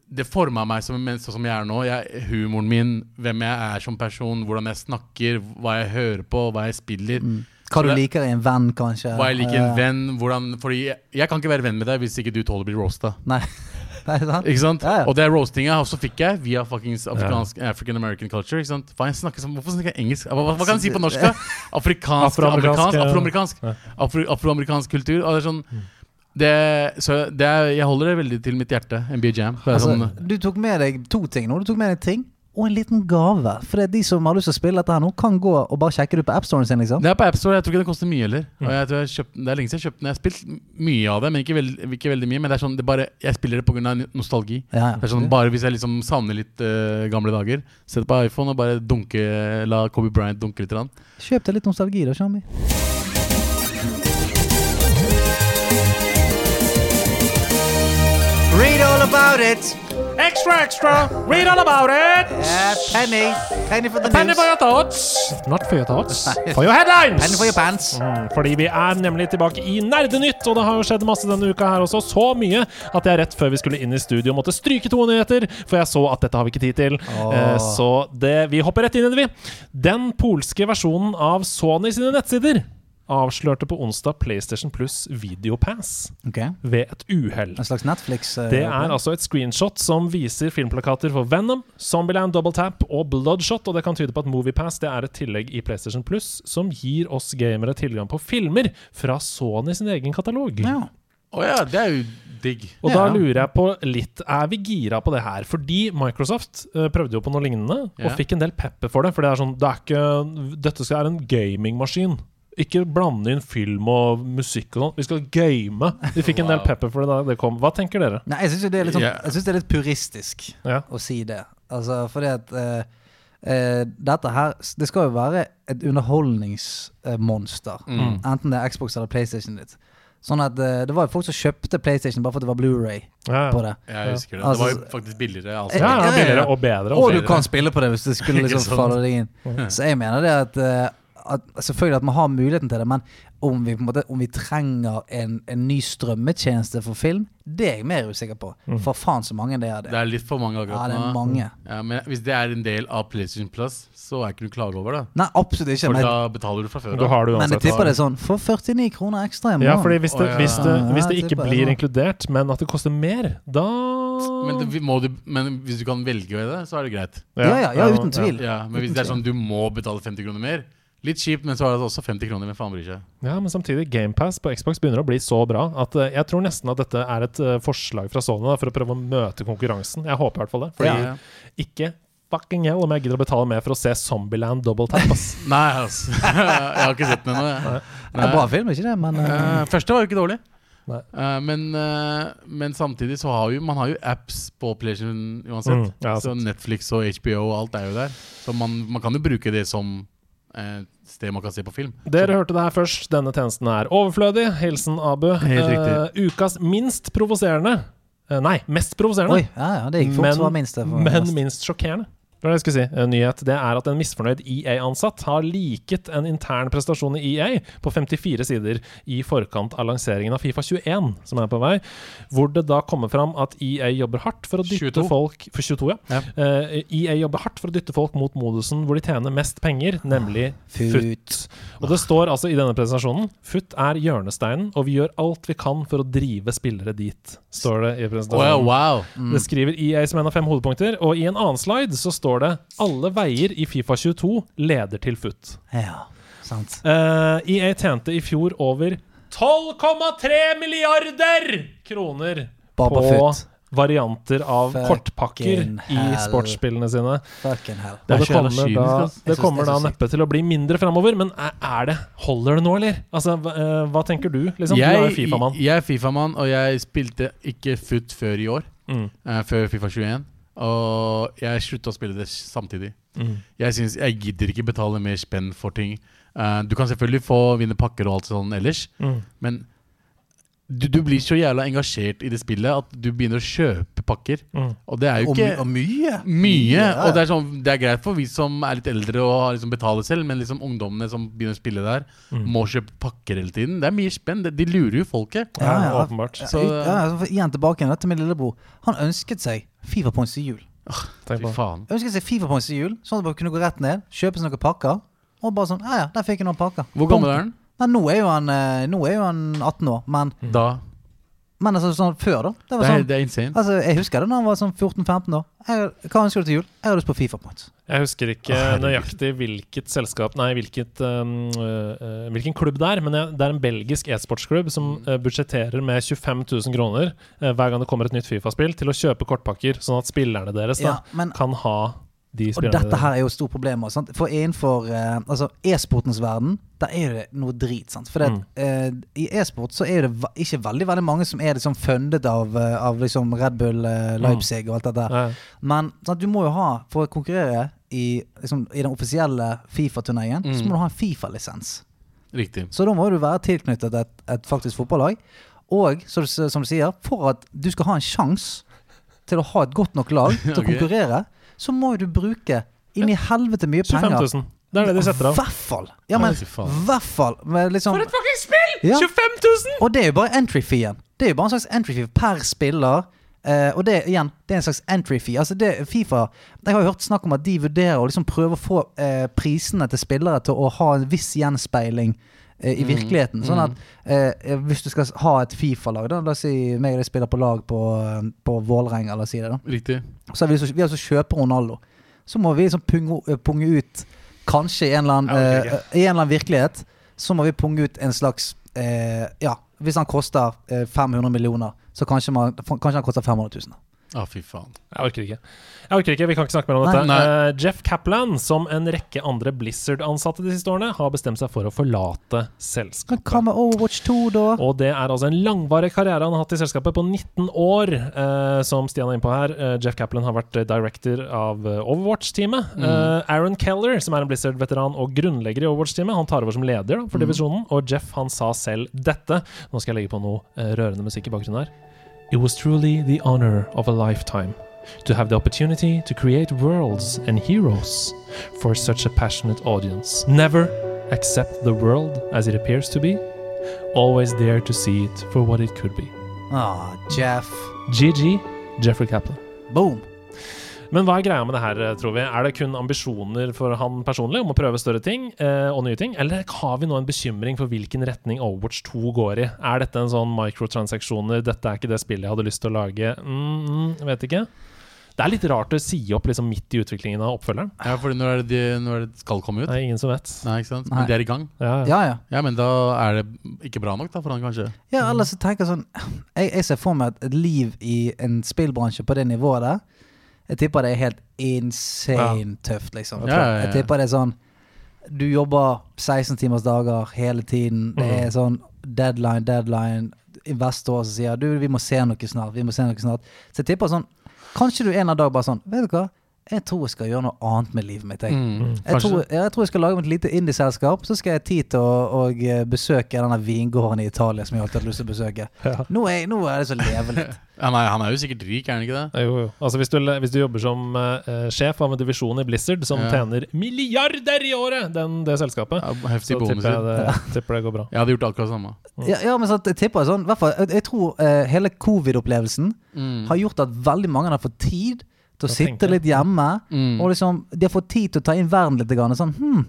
[SPEAKER 7] Det forma meg som en menneske sånn som jeg er nå. Jeg, humoren min, hvem jeg er som person, hvordan jeg snakker, hva jeg hører på, hva jeg spiller.
[SPEAKER 2] Hva
[SPEAKER 7] Så
[SPEAKER 2] du
[SPEAKER 7] det-
[SPEAKER 2] liker i en venn, kanskje.
[SPEAKER 7] Hva jeg
[SPEAKER 2] Mm.
[SPEAKER 7] liker i
[SPEAKER 2] Ja, ja.
[SPEAKER 7] en venn. Hvordan, fordi jeg, jeg kan ikke være venn med deg hvis ikke du tåler å bli roasta.
[SPEAKER 2] Nei, det er sant?
[SPEAKER 7] Ikke sant?
[SPEAKER 2] Ja, ja.
[SPEAKER 7] Og det roastinga også fikk jeg via fuckings afrikansk, African American culture. Ikke sant? Faen, jeg snakker som, hvorfor snakker jeg engelsk? Hva, hva hva kan jeg si på norsk? da? Afrikansk,
[SPEAKER 1] Afroamerikansk,
[SPEAKER 7] amerikansk,
[SPEAKER 1] ja.
[SPEAKER 7] afroamerikansk. Afro, afroamerikansk kultur. Og det er sånn
[SPEAKER 2] Mm.
[SPEAKER 7] det, så det er, jeg holder det veldig til mitt hjerte. NBA Jam. Det er
[SPEAKER 2] Altså,
[SPEAKER 7] sånn,
[SPEAKER 1] eh,
[SPEAKER 2] du tok med deg to ting nå. Du tok med deg ting og en liten gave. For det er de som har lyst til å spille dette her nå, kan gå og bare sjekke det ut på AppStoren sin, liksom.
[SPEAKER 7] Det er på AppStore. Jeg tror ikke den koster mye heller. Og jeg tror jeg kjøpt, det er lenge siden jeg har kjøpt den. Jeg har spilt mye av det, men ikke, veld, ikke veldig mye. Men det er sånn, det er bare, jeg spiller det pga. nostalgi.
[SPEAKER 2] Ja, ja.
[SPEAKER 7] Det er sånn, Bare hvis jeg liksom savner litt eh, gamle dager, sett på iPhone og bare dunke, la Kobe Bryant dunke litt. grann.
[SPEAKER 2] Kjøp deg litt nostalgi, da, Shami. Read all about it!
[SPEAKER 5] Extra, extra! Read all about it!
[SPEAKER 2] penny. Penny for the
[SPEAKER 5] Penny for your thoughts!
[SPEAKER 1] Not for your thoughts, for your headlines!
[SPEAKER 2] pants.
[SPEAKER 1] Mm, Fordi vi er nemlig tilbake i Nerdenytt, og det har jo skjedd masse denne uka her også. Så mye at jeg rett før vi skulle inn i studio måtte stryke to nyheter, for jeg så at dette har vi ikke tid til. Eh, Så det, vi hopper rett inn i det, vi. Den polske versjonen av Sony sine nettsider avslørte på onsdag PlayStation Pluss Videopass
[SPEAKER 2] Ok,
[SPEAKER 1] ved et uhell.
[SPEAKER 2] En slags Netflix eh,
[SPEAKER 1] Det er altså et screenshot som viser filmplakater for Venom, Zombieland, Double Tap og Bloodshot, og det kan tyde på at Moviepass det er et tillegg i PlayStation Plus som gir oss gamere tilgang på filmer fra Sony sin egen katalog.
[SPEAKER 2] ja.
[SPEAKER 7] Å ja, det er jo digg.
[SPEAKER 1] Og da
[SPEAKER 2] Ja.
[SPEAKER 1] lurer jeg på litt Er vi gira på det her? Fordi Microsoft eh, prøvde jo på noe lignende,
[SPEAKER 7] Ja.
[SPEAKER 1] og fikk en del pepper for det. For det er sånn det er ikke, Dette skal være en gamingmaskin. Ikke blande inn film og musikk og sånn. Vi skal game. Vi fikk en del pepper for det da det kom. Hva tenker dere?
[SPEAKER 2] Nei, jeg syns det, er litt sånn,
[SPEAKER 7] Ja.
[SPEAKER 2] jeg synes det er litt puristisk.
[SPEAKER 1] Ja.
[SPEAKER 2] å si det. Altså, fordi at eh, eh, dette her Det skal jo være et underholdningsmonster.
[SPEAKER 7] Mm.
[SPEAKER 2] Enten det er Xbox eller PlayStation ditt. Sånn at eh, Det var jo folk som kjøpte PlayStation bare fordi det var Blu-ray
[SPEAKER 1] Ja, ja.
[SPEAKER 2] på det.
[SPEAKER 7] Jeg husker det.
[SPEAKER 2] Altså,
[SPEAKER 7] det var jo faktisk billigere. Altså.
[SPEAKER 1] Ja,
[SPEAKER 2] Ja, ja,
[SPEAKER 1] ja,
[SPEAKER 2] ja.
[SPEAKER 1] billigere og bedre.
[SPEAKER 2] Og
[SPEAKER 1] Og
[SPEAKER 2] du
[SPEAKER 1] bedre.
[SPEAKER 2] kan spille på det hvis du skulle
[SPEAKER 7] Ikke
[SPEAKER 2] liksom
[SPEAKER 7] sant?
[SPEAKER 2] falle deg inn. Så jeg mener det at, eh, at Selvfølgelig at man har muligheten til det, men om vi, på en måte, om vi trenger en, en ny strømmetjeneste for film, det er jeg mer usikker på. For faen så mange det er det.
[SPEAKER 7] Mm. Det er litt for mange
[SPEAKER 2] Ja,
[SPEAKER 7] akkurat
[SPEAKER 2] det er
[SPEAKER 7] nå.
[SPEAKER 2] mange.
[SPEAKER 7] Ja, men hvis det er en del av PlayStation Plus, så er ikke du klage over det.
[SPEAKER 2] Nei, absolutt ikke.
[SPEAKER 7] For
[SPEAKER 2] Men,
[SPEAKER 7] da betaler du fra før
[SPEAKER 1] Du har det
[SPEAKER 2] men jeg
[SPEAKER 1] uansett.
[SPEAKER 2] tipper det er sånn for 49 kroner ekstra i
[SPEAKER 1] Ja,
[SPEAKER 2] måneden.
[SPEAKER 1] fordi hvis det,
[SPEAKER 7] Å, ja.
[SPEAKER 1] hvis det, hvis det
[SPEAKER 2] Ja,
[SPEAKER 1] ikke
[SPEAKER 2] tipper jeg
[SPEAKER 1] blir
[SPEAKER 2] det.
[SPEAKER 1] inkludert, men at det koster mer, da
[SPEAKER 7] Men, det, vi- må du, men hvis du kan velge det, så er det greit.
[SPEAKER 2] Ja, ja, ja, uten tvil.
[SPEAKER 7] Ja, Men hvis det er sånn du må betale 50 kroner mer, Litt kjipt, men så er det også 50 kroner. Hvem faen bryr seg?
[SPEAKER 1] Ja, men samtidig, GamePass på Xbox begynner å bli så bra at eh, jeg tror nesten at dette er et eh, forslag fra Sony da, for å prøve å møte konkurransen. Jeg håper i hvert fall det. Fordi
[SPEAKER 7] Ja.
[SPEAKER 1] ikke fucking hell om jeg gidder å betale mer for å se Zombieland double tap. Ass.
[SPEAKER 7] Nei, altså. jeg har ikke sett den ennå. jeg.
[SPEAKER 2] Det er bra film, ikke det? Men eh,
[SPEAKER 7] Eh, første var jo ikke dårlig.
[SPEAKER 1] Nei.
[SPEAKER 7] Eh, men, eh, men samtidig så har jo man har jo apps på PlayStation uansett.
[SPEAKER 1] Mm, ja,
[SPEAKER 7] så
[SPEAKER 1] sant.
[SPEAKER 7] Netflix og HBO og alt er jo der. Så man, man kan jo bruke det som eh, sted man kan se på film.
[SPEAKER 1] Dere hørte det her først. Denne tjenesten er overflødig. Hilsen Abu.
[SPEAKER 7] Helt riktig.
[SPEAKER 1] Eh, ukas minst provoserende eh, Nei, mest provoserende.
[SPEAKER 2] Oi, ja, ja, det gikk fort. Men, var minst det, for
[SPEAKER 1] men
[SPEAKER 2] mest.
[SPEAKER 1] minst sjokkerende. Det var det jeg skulle si. En nyhet det er at en misfornøyd EA-ansatt har liket en intern prestasjon i EA på 54 sider i forkant av lanseringen av Fifa 21, som er på vei, hvor det da kommer fram at EA jobber hardt for å dytte
[SPEAKER 7] 22.
[SPEAKER 1] folk For 22, ja.
[SPEAKER 7] Ja.
[SPEAKER 1] Eh, EA jobber hardt for å dytte folk mot modusen hvor de tjener mest penger,
[SPEAKER 2] Ah,
[SPEAKER 1] nemlig FUT. Og det står altså i denne presentasjonen FUT er hjørnesteinen, og vi gjør alt vi kan for å drive spillere dit, står det i
[SPEAKER 7] Å ja,
[SPEAKER 1] presentasjonen.
[SPEAKER 7] wow!
[SPEAKER 2] Mm.
[SPEAKER 1] Det skriver EA som en av fem hovedpunkter, og i en annen slide så står det 'Alle veier i Fifa 22 leder til FUT'.
[SPEAKER 2] Ja, sant.
[SPEAKER 1] Eh, EA tjente i fjor over 12,3 milliarder kroner
[SPEAKER 2] Bare på
[SPEAKER 1] på
[SPEAKER 2] FUT.
[SPEAKER 1] varianter av
[SPEAKER 2] Fucking
[SPEAKER 1] kortpakker i
[SPEAKER 2] hell.
[SPEAKER 1] sportsspillene sine.
[SPEAKER 2] Fucking hell.
[SPEAKER 7] Det er
[SPEAKER 1] Og det
[SPEAKER 7] så jævla
[SPEAKER 1] kommer
[SPEAKER 7] kynisk,
[SPEAKER 1] da,
[SPEAKER 7] ass. Jeg
[SPEAKER 1] det
[SPEAKER 7] synes
[SPEAKER 1] kommer
[SPEAKER 7] det er
[SPEAKER 1] da
[SPEAKER 7] så sykt.
[SPEAKER 1] neppe til å bli mindre framover, men er er det holder det nå, eller? Altså, hva, eh, hva tenker du? Liksom? Du er jo Fifa-mann.
[SPEAKER 7] Jeg er Fifa-mann, og jeg spilte ikke FUT før i år.
[SPEAKER 1] Mm.
[SPEAKER 7] eh, før Fifa 21. Og jeg slutta å spille det samtidig.
[SPEAKER 1] mm.
[SPEAKER 7] Jeg, synes, jeg gidder ikke betale mer spenn for ting. Eh, du kan selvfølgelig få vinne pakker og alt sånn ellers, men du, du blir så jævla engasjert i det spillet at du begynner å kjøpe pakker. Og det er jo
[SPEAKER 2] Og, my-
[SPEAKER 7] ikke
[SPEAKER 2] og mye.
[SPEAKER 7] mye.
[SPEAKER 2] Ja.
[SPEAKER 7] Og det er, sånn, det er greit for vi som er litt eldre og har liksom betaler selv, men liksom ungdommene som begynner å spille der, må kjøpe pakker hele tiden. Det er mye spenn. De, de lurer jo folket.
[SPEAKER 2] Ja, ja.
[SPEAKER 1] Åpenbart.
[SPEAKER 7] Så-
[SPEAKER 2] ja, ja, for igjen tilbake igjen da til min lillebror. Han ønsket seg Fifa Points til jul.
[SPEAKER 1] Tenk
[SPEAKER 7] Fy
[SPEAKER 1] på.
[SPEAKER 7] faen.
[SPEAKER 2] Jeg ønsket seg Fifa Points til jul, sånn at man kunne gå rett ned, kjøpe seg noen pakker. Og bare sånn, ja ja, der fikk jeg noen pakker.
[SPEAKER 7] Hvor gammel er han?
[SPEAKER 2] Nei, nå er jo han, eh, nå er jo han 18 år, men,
[SPEAKER 7] Da.
[SPEAKER 2] men altså, sånn før, da. Det var
[SPEAKER 7] Det er,
[SPEAKER 2] sånn,
[SPEAKER 7] det er insane.
[SPEAKER 2] altså, jeg husker det da han var sånn 14-15 år. Jeg, hva ønsker du til jul? Jeg har lyst på Fifa Points.
[SPEAKER 1] Jeg husker ikke nøyaktig hvilket selskap Nei, hvilket, um, øh, øh, hvilken klubb det er, men jeg, det er en belgisk e-sportsklubb som
[SPEAKER 2] Mm.
[SPEAKER 1] øh, budsjetterer med 25 000 kroner øh, hver gang det kommer et nytt Fifa-spill, til å kjøpe kortpakker, sånn at spillerne deres da,
[SPEAKER 2] Ja, men-
[SPEAKER 1] kan ha de
[SPEAKER 2] Og
[SPEAKER 1] spillerne
[SPEAKER 2] dette her er jo et stort problem. også, Sant? For innenfor eh, altså e-sportens verden, der er jo det noe drit. Sant? For det, at, eh, i e-sport så er det va- ikke veldig veldig mange som er liksom fundet av, eh, av liksom Red Bull eh, Leipzig og alt
[SPEAKER 1] Ja,
[SPEAKER 2] dette.
[SPEAKER 1] ja.
[SPEAKER 2] der Men sant? du må jo ha, for å konkurrere i, liksom, i den offisielle Fifa-turneringen, så må du ha en Fifa-lisens.
[SPEAKER 7] Riktig.
[SPEAKER 2] Så da må du være tilknyttet et, et faktisk fotballag. Og så, du s- som du sier, for at du skal ha en sjanse til å ha et godt nok lag til å
[SPEAKER 7] Ok.
[SPEAKER 2] konkurrere, så må jo du bruke inn i helvete mye
[SPEAKER 1] 25
[SPEAKER 2] penger.
[SPEAKER 1] 000. Det er det de setter av.
[SPEAKER 2] hvert fall! Ja, men
[SPEAKER 7] fy faen.
[SPEAKER 2] hvert fall. med Liksom, For et fuckings spill!
[SPEAKER 1] 25 000!
[SPEAKER 2] Og det er jo bare entry-feen. Det er jo bare en slags entry-fee per spiller. Eh, og det igjen, det er en slags entry-fee. Altså det, Fifa Jeg har jo hørt snakk om at de vurderer å liksom prøve å få eh, prisene til spillere til å ha en viss gjenspeiling eh, i virkeligheten. Sånn at eh, hvis du skal ha et Fifa-lag, da, la oss si meg og deg spiller på lag på, eh, på Vålerenga, la oss si det, da.
[SPEAKER 7] Riktig.
[SPEAKER 2] Så vi, vi altså kjøper Ronaldo. Så må vi liksom punge, eh, punge ut kanskje i en, eller annen,
[SPEAKER 7] Ja, ok,
[SPEAKER 2] eh, i en eller annen virkelighet. Så må vi punge ut en slags eh, Ja, hvis han koster eh, 500 millioner, så kanskje, man, kanskje han koster 500 000.
[SPEAKER 7] Å, fy faen.
[SPEAKER 1] Jeg orker ikke. Jeg orker ikke, Vi kan ikke snakke mer om dette.
[SPEAKER 7] Nei, nei.
[SPEAKER 1] Eh, Jeff Kaplan, som en rekke andre Blizzard-ansatte de siste årene, har bestemt seg for å forlate selskapet.
[SPEAKER 2] Men hva med Overwatch 2, da?
[SPEAKER 1] Og det er altså en langvarig karriere han har hatt i selskapet på 19 år, eh, som Stian er inne på her. Eh, Jeff Kaplan har vært eh, director av eh, Overwatch-teamet. Eh, Aaron Keller, som er en Blizzard-veteran og grunnlegger i Overwatch-teamet, han tar over som leder da, for divisjonen, og Jeff han sa selv dette. Nå skal jeg legge på noe eh, rørende musikk i bakgrunnen her. It was truly the honor of a lifetime. To have the opportunity to create worlds and heroes for such a passionate audience. Never accept the world as it appears to be, always there to see it for what it could be.
[SPEAKER 2] Ah, Jeff.
[SPEAKER 1] GG, Jeffrey Kaplan.
[SPEAKER 2] Boom.
[SPEAKER 1] Men hva er greia med det her, tror vi? Er det kun ambisjoner for han personlig om å prøve større ting eh, og nye ting, eller har vi nå en bekymring for hvilken retning Overwatch 2 går i? Er dette en sånn microtransaksjoner, dette er ikke det spillet jeg hadde lyst til å lage? Mm, mm, vet ikke. Det er litt rart å si opp liksom midt i utviklingen av oppfølgeren.
[SPEAKER 7] Ja, fordi når er det de når er det det skal komme ut?
[SPEAKER 1] Det er ingen som vet.
[SPEAKER 7] Nei, ikke sant?
[SPEAKER 2] Nei.
[SPEAKER 7] Men de er i gang.
[SPEAKER 1] Ja, ja.
[SPEAKER 2] Ja, ja.
[SPEAKER 7] Ja, men da er det ikke bra nok da for han, kanskje.
[SPEAKER 2] Ja, ellers så tenker jeg sånn jeg, jeg ser for meg at et liv i en spillbransje på det nivået der Jeg tipper det er helt insane tøft, liksom.
[SPEAKER 7] Ja, ja, ja.
[SPEAKER 2] Jeg tipper det er sånn Du jobber 16 timers dager hele tiden. Det
[SPEAKER 7] Mm.
[SPEAKER 2] er sånn deadline, deadline. Investor som sier du, vi må se noe snart. vi må se noe snart. Så jeg tipper sånn Kanskje du en eller annen dag bare sånn Vet du hva? Jeg tror jeg skal gjøre noe annet med livet mitt. Jeg.
[SPEAKER 7] Mm.
[SPEAKER 2] Jeg
[SPEAKER 7] Kanskje.
[SPEAKER 2] tror, ja, jeg tror jeg skal lage meg et lite indieselskap. Så skal jeg ha tid til å og, eh, besøke denne vingården i Italia som jeg alltid har hatt lyst til å besøke. Nå, er, jeg- nå er det så levelig.
[SPEAKER 7] Ja, nei, han er jo sikkert rik, er han ikke det?
[SPEAKER 1] Jo, jo. Altså, hvis, du, hvis du jobber som eh, sjef av en divisjon i Blizzard som
[SPEAKER 7] Ja.
[SPEAKER 1] tjener milliarder i året, den, det selskapet,
[SPEAKER 7] Ja,
[SPEAKER 1] så
[SPEAKER 7] heftig
[SPEAKER 1] tipper jeg,
[SPEAKER 7] bonuser.
[SPEAKER 1] det, tipper det går bra.
[SPEAKER 7] Jeg hadde gjort akkurat samme.
[SPEAKER 2] Ja, ja men så jeg tipper sånn, i hvert fall, jeg, jeg tror eh, hele covid-opplevelsen
[SPEAKER 7] Mm.
[SPEAKER 2] har gjort at veldig mange har fått tid til å
[SPEAKER 1] Da
[SPEAKER 2] sitte
[SPEAKER 1] tenker jeg.
[SPEAKER 2] litt hjemme.
[SPEAKER 7] Mm.
[SPEAKER 2] Og liksom, de har fått tid til å ta inn verden litt. Grann, og sånn, hm,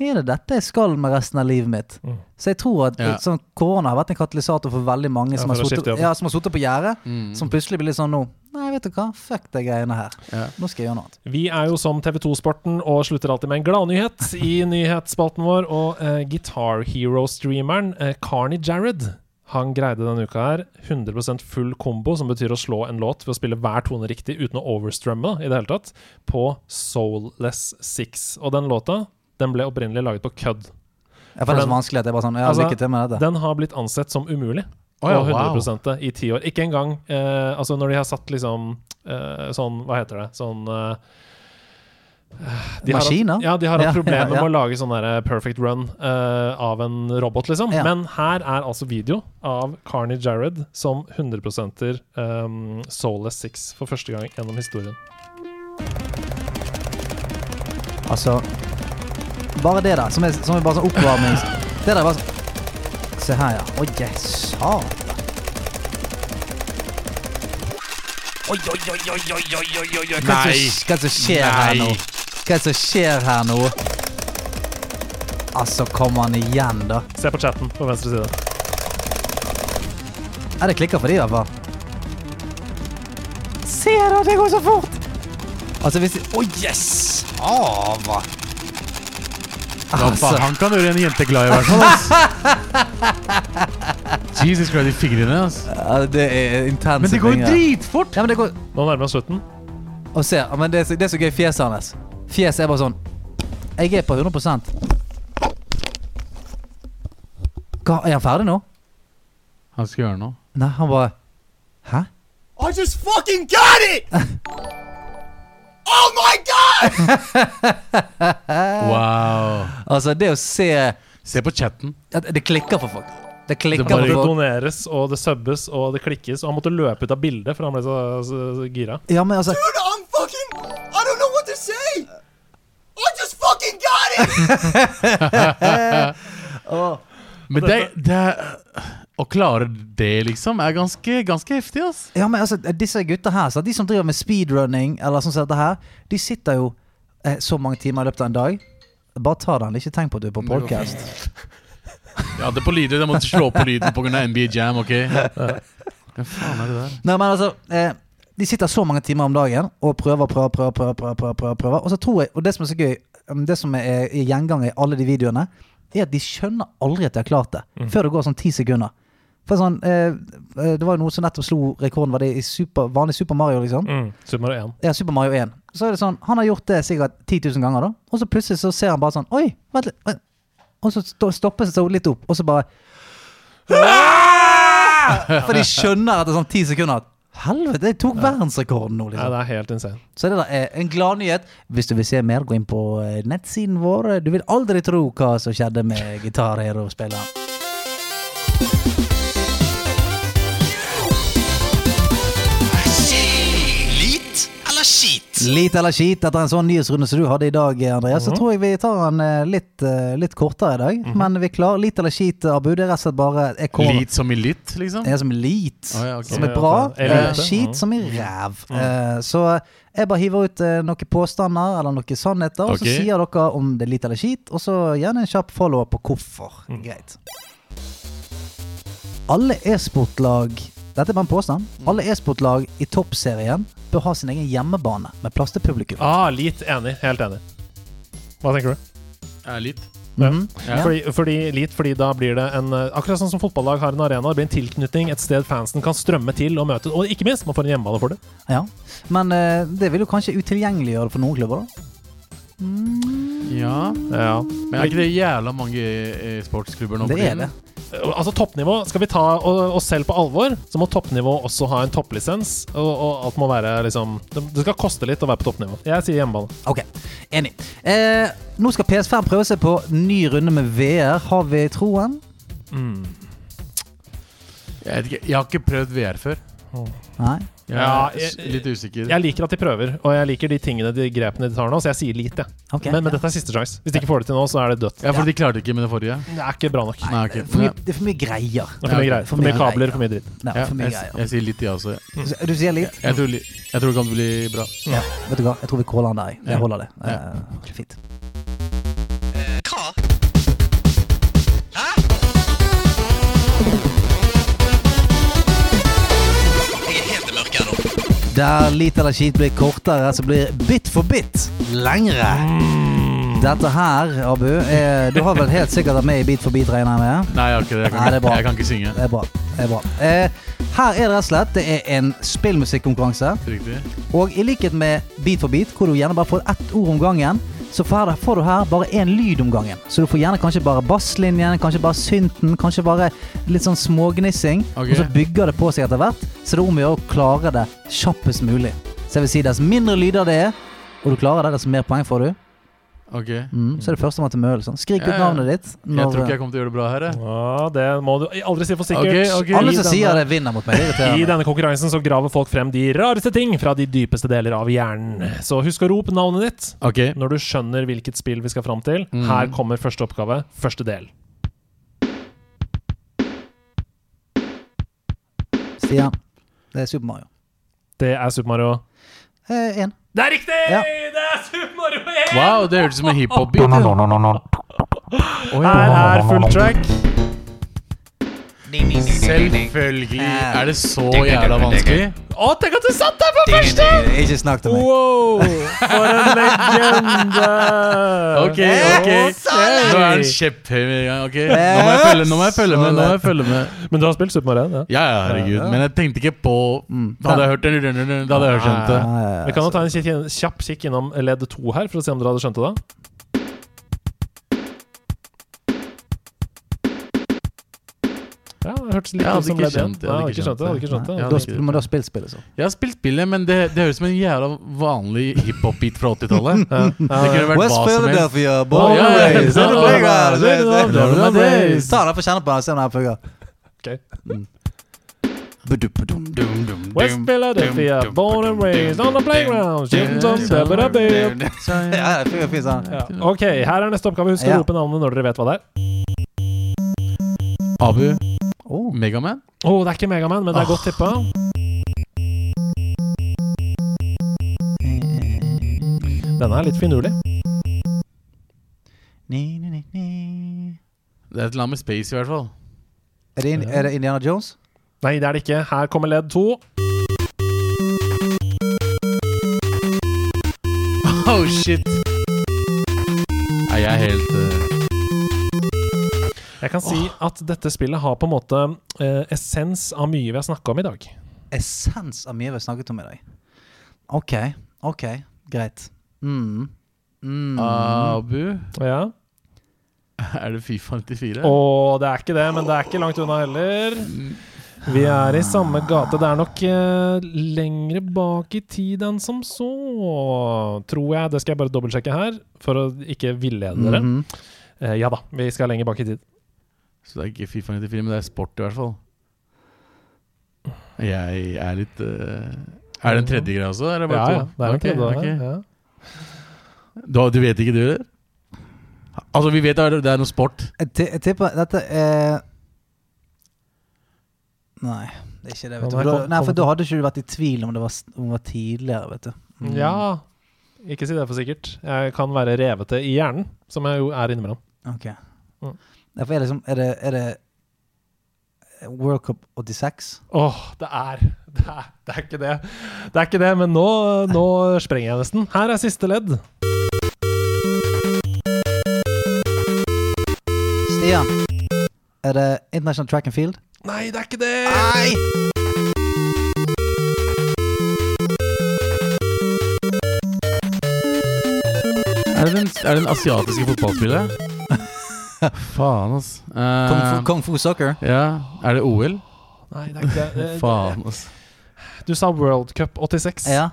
[SPEAKER 2] er det dette jeg skal med resten av livet mitt? Så jeg tror at
[SPEAKER 7] Ja.
[SPEAKER 2] sånn, korona har vært en katalysator for veldig mange som,
[SPEAKER 1] for
[SPEAKER 2] har
[SPEAKER 1] å skifte
[SPEAKER 2] suttet,
[SPEAKER 1] jobb.
[SPEAKER 2] ja, som har sittet på gjerdet.
[SPEAKER 7] Mm.
[SPEAKER 2] Som plutselig blir litt sånn nå Nei, vet du hva, fuck de greiene her.
[SPEAKER 7] Ja.
[SPEAKER 2] Nå skal jeg gjøre noe annet.
[SPEAKER 1] Vi er jo som TV2-sporten og slutter alltid med en gladnyhet i nyhetsspalten vår. Og eh, Guitar Hero-streameren eh, Carney Jared han greide denne uka her 100 full kombo, som betyr å slå en låt ved å spille hver tone riktig uten å overstrømme i det hele tatt, på Soulless Six. Og den låta den ble opprinnelig laget på kødd.
[SPEAKER 2] Jeg føler det er
[SPEAKER 1] den-
[SPEAKER 2] så vanskelig at jeg bare sånn Ja,
[SPEAKER 1] Altså,
[SPEAKER 2] lykke til med dette.
[SPEAKER 1] Den har blitt ansett som umulig.
[SPEAKER 7] Å ja,
[SPEAKER 1] og
[SPEAKER 7] wow.
[SPEAKER 1] 100 det i ti år. Ikke engang eh, Altså, når de har satt liksom eh, sånn Hva heter det? Sånn eh, de har hatt-
[SPEAKER 2] Maskiner?
[SPEAKER 1] ja, de har hatt
[SPEAKER 2] Ja,
[SPEAKER 1] problemer
[SPEAKER 2] ja, ja.
[SPEAKER 1] med å lage sånn der perfect run eh, av en robot, liksom.
[SPEAKER 2] Ja.
[SPEAKER 1] Men her er altså video av Carney Jared som 100 um, Soulless Six for første gang gjennom historien.
[SPEAKER 2] Altså Bare det der, som er, som er bare sånn oppvarmings... Det der er bare sånn Se her, ja. Å, yes, satan. Oi, oi, oi, oi, oi, oi, oi, oi, oi. Hva er det som- hva er det som skjer her nå?
[SPEAKER 7] Nei.
[SPEAKER 2] Hva er det som skjer her nå? Altså, kommer han igjen, da?
[SPEAKER 1] Se på chatten på venstre side.
[SPEAKER 2] Ja, det klikker for de i hvert fall. Se da, det går så fort! Altså, hvis de Å, yes! Hava!
[SPEAKER 7] Faen,
[SPEAKER 2] Altså,
[SPEAKER 7] han kan gjøre en jente glad i hvert fall, ass. Jesus Christ, de fingrene, ass.
[SPEAKER 2] ja, det er intense
[SPEAKER 7] Men det går jo
[SPEAKER 2] fingre.
[SPEAKER 7] dritfort!
[SPEAKER 2] Ja, men det går
[SPEAKER 1] Nå nærmer vi oss slutten.
[SPEAKER 2] Og se, ja, men det, er så- det er så gøy fjeset hans. Fjeset er bare sånn Jeg er på 100 Hva, Er han ferdig nå?
[SPEAKER 7] Han skal gjøre noe.
[SPEAKER 2] Nei, han bare Hæ?
[SPEAKER 9] I just fucking got it! oh my god!
[SPEAKER 7] Wow.
[SPEAKER 2] Altså, det å se
[SPEAKER 7] Se på chatten.
[SPEAKER 2] at Det klikker for folk. Det klikker
[SPEAKER 7] Det
[SPEAKER 1] Bare
[SPEAKER 7] bare
[SPEAKER 2] for
[SPEAKER 1] det
[SPEAKER 2] folk.
[SPEAKER 1] doneres, og det subbes, og det klikkes. Og han måtte løpe ut av bildet, for han ble så, så, så gira.
[SPEAKER 2] Ja, men altså
[SPEAKER 9] Dude, I'm fucking. I don't know what to say. I just fucking got it!
[SPEAKER 7] Men det, det Å klare det, liksom, er ganske, ganske heftig, ass.
[SPEAKER 2] Ja, men altså, disse gutta her, så de som driver med speedrunning, eller sånn som dette her, de sitter jo eh, så mange timer i løpet av en dag. Bare ta den, ikke tenk på at du er på podcast.
[SPEAKER 7] Jeg hadde på lyder, jeg måtte slå på lyden pga. NBA Jam, OK? Hva faen er det der?
[SPEAKER 2] Nei, men altså, eh, de sitter så mange timer om dagen og prøver, prøver, prøver, prøver, prøver, prøver, prøver, prøver. Og så tror jeg, og det som er så gøy, um, det som er i gjenganger i alle de videoene, er at de skjønner aldri at de har klart det, før det går sånn ti sekunder. For sånn, eh, eh, det var jo noen som nettopp slo rekorden, var det i super, vanlig Super Mario, liksom?
[SPEAKER 1] Super Mario 1.
[SPEAKER 2] ja, Super Mario 1. Så er det sånn, Han har gjort det sikkert 10 000 ganger, da. Og så plutselig så ser han bare sånn Oi, vent litt. Vent. Og så sto- stopper seg så litt opp, og så bare «Ah!» For de skjønner etter sånn ti sekunder at Helvete, jeg tok verdensrekorden nå,
[SPEAKER 1] Ja,
[SPEAKER 2] liksom.
[SPEAKER 1] det er helt insane.
[SPEAKER 2] Så det da er en gladnyhet. Hvis du vil se mer, gå inn på eh, nettsiden vår. Du vil aldri tro hva som skjedde med Gitar Hero-spilleren.
[SPEAKER 9] Lit eller skit?
[SPEAKER 2] Litt eller skit etter en sånn nyhetsrunde som du hadde i dag, eh, Andreas, så tror jeg vi tar den eh, litt, eh, litt kortere i dag. Men vi klarer litt eller skit, Abu. Det er rett og slett bare jeg kommer-
[SPEAKER 7] Lit som i litt, liksom?
[SPEAKER 2] Ja, som er lit.
[SPEAKER 7] Å, ja, ok. Mm.
[SPEAKER 2] Som er
[SPEAKER 1] Ja,
[SPEAKER 2] bra.
[SPEAKER 1] ja, ja.
[SPEAKER 2] eh,
[SPEAKER 1] Ja.
[SPEAKER 2] Skit som er ræv. Eh, så jeg bare hiver ut eh, noen påstander eller noen sannheter, og så
[SPEAKER 7] Ok.
[SPEAKER 2] sier dere om det er lit eller skit. Og så gjerne en kjapp follow-up på hvorfor.
[SPEAKER 7] Mm.
[SPEAKER 2] Greit.
[SPEAKER 7] Mm.
[SPEAKER 2] Alle e-sportlag Dette er bare en påstand. Alle e-sportlag i toppserien bør ha sin egen hjemmebane med plass til publikum.
[SPEAKER 1] Ah, Litt enig. Helt enig. Hva tenker du?
[SPEAKER 7] Ja, litt.
[SPEAKER 2] Mhm. Ja.
[SPEAKER 1] Fordi, fordi, litt, fordi da blir det en eh, Akkurat sånn som fotballag har en arena. Det blir en tilknytning, et sted fansen kan strømme til og møte. Og ikke minst, man får en hjemmebane for det.
[SPEAKER 2] Ja. Men eh, det vil jo kanskje utilgjengeliggjøre det for noen klubber, da.
[SPEAKER 7] Ja.
[SPEAKER 1] Ja.
[SPEAKER 7] Men er ikke det jævla mange eh, sportsklubber nå? for
[SPEAKER 2] Det er
[SPEAKER 7] tiden?
[SPEAKER 2] det.
[SPEAKER 1] Altså toppnivå, Skal vi ta o- oss selv på alvor, så må toppnivå også ha en topplisens. Og, og alt må være liksom det, det skal koste litt å være på toppnivå. Jeg sier hjemmebane.
[SPEAKER 2] Ok, enig. Eh, nå skal PS5 prøve seg på ny runde med VR. Har vi troen?
[SPEAKER 7] Jeg, vet ikke, jeg har ikke prøvd VR før.
[SPEAKER 2] Nei.
[SPEAKER 7] Jeg
[SPEAKER 1] Ja,
[SPEAKER 7] er s-
[SPEAKER 1] jeg-
[SPEAKER 7] litt usikker.
[SPEAKER 1] Jeg liker at de prøver, og jeg liker de tingene de grepene de tar nå, så jeg sier litt, jeg.
[SPEAKER 2] Ok,
[SPEAKER 1] men men
[SPEAKER 2] ja.
[SPEAKER 1] dette er siste sjanse. Hvis de ikke får det til nå, så er det dødt.
[SPEAKER 7] ja, for de klarte ikke med det forrige.
[SPEAKER 1] Det er ikke bra nok.
[SPEAKER 7] Nei, ok.
[SPEAKER 2] For mye,
[SPEAKER 7] Nei.
[SPEAKER 2] det er for mye
[SPEAKER 1] Det er
[SPEAKER 2] greier.
[SPEAKER 1] for mye
[SPEAKER 7] Ja,
[SPEAKER 1] greier. For mye kabler, for mye dritt.
[SPEAKER 2] Nei,
[SPEAKER 7] Ja,
[SPEAKER 2] for mye
[SPEAKER 7] jeg, s-
[SPEAKER 2] greier.
[SPEAKER 7] jeg sier litt, jeg også.
[SPEAKER 2] Du sier litt?
[SPEAKER 7] Jeg tror, li- jeg tror det kan bli bra.
[SPEAKER 2] Ja. Vet du hva, jeg tror vi caller han der. jeg. Jeg holder det.
[SPEAKER 7] Ja.
[SPEAKER 2] Eh, fint. Der lit eller skit blir kortere, så blir bit for bit lengre.
[SPEAKER 7] Mm.
[SPEAKER 2] Dette her, Abu, er, du har vel helt sikkert vært med i Bit for bit, regner jeg med?
[SPEAKER 7] Nei, jeg har ikke det. Jeg kan,
[SPEAKER 2] Nei, det er bra.
[SPEAKER 7] Jeg kan ikke synge.
[SPEAKER 2] Det er bra. det er bra. Eh, her er det rett og slett det er en spillmusikkonkurranse.
[SPEAKER 7] Riktig.
[SPEAKER 2] Og i likhet med Beat for beat, hvor du gjerne bare får ett ord om gangen, så får her- får du her bare én lyd om gangen. Så du får gjerne kanskje bare basslinjen, kanskje bare synten, kanskje bare litt sånn smågnissing.
[SPEAKER 7] Ok.
[SPEAKER 2] Og så bygger det på seg etter hvert, så det er om å gjøre å klare det kjappest mulig. Så jeg vil si dess mindre lyder det er, og du klarer det, dess mer poeng får du.
[SPEAKER 7] Ok.
[SPEAKER 2] Mm, så er det førstemann til møl. Sånn. Skrik ut
[SPEAKER 7] Ja, ja.
[SPEAKER 2] navnet ditt.
[SPEAKER 7] Jeg tror
[SPEAKER 2] når-
[SPEAKER 7] ikke jeg kommer til å gjøre det bra her. jeg.
[SPEAKER 1] Ja, det må du aldri si for sikkert.
[SPEAKER 7] Ok, ok.
[SPEAKER 1] I
[SPEAKER 2] Alle som
[SPEAKER 1] denne-
[SPEAKER 2] sier det, vinner mot meg. Det irriterer
[SPEAKER 1] I
[SPEAKER 2] meg.
[SPEAKER 1] denne konkurransen så graver folk frem de rareste ting fra de dypeste deler av hjernen. Så husk å rope navnet ditt
[SPEAKER 7] Ok.
[SPEAKER 1] når du skjønner hvilket spill vi skal fram til. Her kommer første oppgave, første del.
[SPEAKER 2] Stian. Det er Super Mario. Eh,
[SPEAKER 1] Det er Super Mario.
[SPEAKER 2] Én.
[SPEAKER 1] Det er riktig!
[SPEAKER 2] Ja.
[SPEAKER 1] Det er Super Mario 1!
[SPEAKER 7] Wow, det hørtes ut som en hiphop-beat.
[SPEAKER 6] No, no, no, no, no.
[SPEAKER 1] Her er full track.
[SPEAKER 7] Selvfølgelig. Er det så jævla vanskelig?
[SPEAKER 1] Å, tenk at du satt der på første!
[SPEAKER 2] Ikke snakk til meg.
[SPEAKER 1] Wow! For en legende!
[SPEAKER 7] Ok, ok. Nå er den kjepphøy med en gang. ok. Nå må jeg følge, nå må jeg følge med. nå må jeg følge med.
[SPEAKER 1] Men du har spilt Super Mario 1? Ja.
[SPEAKER 7] Ja, ja, herregud. Men jeg tenkte ikke på mm, Da hadde jeg hørt den, da hadde jeg skjønt
[SPEAKER 2] Ah, Eh,
[SPEAKER 7] det.
[SPEAKER 1] Vi kan jo ta en kikk inn- kjapp kikk innom ledd 2 her, for å se om dere hadde skjønt det da. Ja, det hørtes litt
[SPEAKER 7] Jeg hadde
[SPEAKER 1] ut som
[SPEAKER 7] ikke
[SPEAKER 1] ledd 1.
[SPEAKER 7] skjønt det, jeg hadde ikke skjønt
[SPEAKER 1] hadde ikke skjønt det.
[SPEAKER 7] Nei,
[SPEAKER 1] Hadde
[SPEAKER 2] Da
[SPEAKER 1] ikke
[SPEAKER 2] sp- Du må da spille spillet, så.
[SPEAKER 7] Jeg har spilt spillet, men det, det høres ut som en jævla vanlig hiphop-beat fra 80-tallet. Det kunne vært hva som helst.
[SPEAKER 2] born
[SPEAKER 7] and
[SPEAKER 2] and
[SPEAKER 7] raised in the playground.
[SPEAKER 2] Ta den, få kjenne på den, se om den Mm. fungerer.
[SPEAKER 1] skjønt det. Ok.
[SPEAKER 7] Dum, dum, dum,
[SPEAKER 1] West Philadelphia,
[SPEAKER 7] dum, dum,
[SPEAKER 1] born and
[SPEAKER 7] dum,
[SPEAKER 1] raised
[SPEAKER 7] dum,
[SPEAKER 1] on the
[SPEAKER 7] dum,
[SPEAKER 1] playground.
[SPEAKER 7] dum,
[SPEAKER 1] shooting
[SPEAKER 7] dum,
[SPEAKER 1] some
[SPEAKER 7] dum,
[SPEAKER 1] double
[SPEAKER 7] dum,
[SPEAKER 1] double.
[SPEAKER 7] dum, dum.
[SPEAKER 2] Ja, det fungerer fint sånn.
[SPEAKER 1] Ja, Ok, her er neste oppgave. Husk å
[SPEAKER 2] Ja.
[SPEAKER 1] rope navnet når dere vet hva det er.
[SPEAKER 7] Abu,
[SPEAKER 2] Oh.
[SPEAKER 7] Megaman?
[SPEAKER 1] Å, det er ikke Megaman, men det er godt tippa. Denne er litt finurlig.
[SPEAKER 2] Ni, ni, ni, ni.
[SPEAKER 7] Det er et eller annet med space, i hvert fall.
[SPEAKER 2] Er det, in, er det Indiana Jones?
[SPEAKER 1] Nei, det er det ikke. Her kommer ledd to.
[SPEAKER 7] Oh, shit! Nei, jeg er helt eh,
[SPEAKER 1] Jeg kan si at dette spillet har på en måte eh, essens av mye vi har snakka om i dag.
[SPEAKER 2] Essens av mye vi har snakket om i dag. OK, OK, greit. Mm. Mm.
[SPEAKER 7] Abu?
[SPEAKER 1] Ja.
[SPEAKER 7] Er det Fifa 94?
[SPEAKER 1] Og det er ikke det, men det er ikke langt unna heller. Vi er i samme gate. Det er nok eh, lengre bak i tid enn som så, tror jeg. Det skal jeg bare dobbeltsjekke her, for å ikke villede dere.
[SPEAKER 2] Mhm.
[SPEAKER 1] Eh, ja da, vi skal lenger bak i tid.
[SPEAKER 7] Så det er ikke Fifa 94, men det er sport, i hvert fall. Jeg er litt eh, Er det en tredje greie også, eller
[SPEAKER 1] Ja,
[SPEAKER 7] bare
[SPEAKER 1] ja, det er nok
[SPEAKER 7] to?
[SPEAKER 1] det, da,
[SPEAKER 7] Ok, ok.
[SPEAKER 1] ja.
[SPEAKER 7] Du, har- du vet ikke, du, eller? Altså, vi vet at det er noe sport.
[SPEAKER 2] Jeg, ti- jeg tipper dette er Nei, det er ikke det. vet
[SPEAKER 1] Ja,
[SPEAKER 2] du. For da,
[SPEAKER 1] nei, kom-
[SPEAKER 2] nei, for
[SPEAKER 1] kom-
[SPEAKER 2] da hadde ikke du vært i tvil om det var, s- om det var tidligere, vet du. Mm.
[SPEAKER 1] ja. Ikke si det for sikkert. Jeg kan være revete i hjernen, som jeg jo er innimellom.
[SPEAKER 2] Ok.
[SPEAKER 1] Mm.
[SPEAKER 2] Derfor er det liksom Er det, er det World Cup 86?
[SPEAKER 1] Åh, det er Det er, det er ikke det. Det er ikke det, men nå, nå sprenger jeg nesten. Her er siste ledd.
[SPEAKER 2] Stian, er det International Track and Field?
[SPEAKER 1] Nei, det er ikke det!
[SPEAKER 2] Nei!
[SPEAKER 7] Er det den, er det den asiatiske fotballspillet? Faen, ass. Eh,
[SPEAKER 2] Kung Fu, Kung Fu Soccer?
[SPEAKER 7] ja. Er det OL?
[SPEAKER 1] Nei, det er ikke det.
[SPEAKER 7] Faen, ass.
[SPEAKER 1] Du sa World Cup 86.
[SPEAKER 2] Ja.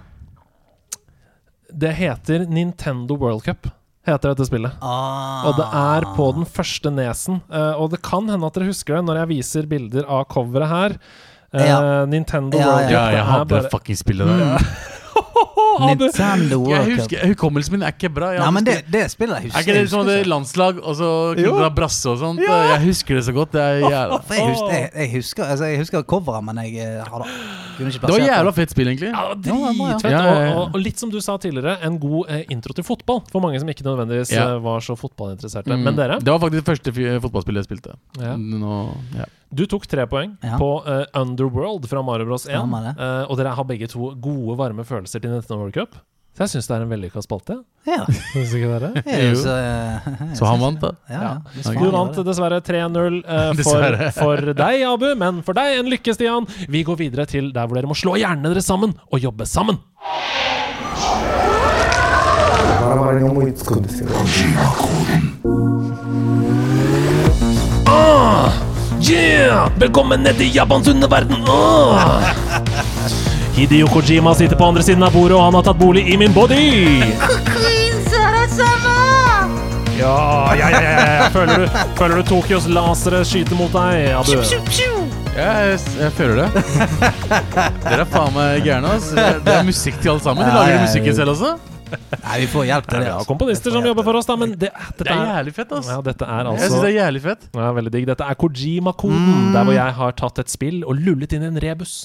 [SPEAKER 1] Det heter Nintendo World Cup, heter dette spillet.
[SPEAKER 2] Ah.
[SPEAKER 1] Og det er på den første nesen. Eh, og det kan hende at dere husker det når jeg viser bilder av coveret her. Eh,
[SPEAKER 2] Ja.
[SPEAKER 1] Nintendo
[SPEAKER 2] Ja,
[SPEAKER 1] World Cup.
[SPEAKER 7] Ja,
[SPEAKER 1] det
[SPEAKER 7] jeg
[SPEAKER 1] er
[SPEAKER 7] hadde
[SPEAKER 1] bare- Mm.
[SPEAKER 7] fucking spillet der.
[SPEAKER 1] Abu,
[SPEAKER 2] Nintendo World
[SPEAKER 7] Jeg
[SPEAKER 2] Cup.
[SPEAKER 7] husker, Hukommelsen min er ikke bra. Jeg
[SPEAKER 2] Nei,
[SPEAKER 7] hadde
[SPEAKER 2] men det,
[SPEAKER 7] spillet-
[SPEAKER 2] det spillet jeg
[SPEAKER 7] er ikke
[SPEAKER 2] husker
[SPEAKER 7] det som hadde
[SPEAKER 2] jeg.
[SPEAKER 7] landslag og så kunne
[SPEAKER 1] Jo.
[SPEAKER 7] dra brasse og sånt? Jeg husker det så godt. Det, er jævla.
[SPEAKER 2] For jeg husker, jeg, jeg husker, altså, jeg husker coveret, men jeg eh, har da kunne ikke
[SPEAKER 7] det var
[SPEAKER 2] plassert
[SPEAKER 7] jævla fett spill, egentlig.
[SPEAKER 1] Ja, det
[SPEAKER 2] Ja,
[SPEAKER 1] var
[SPEAKER 2] det var bra, ja.
[SPEAKER 1] dritfett.
[SPEAKER 7] Ja, ja, ja.
[SPEAKER 1] Og, og, og litt som du sa tidligere, en god eh, intro til fotball. For mange som ikke nødvendigvis
[SPEAKER 7] Ja.
[SPEAKER 1] eh, var så fotballinteresserte.
[SPEAKER 7] Mm.
[SPEAKER 1] Men dere,
[SPEAKER 7] Det var faktisk det første fi- fotballspillet jeg spilte.
[SPEAKER 1] Ja.
[SPEAKER 7] Nå, ja.
[SPEAKER 1] du tok tre poeng
[SPEAKER 2] Ja.
[SPEAKER 1] på eh, Underworld fra Mario Bros 1.
[SPEAKER 2] Stemmer det.
[SPEAKER 1] eh, og dere har begge to gode, varme følelser til Nintendo World Cup. Så jeg syns det er en vellykka spalte.
[SPEAKER 2] Ja.
[SPEAKER 1] Syns ikke dere?
[SPEAKER 2] Ja,
[SPEAKER 7] Jo.
[SPEAKER 2] Så, eh,
[SPEAKER 7] Så han vant, da.
[SPEAKER 2] Ja, ja. Hvis
[SPEAKER 7] Du
[SPEAKER 2] faen
[SPEAKER 1] Du
[SPEAKER 2] gjør
[SPEAKER 1] vant
[SPEAKER 2] det.
[SPEAKER 1] dessverre 3-0 eh, for,
[SPEAKER 7] Dessverre.
[SPEAKER 1] for deg, Abu, men for deg en lykke, Stian. Vi går videre til der hvor dere må slå hjernene deres sammen og jobbe sammen. Ah, yeah! Velkommen ned til Japans underverden! Ah. Hideo Kojima sitter på andre siden av bordet, og han har tatt bolig i min body! Ja, ja, ja, ja, ja. Føler, du, føler du Tokyos lasere skyter mot deg? Abu?
[SPEAKER 7] Ja, jeg, jeg føler det. Dere er faen meg gærne. ass. Det er musikk til alle sammen.
[SPEAKER 2] Ja,
[SPEAKER 7] De lager
[SPEAKER 2] ja,
[SPEAKER 7] jo musikken selv også.
[SPEAKER 2] Nei, vi får hjelp til det.
[SPEAKER 1] Ja,
[SPEAKER 2] altså.
[SPEAKER 1] komponister som jobber for oss, da, men det,
[SPEAKER 7] Det
[SPEAKER 1] dette
[SPEAKER 7] er
[SPEAKER 1] er
[SPEAKER 7] jævlig fett, ass.
[SPEAKER 1] ja, dette er
[SPEAKER 7] Jeg syns
[SPEAKER 1] altså
[SPEAKER 7] det er jævlig fett.
[SPEAKER 1] ja, veldig digg. Dette er
[SPEAKER 2] Mm.
[SPEAKER 1] Kojima-koden, der hvor jeg har tatt et spill og lullet inn i en rebus.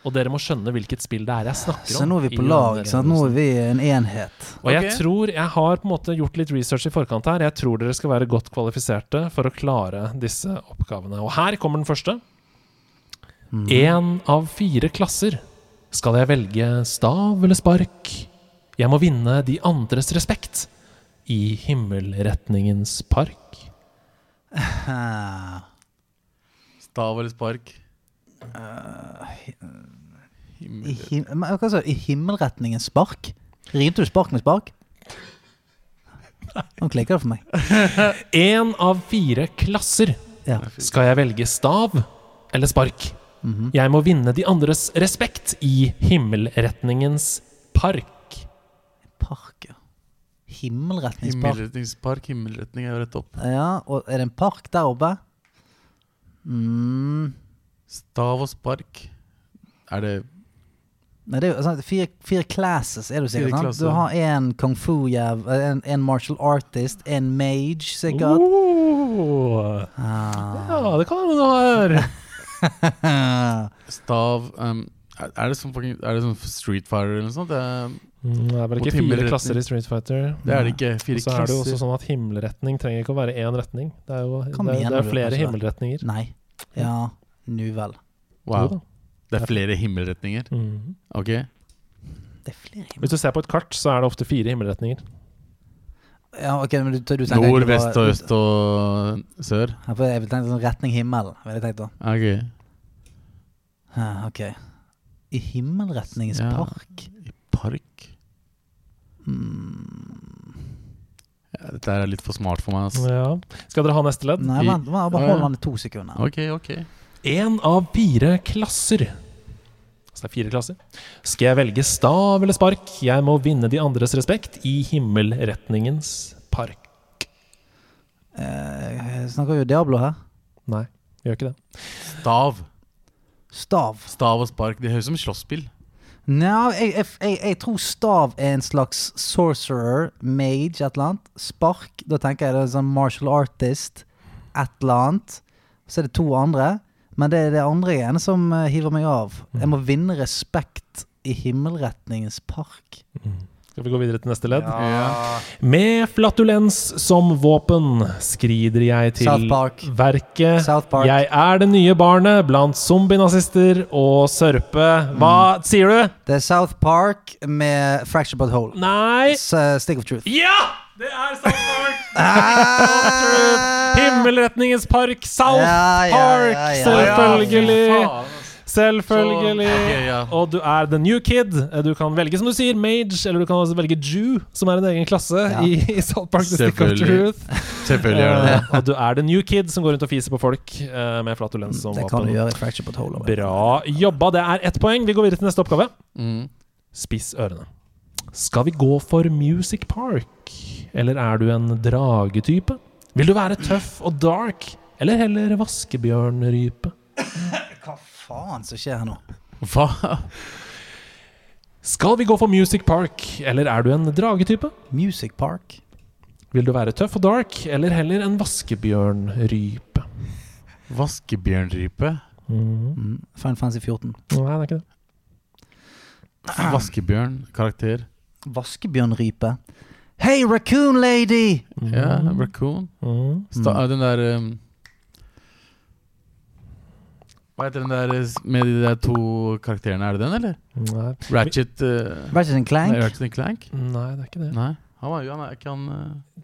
[SPEAKER 1] Og dere må skjønne hvilket spill det er jeg snakker om.
[SPEAKER 2] Så nå er vi
[SPEAKER 1] i
[SPEAKER 2] på
[SPEAKER 1] den
[SPEAKER 2] lag. ikke Sant? Nå
[SPEAKER 1] rebusen.
[SPEAKER 2] er vi en enhet.
[SPEAKER 1] Og jeg
[SPEAKER 7] Ok.
[SPEAKER 1] tror jeg har på en måte gjort litt research i forkant her. Jeg tror dere skal være godt kvalifiserte for å klare disse oppgavene. Og her kommer den første. Én av fire klasser. Skal jeg velge stav eller spark? Jeg må vinne de andres respekt i himmelretningens park.
[SPEAKER 2] Ah,
[SPEAKER 7] Stav eller spark?
[SPEAKER 2] I, him men hva sa du? I himmelretningen spark? Rimte du spark med spark? Nå klikker det for meg.
[SPEAKER 1] Én av fire klasser.
[SPEAKER 2] Ja.
[SPEAKER 1] Skal jeg velge stav eller spark? Jeg må vinne de andres respekt i himmelretningens park.
[SPEAKER 2] Park, ja. Himmelretningspark.
[SPEAKER 7] Himmelretningspark, himmelretning er jo rett opp.
[SPEAKER 2] Ja, og er det en park der oppe? Mm.
[SPEAKER 7] Stav og spark. Er det
[SPEAKER 2] Nei, det er jo sånn, at fire, fire classes er du sikkert,
[SPEAKER 7] Fire
[SPEAKER 2] sant?
[SPEAKER 7] klasser.
[SPEAKER 2] Du har en kung fu-jæv, en, en martial artist, en mage, sikkert. Ah.
[SPEAKER 1] Oh. Ja, det kan hende du har.
[SPEAKER 7] stav um, er, er det sånn fucking Er det sånn Street Fighter eller noe sånt? Det er,
[SPEAKER 1] Mm, Det er vel
[SPEAKER 7] Mot
[SPEAKER 1] ikke fire
[SPEAKER 7] himmelretning.
[SPEAKER 1] klasser i Street Fighter.
[SPEAKER 7] det, er det ikke.
[SPEAKER 1] Mm.
[SPEAKER 7] Fire
[SPEAKER 1] Så er det jo også
[SPEAKER 7] klasser.
[SPEAKER 1] sånn at himmelretning trenger ikke å være én retning. Det er jo det
[SPEAKER 2] Hva
[SPEAKER 1] er, det
[SPEAKER 2] mener
[SPEAKER 1] er
[SPEAKER 2] du,
[SPEAKER 1] flere
[SPEAKER 2] kanskje?
[SPEAKER 1] himmelretninger.
[SPEAKER 2] Nei. Ja, nu vel.
[SPEAKER 1] Jo
[SPEAKER 7] Wow.
[SPEAKER 1] da.
[SPEAKER 7] Det er flere himmelretninger.
[SPEAKER 1] Mhm.
[SPEAKER 7] Ok.
[SPEAKER 2] Det er flere himmel...
[SPEAKER 1] Hvis du ser på et kart, så er det ofte fire himmelretninger.
[SPEAKER 2] Ja, ok, men du, du tenker
[SPEAKER 7] Nord,
[SPEAKER 2] egentlig bare-
[SPEAKER 7] vest og øst og sør.
[SPEAKER 2] Ja, for jeg tenkte sånn retning himmel, ville jeg tenkt da.
[SPEAKER 7] Ok.
[SPEAKER 2] Ja, ok. I himmelretningens
[SPEAKER 7] Ja.
[SPEAKER 2] park? Hmm.
[SPEAKER 7] Park ja, Dette her er litt for smart for meg, altså.
[SPEAKER 1] Ja. Skal dere ha neste ledd?
[SPEAKER 2] Nei,
[SPEAKER 7] I-
[SPEAKER 2] vent, vent,
[SPEAKER 7] Ja,
[SPEAKER 2] bare
[SPEAKER 7] ja.
[SPEAKER 2] hold han i to sekunder.
[SPEAKER 7] Ok, ok.
[SPEAKER 1] Én av fire klasser. Altså det er fire klasser. Skal jeg velge stav eller spark? Jeg må vinne de andres respekt i himmelretningens park.
[SPEAKER 2] Jeg snakker jo Diablo her.
[SPEAKER 1] Nei, vi gjør ikke det.
[SPEAKER 7] Stav.
[SPEAKER 2] Stav.
[SPEAKER 7] Stav og spark. Det høres ut som slåsspill.
[SPEAKER 2] Nja, jeg, jeg, jeg, jeg tror stav er en slags sorcerer, mage, et eller annet. Spark, da tenker jeg det er en sånn martial artist, et eller annet. Så er det to andre. Men det er det andre igjen som eh, Mm. hiver meg av. Jeg må vinne respekt i himmelretningens park.
[SPEAKER 1] Så Skal vi gå videre til neste ledd? Med flatulens som våpen skrider jeg til
[SPEAKER 2] South Park.
[SPEAKER 1] verket.
[SPEAKER 2] South Park.
[SPEAKER 1] Jeg er det nye barnet blant zombienazister og sørpe. Hva
[SPEAKER 2] Mm.
[SPEAKER 1] sier du?
[SPEAKER 2] Det er South Park med Fracture But Hole.
[SPEAKER 1] Nei!
[SPEAKER 2] S- eh, Stick of Truth.
[SPEAKER 1] Ja! Det er South Park!
[SPEAKER 2] Ah!
[SPEAKER 1] Himmelretningens park, South
[SPEAKER 2] Ja, ja, ja,
[SPEAKER 1] Park!
[SPEAKER 2] ja.
[SPEAKER 1] Selvfølgelig!
[SPEAKER 7] Faen, ass.
[SPEAKER 1] Selvfølgelig.
[SPEAKER 7] Så- ok, ja.
[SPEAKER 1] Og du er the new kid. Du kan velge som du sier, mage, eller du kan også velge Jew, som er en egen klasse i, i South Park The Stick of
[SPEAKER 7] Selvfølgelig.
[SPEAKER 1] Truth.
[SPEAKER 7] Selvfølgelig gjør det det.
[SPEAKER 1] Eh, og du er the new kid som går rundt og fiser på folk eh, med flatulens som
[SPEAKER 2] Det kan du
[SPEAKER 1] våpen.
[SPEAKER 2] gjøre i Fracture But Hole. også.
[SPEAKER 1] Bra jobba. Det er ett poeng. Vi går videre til neste oppgave.
[SPEAKER 7] Mm.
[SPEAKER 1] Spiss ørene. Skal vi gå for Music Park? Eller er du en dragetype? Vil du være tøff og dark? Eller heller vaskebjørnrype?
[SPEAKER 2] Hva faen som skjer her nå?
[SPEAKER 7] Hva?
[SPEAKER 1] Skal vi gå for Music Park, eller er du en dragetype?
[SPEAKER 2] Music Park.
[SPEAKER 1] Vil du være tøff og dark, eller heller en vaskebjørnrype?
[SPEAKER 7] Vaskebjørnrype?
[SPEAKER 2] Final Fantasy 14.
[SPEAKER 1] Nei, det er ikke det.
[SPEAKER 7] Vaskebjørn? Karakter?
[SPEAKER 2] Vaskebjørnrype. Hei, raccoon lady!
[SPEAKER 7] Ja,
[SPEAKER 1] Mm.
[SPEAKER 7] raccoon? Sta Den der um, Hva heter den der s- med de der to karakterene? Er det den, eller?
[SPEAKER 1] mm, Nei.
[SPEAKER 7] Ratchet uh,
[SPEAKER 2] Ratchet and
[SPEAKER 7] nei,
[SPEAKER 2] Clank.
[SPEAKER 7] Ratchet and Clank?
[SPEAKER 1] Nei, det er ikke det.
[SPEAKER 7] Nei. Han var jo han er ikke han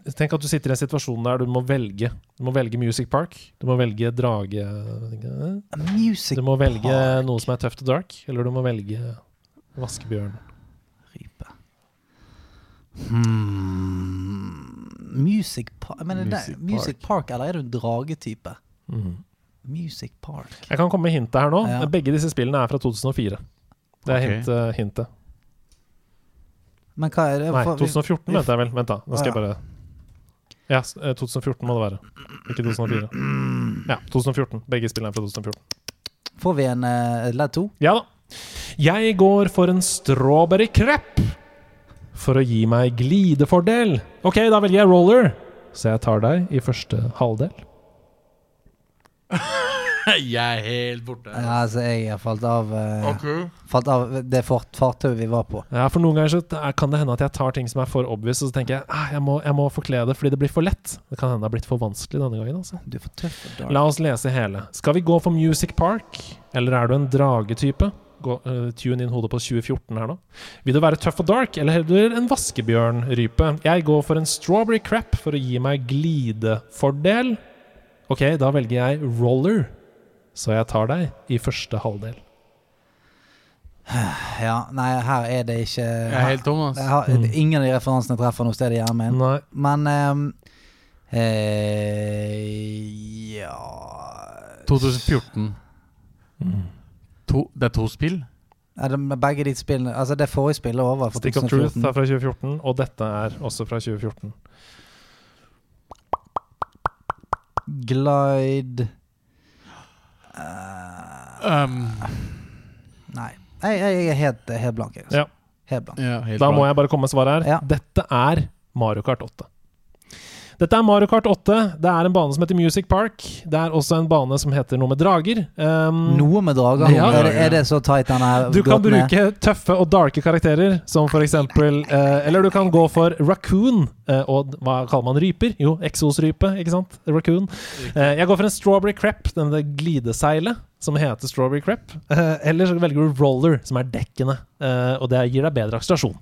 [SPEAKER 7] uh,
[SPEAKER 1] Tenk at du sitter i en situasjon der du må velge. Du må velge Music Park. Du må velge drage...
[SPEAKER 2] Music
[SPEAKER 1] Du må velge
[SPEAKER 2] Park.
[SPEAKER 1] noe som er tøft og dark, eller du må velge vaskebjørn.
[SPEAKER 2] Rype. Hmm. Music Park Men er det
[SPEAKER 7] Music
[SPEAKER 2] Music Park, eller er du en dragetype? Music Park.
[SPEAKER 1] Jeg kan komme med hintet her nå.
[SPEAKER 2] Mm. Ja.
[SPEAKER 1] Begge disse spillene er fra 2004. Det er
[SPEAKER 7] Ok.
[SPEAKER 1] hint, eh, hintet.
[SPEAKER 2] Men hva er det?
[SPEAKER 1] Nei,
[SPEAKER 2] for- vi-
[SPEAKER 1] 2014 mente jeg vel. Vent, da. Nå skal
[SPEAKER 2] Ah,
[SPEAKER 1] jeg bare Ja, s- eh, 2014 må det være. Ikke 2004. Ja, 2014. Begge spillene er fra 2014.
[SPEAKER 2] Får vi en uh, ledd to?
[SPEAKER 1] Ja da. Jeg går for en strawberry crepe for å gi meg glidefordel. OK, da velger jeg roller, så jeg tar deg i første halvdel.
[SPEAKER 7] Jeg er helt borte.
[SPEAKER 2] Ja, altså, jeg har falt av, eh,
[SPEAKER 7] Ok.
[SPEAKER 2] falt av det fart, fartøyet vi var på.
[SPEAKER 1] Ja, for Noen ganger så t- kan det hende at jeg tar ting som er for obvious, og så tenker jeg ah, jeg, må, jeg må forkle det fordi det blir for lett. Det kan hende det har blitt for vanskelig denne gangen. altså.
[SPEAKER 2] Du er for tøff og dark.
[SPEAKER 1] La oss lese hele. Skal vi gå for Music Park, eller er du en dragetype? Gå, eh, tune inn hodet på 2014 her nå. Vil du være tøff og dark, eller heller en vaskebjørnrype? Jeg går for en strawberry crap for å gi meg glidefordel. Ok, da velger jeg roller, så jeg tar deg i første halvdel.
[SPEAKER 2] Ja, nei, her er det ikke
[SPEAKER 7] Jeg er helt tom, ass.
[SPEAKER 2] Jeg har, Ingen av de referansene treffer noe sted i hjernen min.
[SPEAKER 1] Nei,
[SPEAKER 2] Men ehm, eh, Ja
[SPEAKER 7] 2014.
[SPEAKER 1] Mm.
[SPEAKER 7] To, det er to spill?
[SPEAKER 2] er det med Begge de spillene Altså, det forrige spillet er over. For
[SPEAKER 1] Stick of Truth
[SPEAKER 2] 2014.
[SPEAKER 1] er fra 2014, og dette er også fra 2014.
[SPEAKER 2] Glide
[SPEAKER 7] Um,
[SPEAKER 2] Nei. Jeg, jeg, jeg er helt, helt blank. Jeg, altså.
[SPEAKER 1] Ja.
[SPEAKER 2] Helt blank.
[SPEAKER 7] ja, helt
[SPEAKER 1] Da
[SPEAKER 7] bra.
[SPEAKER 1] må jeg bare komme med svaret her.
[SPEAKER 2] Ja.
[SPEAKER 1] Dette er Mario Kart 8. Dette er Mario Kart 8. Det er en bane som heter Music Park. Det er også en bane som heter noe med drager. Um,
[SPEAKER 2] Noe med drager.
[SPEAKER 1] Ja.
[SPEAKER 2] Er, det, er det så tight den her
[SPEAKER 1] du kan
[SPEAKER 2] gåten er?
[SPEAKER 1] bruke tøffe og darke karakterer, som for eksempel eh, Eller du kan gå for raccoon, eh, og d- hva kaller man ryper? Jo, eksosrype, ikke sant? Raccoon. Eh, jeg går for en strawberry crep, den det glideseilet som heter strawberry crep. Eh, eller så velger du roller, som er dekkene, eh, og det gir deg bedre akselerasjon.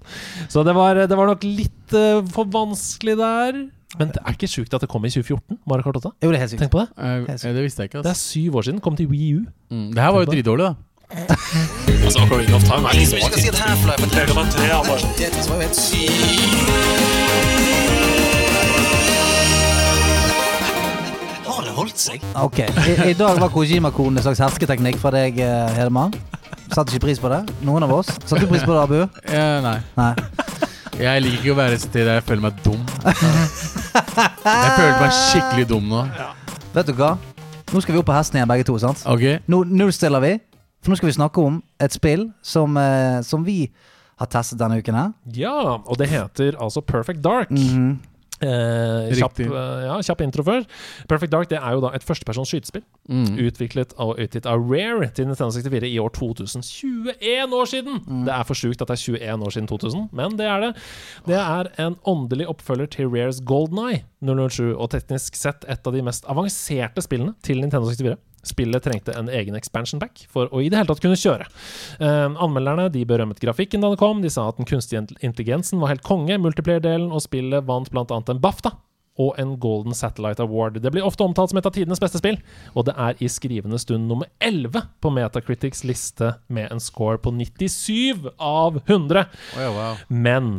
[SPEAKER 1] Så det var, det var nok litt eh, for vanskelig der. Men det er ikke sjukt at det kom i 2014, Mario Kart 8.
[SPEAKER 2] Jo, det er helt sykt.
[SPEAKER 1] Tenk på det.
[SPEAKER 7] Eh, eh, det visste jeg ikke,
[SPEAKER 1] Det
[SPEAKER 7] ass.
[SPEAKER 1] er syv år siden. Kom til Wii U.
[SPEAKER 7] Mm, det her var jo dritdårlig, da.
[SPEAKER 2] Ok, I, I dag var Kojima-koden en slags hersketeknikk fra deg, eh, Hedemann. Satte ikke pris på det, noen av oss. Satte du pris på det, Abu?
[SPEAKER 7] Eh, nei.
[SPEAKER 2] Nei.
[SPEAKER 7] Jeg liker ikke å være et sted der jeg føler meg dum. Jeg følte meg skikkelig dum nå.
[SPEAKER 2] Vet du hva? Nå skal vi opp på hesten igjen, begge to. sant?
[SPEAKER 7] Ok?
[SPEAKER 2] Nå nullstiller vi, for nå skal vi snakke om et spill som, eh, som vi har testet denne uken her. Mm.
[SPEAKER 1] Ja, og det heter altså Perfect Dark. Eh, kjapp,
[SPEAKER 7] Riktig.
[SPEAKER 1] eh, ja, kjapp intro før. Perfect Dark det er jo da et førstepersons skytespill. Utviklet og utgitt av Rare til Nintendo 64 i år 2000. 21 år siden! Det er for sjukt at det er 21 år siden 2000, men det er det. Det er en åndelig oppfølger til Rares Golden Eye 007, og teknisk sett et av de mest avanserte spillene til Nintendo 64. Spillet trengte en egen expansion pack for å i det hele tatt kunne kjøre. Eh, anmelderne de berømmet grafikken da det kom, de sa at den kunstige int- intelligensen var helt konge, multiplayer-delen, og spillet vant bl.a. en BAFTA og en Golden Satellite Award. Det blir ofte omtalt som et av tidenes beste spill, og det er i skrivende stund nummer 11 på Metacritics liste med en score på 97 av 100.
[SPEAKER 7] Oi, wow.
[SPEAKER 1] Men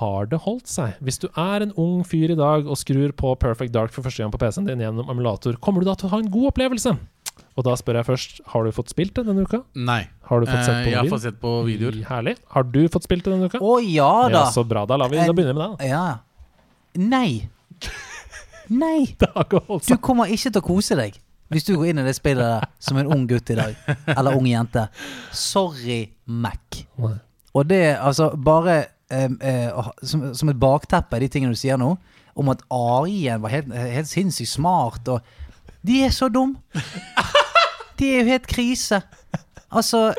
[SPEAKER 1] har det holdt seg? Hvis du er en ung fyr i dag og skrur på Perfect Dark for første gang på PC-en din gjennom emulator, kommer du da til å ha en god opplevelse? Og da spør jeg først, har du fått spilt det denne uka?
[SPEAKER 7] Nei.
[SPEAKER 1] Har du fått sett
[SPEAKER 7] Eh,
[SPEAKER 1] på
[SPEAKER 7] jeg har
[SPEAKER 1] video?
[SPEAKER 7] fått sett på videoer.
[SPEAKER 1] Herlig. Har du fått spilt det denne uka?
[SPEAKER 2] Å ja da!
[SPEAKER 1] Ja, så bra. Da, lar vi, da begynner vi med deg. da.
[SPEAKER 2] Ja. Nei. Nei.
[SPEAKER 1] Det har ikke holdt
[SPEAKER 2] Du
[SPEAKER 1] seg.
[SPEAKER 2] kommer ikke til å kose deg hvis du går inn i det spillet der som en ung gutt i dag. Eller ung jente. Sorry, Mac.
[SPEAKER 1] Nei.
[SPEAKER 2] Og det, altså, bare eh, eh, å ha- som, som et bakteppe, de tingene du sier nå, om at AI-en var helt, helt sinnssykt smart og De er så dum! De er jo helt krise. Altså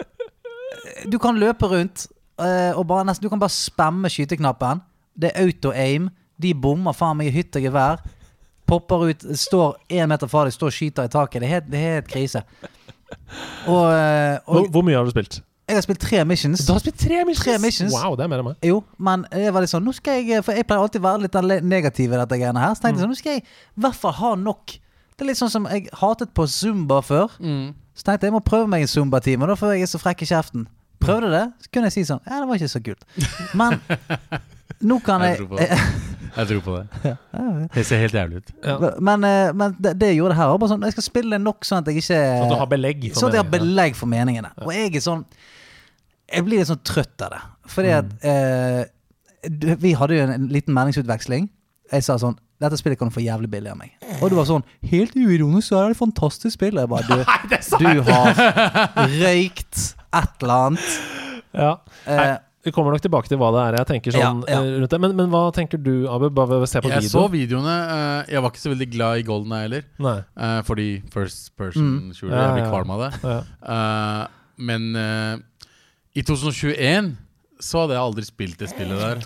[SPEAKER 2] Du kan løpe rundt eh, og bare nesten Du kan bare spamme skyteknappen. Det er auto-aim. De bommer faen meg i hytt og gevær. Popper ut, står én meter fra deg, står og skyter i taket. Det er helt, det er helt krise. Og, eh,
[SPEAKER 1] Hvor,
[SPEAKER 2] og
[SPEAKER 1] hvor mye har du spilt?
[SPEAKER 2] jeg har spilt tre missions.
[SPEAKER 1] Du har spilt tre missions!
[SPEAKER 2] Tre missions. Eh,
[SPEAKER 1] Wow, det er mer enn meg.
[SPEAKER 2] Jo, men jeg var litt sånn Nå skal jeg For jeg pleier alltid å være litt alle- negativ i dette greiene her. Så tenkte jeg sånn Nå skal jeg i hvert fall ha nok. Det er litt sånn som jeg hatet på Zumba før. Så tenkte jeg jeg må prøve meg en Zumba-time, da, før jeg er så frekk i kjeften. Prøvde det, så kunne jeg si sånn Ja, det var ikke så kult. Men nå kan
[SPEAKER 7] Jeg
[SPEAKER 2] jeg,
[SPEAKER 7] tror på det. Jeg tror på det. Det ser helt jævlig ut.
[SPEAKER 2] Men, eh, men det, det gjorde det her òg. Sånn, jeg skal spille det nok sånn at jeg ikke
[SPEAKER 1] Sånn at du har belegg. for
[SPEAKER 2] Sånn at jeg har
[SPEAKER 1] meningen, ja.
[SPEAKER 2] belegg for meningene. Og jeg er sånn Jeg blir litt sånn trøtt av det. Fordi
[SPEAKER 1] Mm.
[SPEAKER 2] at eh, du- Vi hadde jo en, en liten meningsutveksling. Jeg sa sånn dette spillet kan du få jævlig billig av meg. Og du var sånn Helt uironisk så er det et fantastisk spill. Og Jeg bare, du, du har røykt et eller annet.
[SPEAKER 1] Ja. Nei,
[SPEAKER 2] Eh,
[SPEAKER 1] vi kommer nok tilbake til hva det er jeg tenker sånn
[SPEAKER 2] Ja, ja.
[SPEAKER 1] eh, rundt det. Men, men hva tenker du, Abu? Bare ved å se på
[SPEAKER 7] Jeg så
[SPEAKER 1] videoen?
[SPEAKER 7] videoene. eh, jeg var ikke så veldig glad i Golden Eye heller.
[SPEAKER 1] Nei.
[SPEAKER 7] Eh, fordi first person shooter,
[SPEAKER 1] Ja,
[SPEAKER 7] jeg
[SPEAKER 1] ja.
[SPEAKER 7] blir kvalm av det.
[SPEAKER 1] Ja.
[SPEAKER 7] Eh, men eh, i 2021 så hadde jeg aldri spilt det spillet der.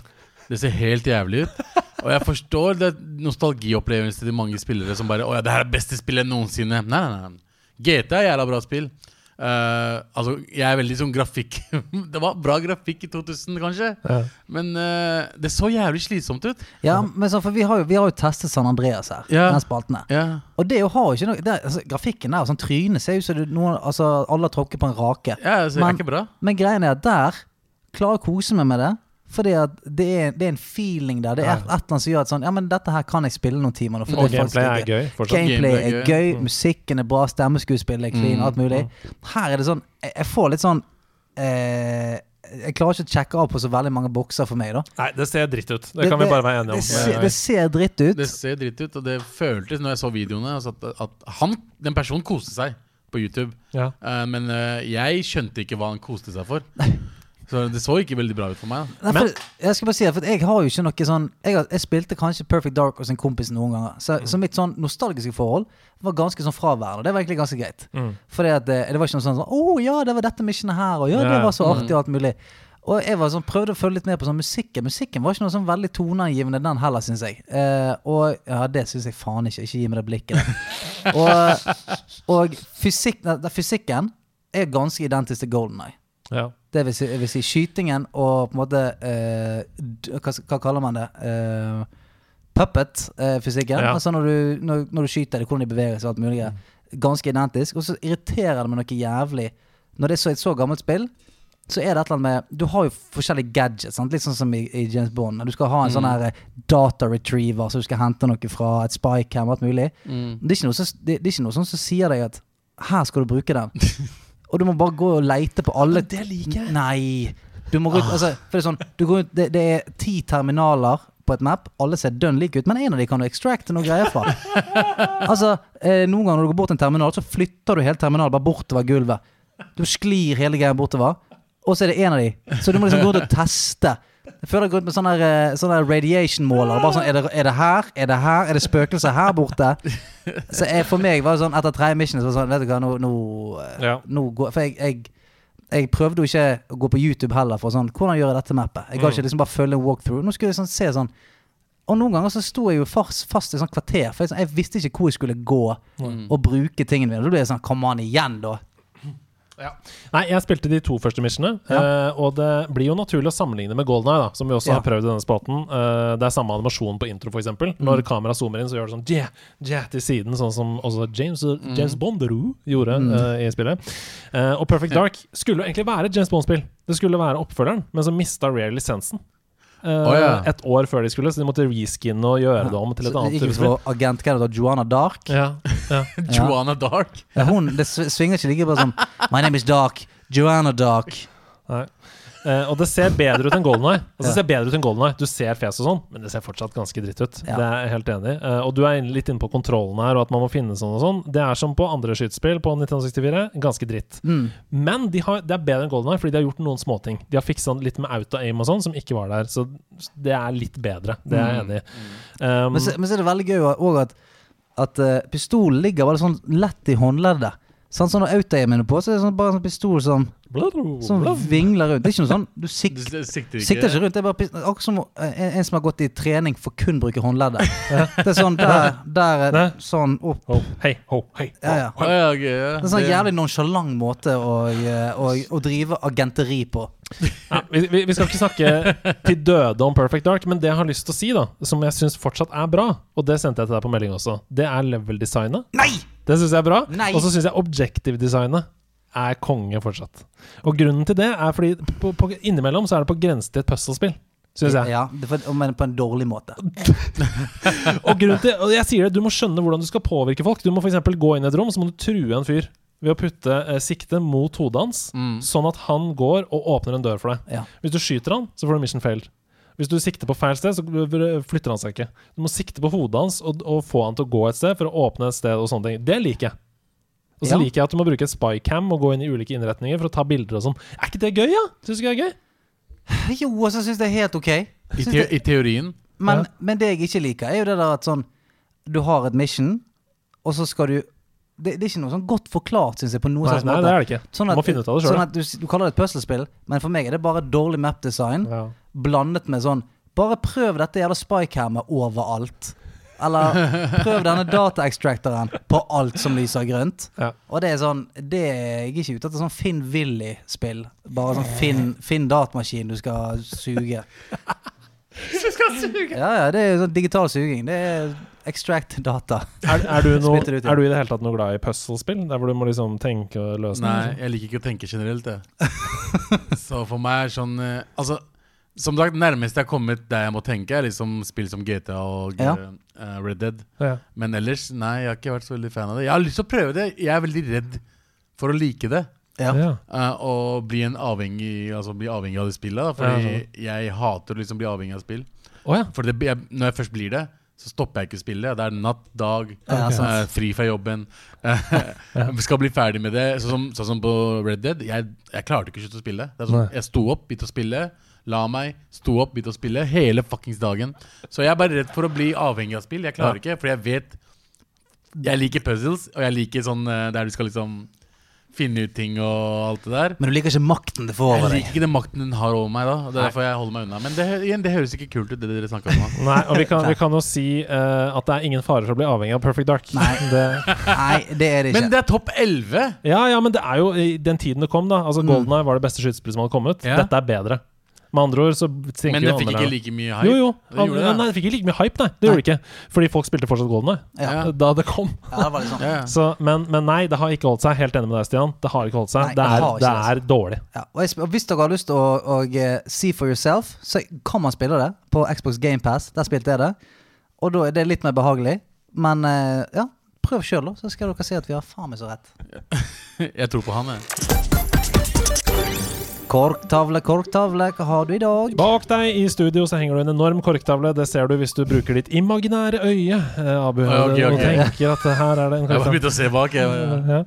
[SPEAKER 7] Det ser helt jævlig ut. Og jeg forstår det nostalgiopplevelsen til mange spillere som bare Å ja, det her er det beste spillet noensinne. Nei, nei, nei. GT er jævla bra spill. Eh, altså, jeg er veldig sånn grafikk Det var bra grafikk i 2000, kanskje.
[SPEAKER 1] Ja.
[SPEAKER 7] Men eh, det så jævlig slitsomt ut.
[SPEAKER 2] ja, men så, for vi har, jo, vi har jo testet San Andreas her.
[SPEAKER 7] Ja.
[SPEAKER 2] Den spalten her.
[SPEAKER 7] Ja.
[SPEAKER 2] Og det jo har jo ikke noe det, er- altså, Grafikken der, sånn trynet ser ut som det- noen, altså, alle har tråkket på en rake.
[SPEAKER 7] ja, så det
[SPEAKER 2] Men-
[SPEAKER 7] er ikke bra.
[SPEAKER 2] Men greien er at der klarer jeg å kose meg med det. Fordi at det er, det er en feeling der. Det er et, et eller annet som gjør at sånn Ja, men dette her kan jeg spille noen timer nå. for
[SPEAKER 1] Og
[SPEAKER 2] det er faktisk
[SPEAKER 1] gameplay er
[SPEAKER 2] litt
[SPEAKER 1] gøy fortsatt. Mm.
[SPEAKER 2] Gameplay
[SPEAKER 7] Gameplay
[SPEAKER 2] er
[SPEAKER 7] er
[SPEAKER 2] gøy, musikken er bra, stemmeskuespillet er clean, alt mulig. Her er det sånn Jeg, jeg får litt sånn eh, Jeg klarer ikke å sjekke av på så veldig mange bokser for meg, da.
[SPEAKER 1] Nei, det ser dritt ut. Det kan vi bare være enige om.
[SPEAKER 2] Det, ser- det ser dritt ut.
[SPEAKER 7] Det ser dritt ut, og det føltes når jeg så videoene altså at, at han, den personen koste seg på YouTube.
[SPEAKER 1] Ja.
[SPEAKER 7] Eh, men eh, jeg skjønte ikke hva han koste seg for. Så det så ikke veldig bra ut for meg. da.
[SPEAKER 2] Nei, for, jeg skal bare si det, for jeg har jo ikke noe sånn Jeg, har, jeg spilte kanskje Perfect Dark hos en kompis noen ganger. Så, så mitt sånn nostalgiske forhold var ganske sånn fraværende. og Det var egentlig ganske greit. Fordi at det, det var ikke noe sånn sånn Å ja, det var dette missionet her, og ja, Mm. det
[SPEAKER 1] Ja,
[SPEAKER 2] var så artig, og alt mulig. Og jeg var sånn, prøvde å følge litt med på sånn musikken. Musikken var ikke noe sånn veldig toneangivende, den heller, syns jeg. Eh, og ja, det syns jeg faen ikke. Ikke gi meg det blikket. der. og og fysikk, nei, fysikken er ganske identisk til Golden Eye.
[SPEAKER 1] Ja.
[SPEAKER 2] Det vil si, jeg vil si skytingen og på en måte eh, d- hva, hva kaller man det? Eh, Puppet-fysikken.
[SPEAKER 1] Ja.
[SPEAKER 2] Altså når du, når, når du skyter det, hvordan de beveger seg og alt mulig. greier. Ganske identisk. Og så irriterer det meg noe jævlig. Når det er så, et så gammelt spill, så er det et eller annet med Du har jo forskjellige gadgets, sant? litt sånn som i, i James Bond. Du skal ha en sånn her eh, data retriever, så du skal hente noe fra et spycam og alt mulig. Det, er ikke noe som, det, det er ikke noe sånn som sier deg at her skal du bruke den. Og du må bare gå og leite på alle Det liker jeg. Nei. Du må gå ut, altså, for det er sånn du går ut, det, det er ti terminaler på et map. Alle ser dønn like ut, men en av de kan du extracte noe greier fra. Altså, eh, Noen ganger når du går bort til en terminal, så flytter du hele terminalen bare bortover gulvet. Du sklir hele greia bortover, og så er det en av de. Så du må liksom gå rundt og teste. Jeg føler jeg har gått med sånn der, eh, sånn der radiation-måler. Bare sånn, er det, er det her? Er det her? Er det spøkelser her borte? Så jeg, for meg var det sånn etter tredje mission så var det sånn, vet du hva, nå, nå, eh,
[SPEAKER 1] Ja.
[SPEAKER 2] nå går For jeg, jeg, jeg prøvde jo ikke å gå på YouTube heller for sånn Hvordan gjør jeg dette mappet? Jeg gadd ikke liksom bare følge en walkthrough. Nå skulle jeg sånn se sånn Og noen ganger så sto jeg jo fast, fast i sånn kvarter, for jeg, sånn, jeg visste ikke hvor jeg skulle gå og bruke tingene mine. Da ble jeg sånn Kom an igjen, da.
[SPEAKER 1] Nei, jeg spilte de to første missionene. eh, og det blir jo naturlig å sammenligne med Golden Eye, da, som vi også
[SPEAKER 2] Ja. Mm.
[SPEAKER 1] har prøvd i denne spalten. Eh, det er samme animasjon på intro, f.eks. eksempel Når kameraet zoomer inn, så gjør det sånn yeah, yeah, til siden, sånn som også James,
[SPEAKER 2] Mm.
[SPEAKER 1] James Bonderoo gjorde eh, i spillet. Eh, og Perfect Dark skulle jo egentlig være et James Bond-spill. Det skulle være oppfølgeren, men så mista Rare lisensen. eh,
[SPEAKER 7] Å, ja.
[SPEAKER 1] Et år før de skulle, så de måtte reskinne og gjøre det om til et
[SPEAKER 2] Så det
[SPEAKER 1] annet
[SPEAKER 2] gikk
[SPEAKER 1] type
[SPEAKER 2] ut for
[SPEAKER 1] spill.
[SPEAKER 2] agent hva er det da, Joanna Dark.
[SPEAKER 1] Ja, ja.
[SPEAKER 7] Joanna Dark.
[SPEAKER 2] Ja, hun, det sv- svinger ikke like bra som My name is Dark. Joanna Dark.
[SPEAKER 1] Nei. Eh, og det ser bedre ut enn Golden Eye. Altså,
[SPEAKER 2] Ja.
[SPEAKER 1] det ser bedre ut enn Golden Eye. Du ser fjes og sånn, men det ser fortsatt ganske dritt ut.
[SPEAKER 2] Ja.
[SPEAKER 1] Det er jeg helt enig i. Eh, og du er inn- litt inne på kontrollen her, og at man må finne sånn og sånn. Det er som på andre skytespill på 1964, ganske dritt.
[SPEAKER 2] Mm.
[SPEAKER 1] Men de har, det er bedre enn Golden Eye, fordi de har gjort noen småting. De har fiksa litt med auto-aim og sånn, som ikke var der. Så det er litt bedre. Det er jeg enig i. Um,
[SPEAKER 2] Mm. Men så, men så er det veldig gøy òg at, at eh, pistolen ligger bare sånn lett i håndleddet. Sånn som når autoaimen er på, så er det sånn, bare en sånn pistol som, som vingler rundt. Det er ikke noe sånn Du
[SPEAKER 7] Du
[SPEAKER 2] sik
[SPEAKER 7] s- sikter ikke.
[SPEAKER 2] sikter ikke rundt. Det er bare pist- akkurat som eh, en, en som har gått i trening for kun å bruke håndleddet. Det er sånn der, der eh,
[SPEAKER 1] Nei.
[SPEAKER 2] Sånn opp.
[SPEAKER 1] Ho, hei, Oh, ho, hei. ho.
[SPEAKER 2] Ja, ja.
[SPEAKER 7] Å, ja, ok, ja.
[SPEAKER 2] Det er en sånn
[SPEAKER 7] Det-
[SPEAKER 2] jævlig nonsjalant måte å, eh, å, å drive agenteri på.
[SPEAKER 1] Ja, vi, vi, vi skal ikke snakke til døde om Perfect Dark, men det jeg har lyst til å si, da som jeg syns fortsatt er bra, og det sendte jeg til deg på melding også, det er level-designet.
[SPEAKER 2] Nei!
[SPEAKER 1] Det syns jeg er bra.
[SPEAKER 2] Nei!
[SPEAKER 1] Og så syns jeg objective-designet er konge fortsatt. Og grunnen til det er fordi på, på, innimellom så er det på grense til et puzzlespill, syns jeg.
[SPEAKER 2] Ja, det er for, men på en dårlig måte.
[SPEAKER 1] Og grunnen til, og jeg sier det, du må skjønne hvordan du skal påvirke folk. Du må for eksempel gå inn i et rom, så må du true en fyr ved å putte eh, siktet mot hodet hans, sånn at han går og åpner en dør for deg.
[SPEAKER 2] Mm. Ja.
[SPEAKER 1] Hvis du skyter han, så får du mission failed. Hvis du sikter på feil sted, så flytter han seg ikke. Du må sikte på hodet hans og, og få han til å gå et sted for å åpne et sted og sånne ting. Det liker jeg. Og så
[SPEAKER 2] Ja.
[SPEAKER 1] liker jeg at du må bruke et spycam og gå inn i ulike innretninger for å ta bilder og sånn. Er ikke det gøy, ja? Syns du ikke det er gøy?
[SPEAKER 2] Jo, og så syns jeg det er helt ok.
[SPEAKER 7] I, te I teorien.
[SPEAKER 2] Men,
[SPEAKER 1] Ja.
[SPEAKER 2] men det jeg ikke liker, er jo det der at sånn Du har et mission, og så skal du Det, det er ikke noe sånn godt forklart, syns jeg, på noen
[SPEAKER 1] Nei,
[SPEAKER 2] slags
[SPEAKER 1] nei,
[SPEAKER 2] måte.
[SPEAKER 1] det er det ikke.
[SPEAKER 2] Sånn
[SPEAKER 1] Du
[SPEAKER 2] at,
[SPEAKER 1] må finne ut av det selv,
[SPEAKER 2] Sånn
[SPEAKER 1] da.
[SPEAKER 2] at du, s- du kaller det et puslespill, men for meg er det bare dårlig mapdesign
[SPEAKER 1] Ja.
[SPEAKER 2] blandet med sånn Bare prøv dette jævla spycammet overalt. Eller prøv denne dataextractoren på alt som lyser grønt.
[SPEAKER 1] Ja.
[SPEAKER 2] Og det er sånn Det er jeg ikke ute etter. Sånn Finn Willy-spill. Bare sånn Finn, finn datamaskin du skal suge. Ja, ja, det er jo sånn digital suging. Det er extract data.
[SPEAKER 1] Er, er, du noe,
[SPEAKER 2] Spytter ut, ja.
[SPEAKER 1] er du i det hele tatt noe glad i puzzlespill? Der hvor du må liksom tenke og løse ting og sånn?
[SPEAKER 7] Nei, jeg liker ikke å tenke generelt, jeg. Så for meg er sånn eh, Altså, som sagt, nærmest jeg har kommet der jeg må tenke, er liksom spill som GTA og
[SPEAKER 2] Ja.
[SPEAKER 7] eh, Red Dead.
[SPEAKER 1] Ja.
[SPEAKER 7] Men ellers, nei, jeg har ikke vært så veldig fan av det. Jeg har lyst til å prøve det. Jeg er veldig redd for å like det.
[SPEAKER 2] Ja.
[SPEAKER 1] Ja.
[SPEAKER 7] eh, og bli, en avhengig, altså, bli avhengig av det spillet. Da,
[SPEAKER 1] Ja,
[SPEAKER 7] fordi jeg hater å liksom bli avhengig av spill.
[SPEAKER 1] Å ja.
[SPEAKER 7] For det, jeg, når jeg først blir det, så stopper jeg ikke spillet. Det er natt, dag,
[SPEAKER 2] Ja,
[SPEAKER 7] eh,
[SPEAKER 2] sant.
[SPEAKER 7] fri fra jobben. Jeg skal bli ferdig med det. Sånn som, sånn som på Red Dead. Jeg, jeg klarte ikke å slutte å spille. Det er sånn,
[SPEAKER 1] Nei.
[SPEAKER 7] jeg sto opp, begynte å spille. La meg sto opp, begynte å spille hele fuckings dagen. Så jeg er bare redd for å bli avhengig av spill. Jeg klarer ikke, for jeg vet Jeg liker puzzles, og jeg liker sånn eh, der du skal liksom finne ut ting og alt det der.
[SPEAKER 2] Men du liker ikke makten det får
[SPEAKER 7] Jeg
[SPEAKER 2] over deg.
[SPEAKER 7] liker ikke den makten den har over meg, da. og Det er derfor jeg holder meg unna. Men det, hø- igjen, det høres ikke kult ut, det dere snakker om. Da.
[SPEAKER 1] Nei, og vi kan, vi kan jo si eh, at det er ingen fare for å bli avhengig av Perfect Dark.
[SPEAKER 2] Nei.
[SPEAKER 1] Det,
[SPEAKER 2] Nei, det er det ikke.
[SPEAKER 7] Men det er topp 11!
[SPEAKER 1] ja, ja, men det er jo i den tiden det kom, da. Altså, Golden Eye var det beste skytespillet som hadde kommet.
[SPEAKER 7] Ja.
[SPEAKER 1] Dette er bedre. Med andre ord så
[SPEAKER 7] Men
[SPEAKER 1] tenker
[SPEAKER 7] den
[SPEAKER 1] jo
[SPEAKER 7] fikk ikke
[SPEAKER 1] annerledes.
[SPEAKER 7] like mye hype.
[SPEAKER 1] Jo, jo.
[SPEAKER 7] Det gjorde
[SPEAKER 1] Andre-
[SPEAKER 7] det.
[SPEAKER 1] Nei, den fikk ikke like mye hype, nei. Det gjorde det ikke. Fordi folk spilte fortsatt Golden Eye
[SPEAKER 7] Ja.
[SPEAKER 1] da det kom.
[SPEAKER 2] ja, det var litt sånn.
[SPEAKER 7] Ja.
[SPEAKER 1] Så, men, men nei, det har ikke holdt seg. Helt enig med deg, Stian. Det har ikke holdt seg.
[SPEAKER 2] Nei,
[SPEAKER 1] det,
[SPEAKER 2] det
[SPEAKER 1] er,
[SPEAKER 2] har ikke
[SPEAKER 1] det
[SPEAKER 2] det,
[SPEAKER 1] er dårlig.
[SPEAKER 2] Ja, og, jeg, sp- og hvis dere har lyst til å og, eh, see for yourself, så kan man spille det på Xbox GamePass. Der spilte jeg det. Og da er det litt mer behagelig. Men eh, ja, prøv sjøl, da. Så skal dere se at vi har faen meg så rett.
[SPEAKER 7] Jeg tror på han, jeg.
[SPEAKER 2] Korktavle, korktavle, hva har du i dag?
[SPEAKER 1] Bak deg i studio så henger det en enorm korktavle. Det ser du hvis du bruker ditt imaginære øye, eh, Abu.
[SPEAKER 7] Ja, ok,
[SPEAKER 1] Og
[SPEAKER 7] ok.
[SPEAKER 1] tenker at her er det en
[SPEAKER 7] Jeg bare
[SPEAKER 1] korktavle.
[SPEAKER 7] begynte å se bak. Jeg,
[SPEAKER 1] Ja.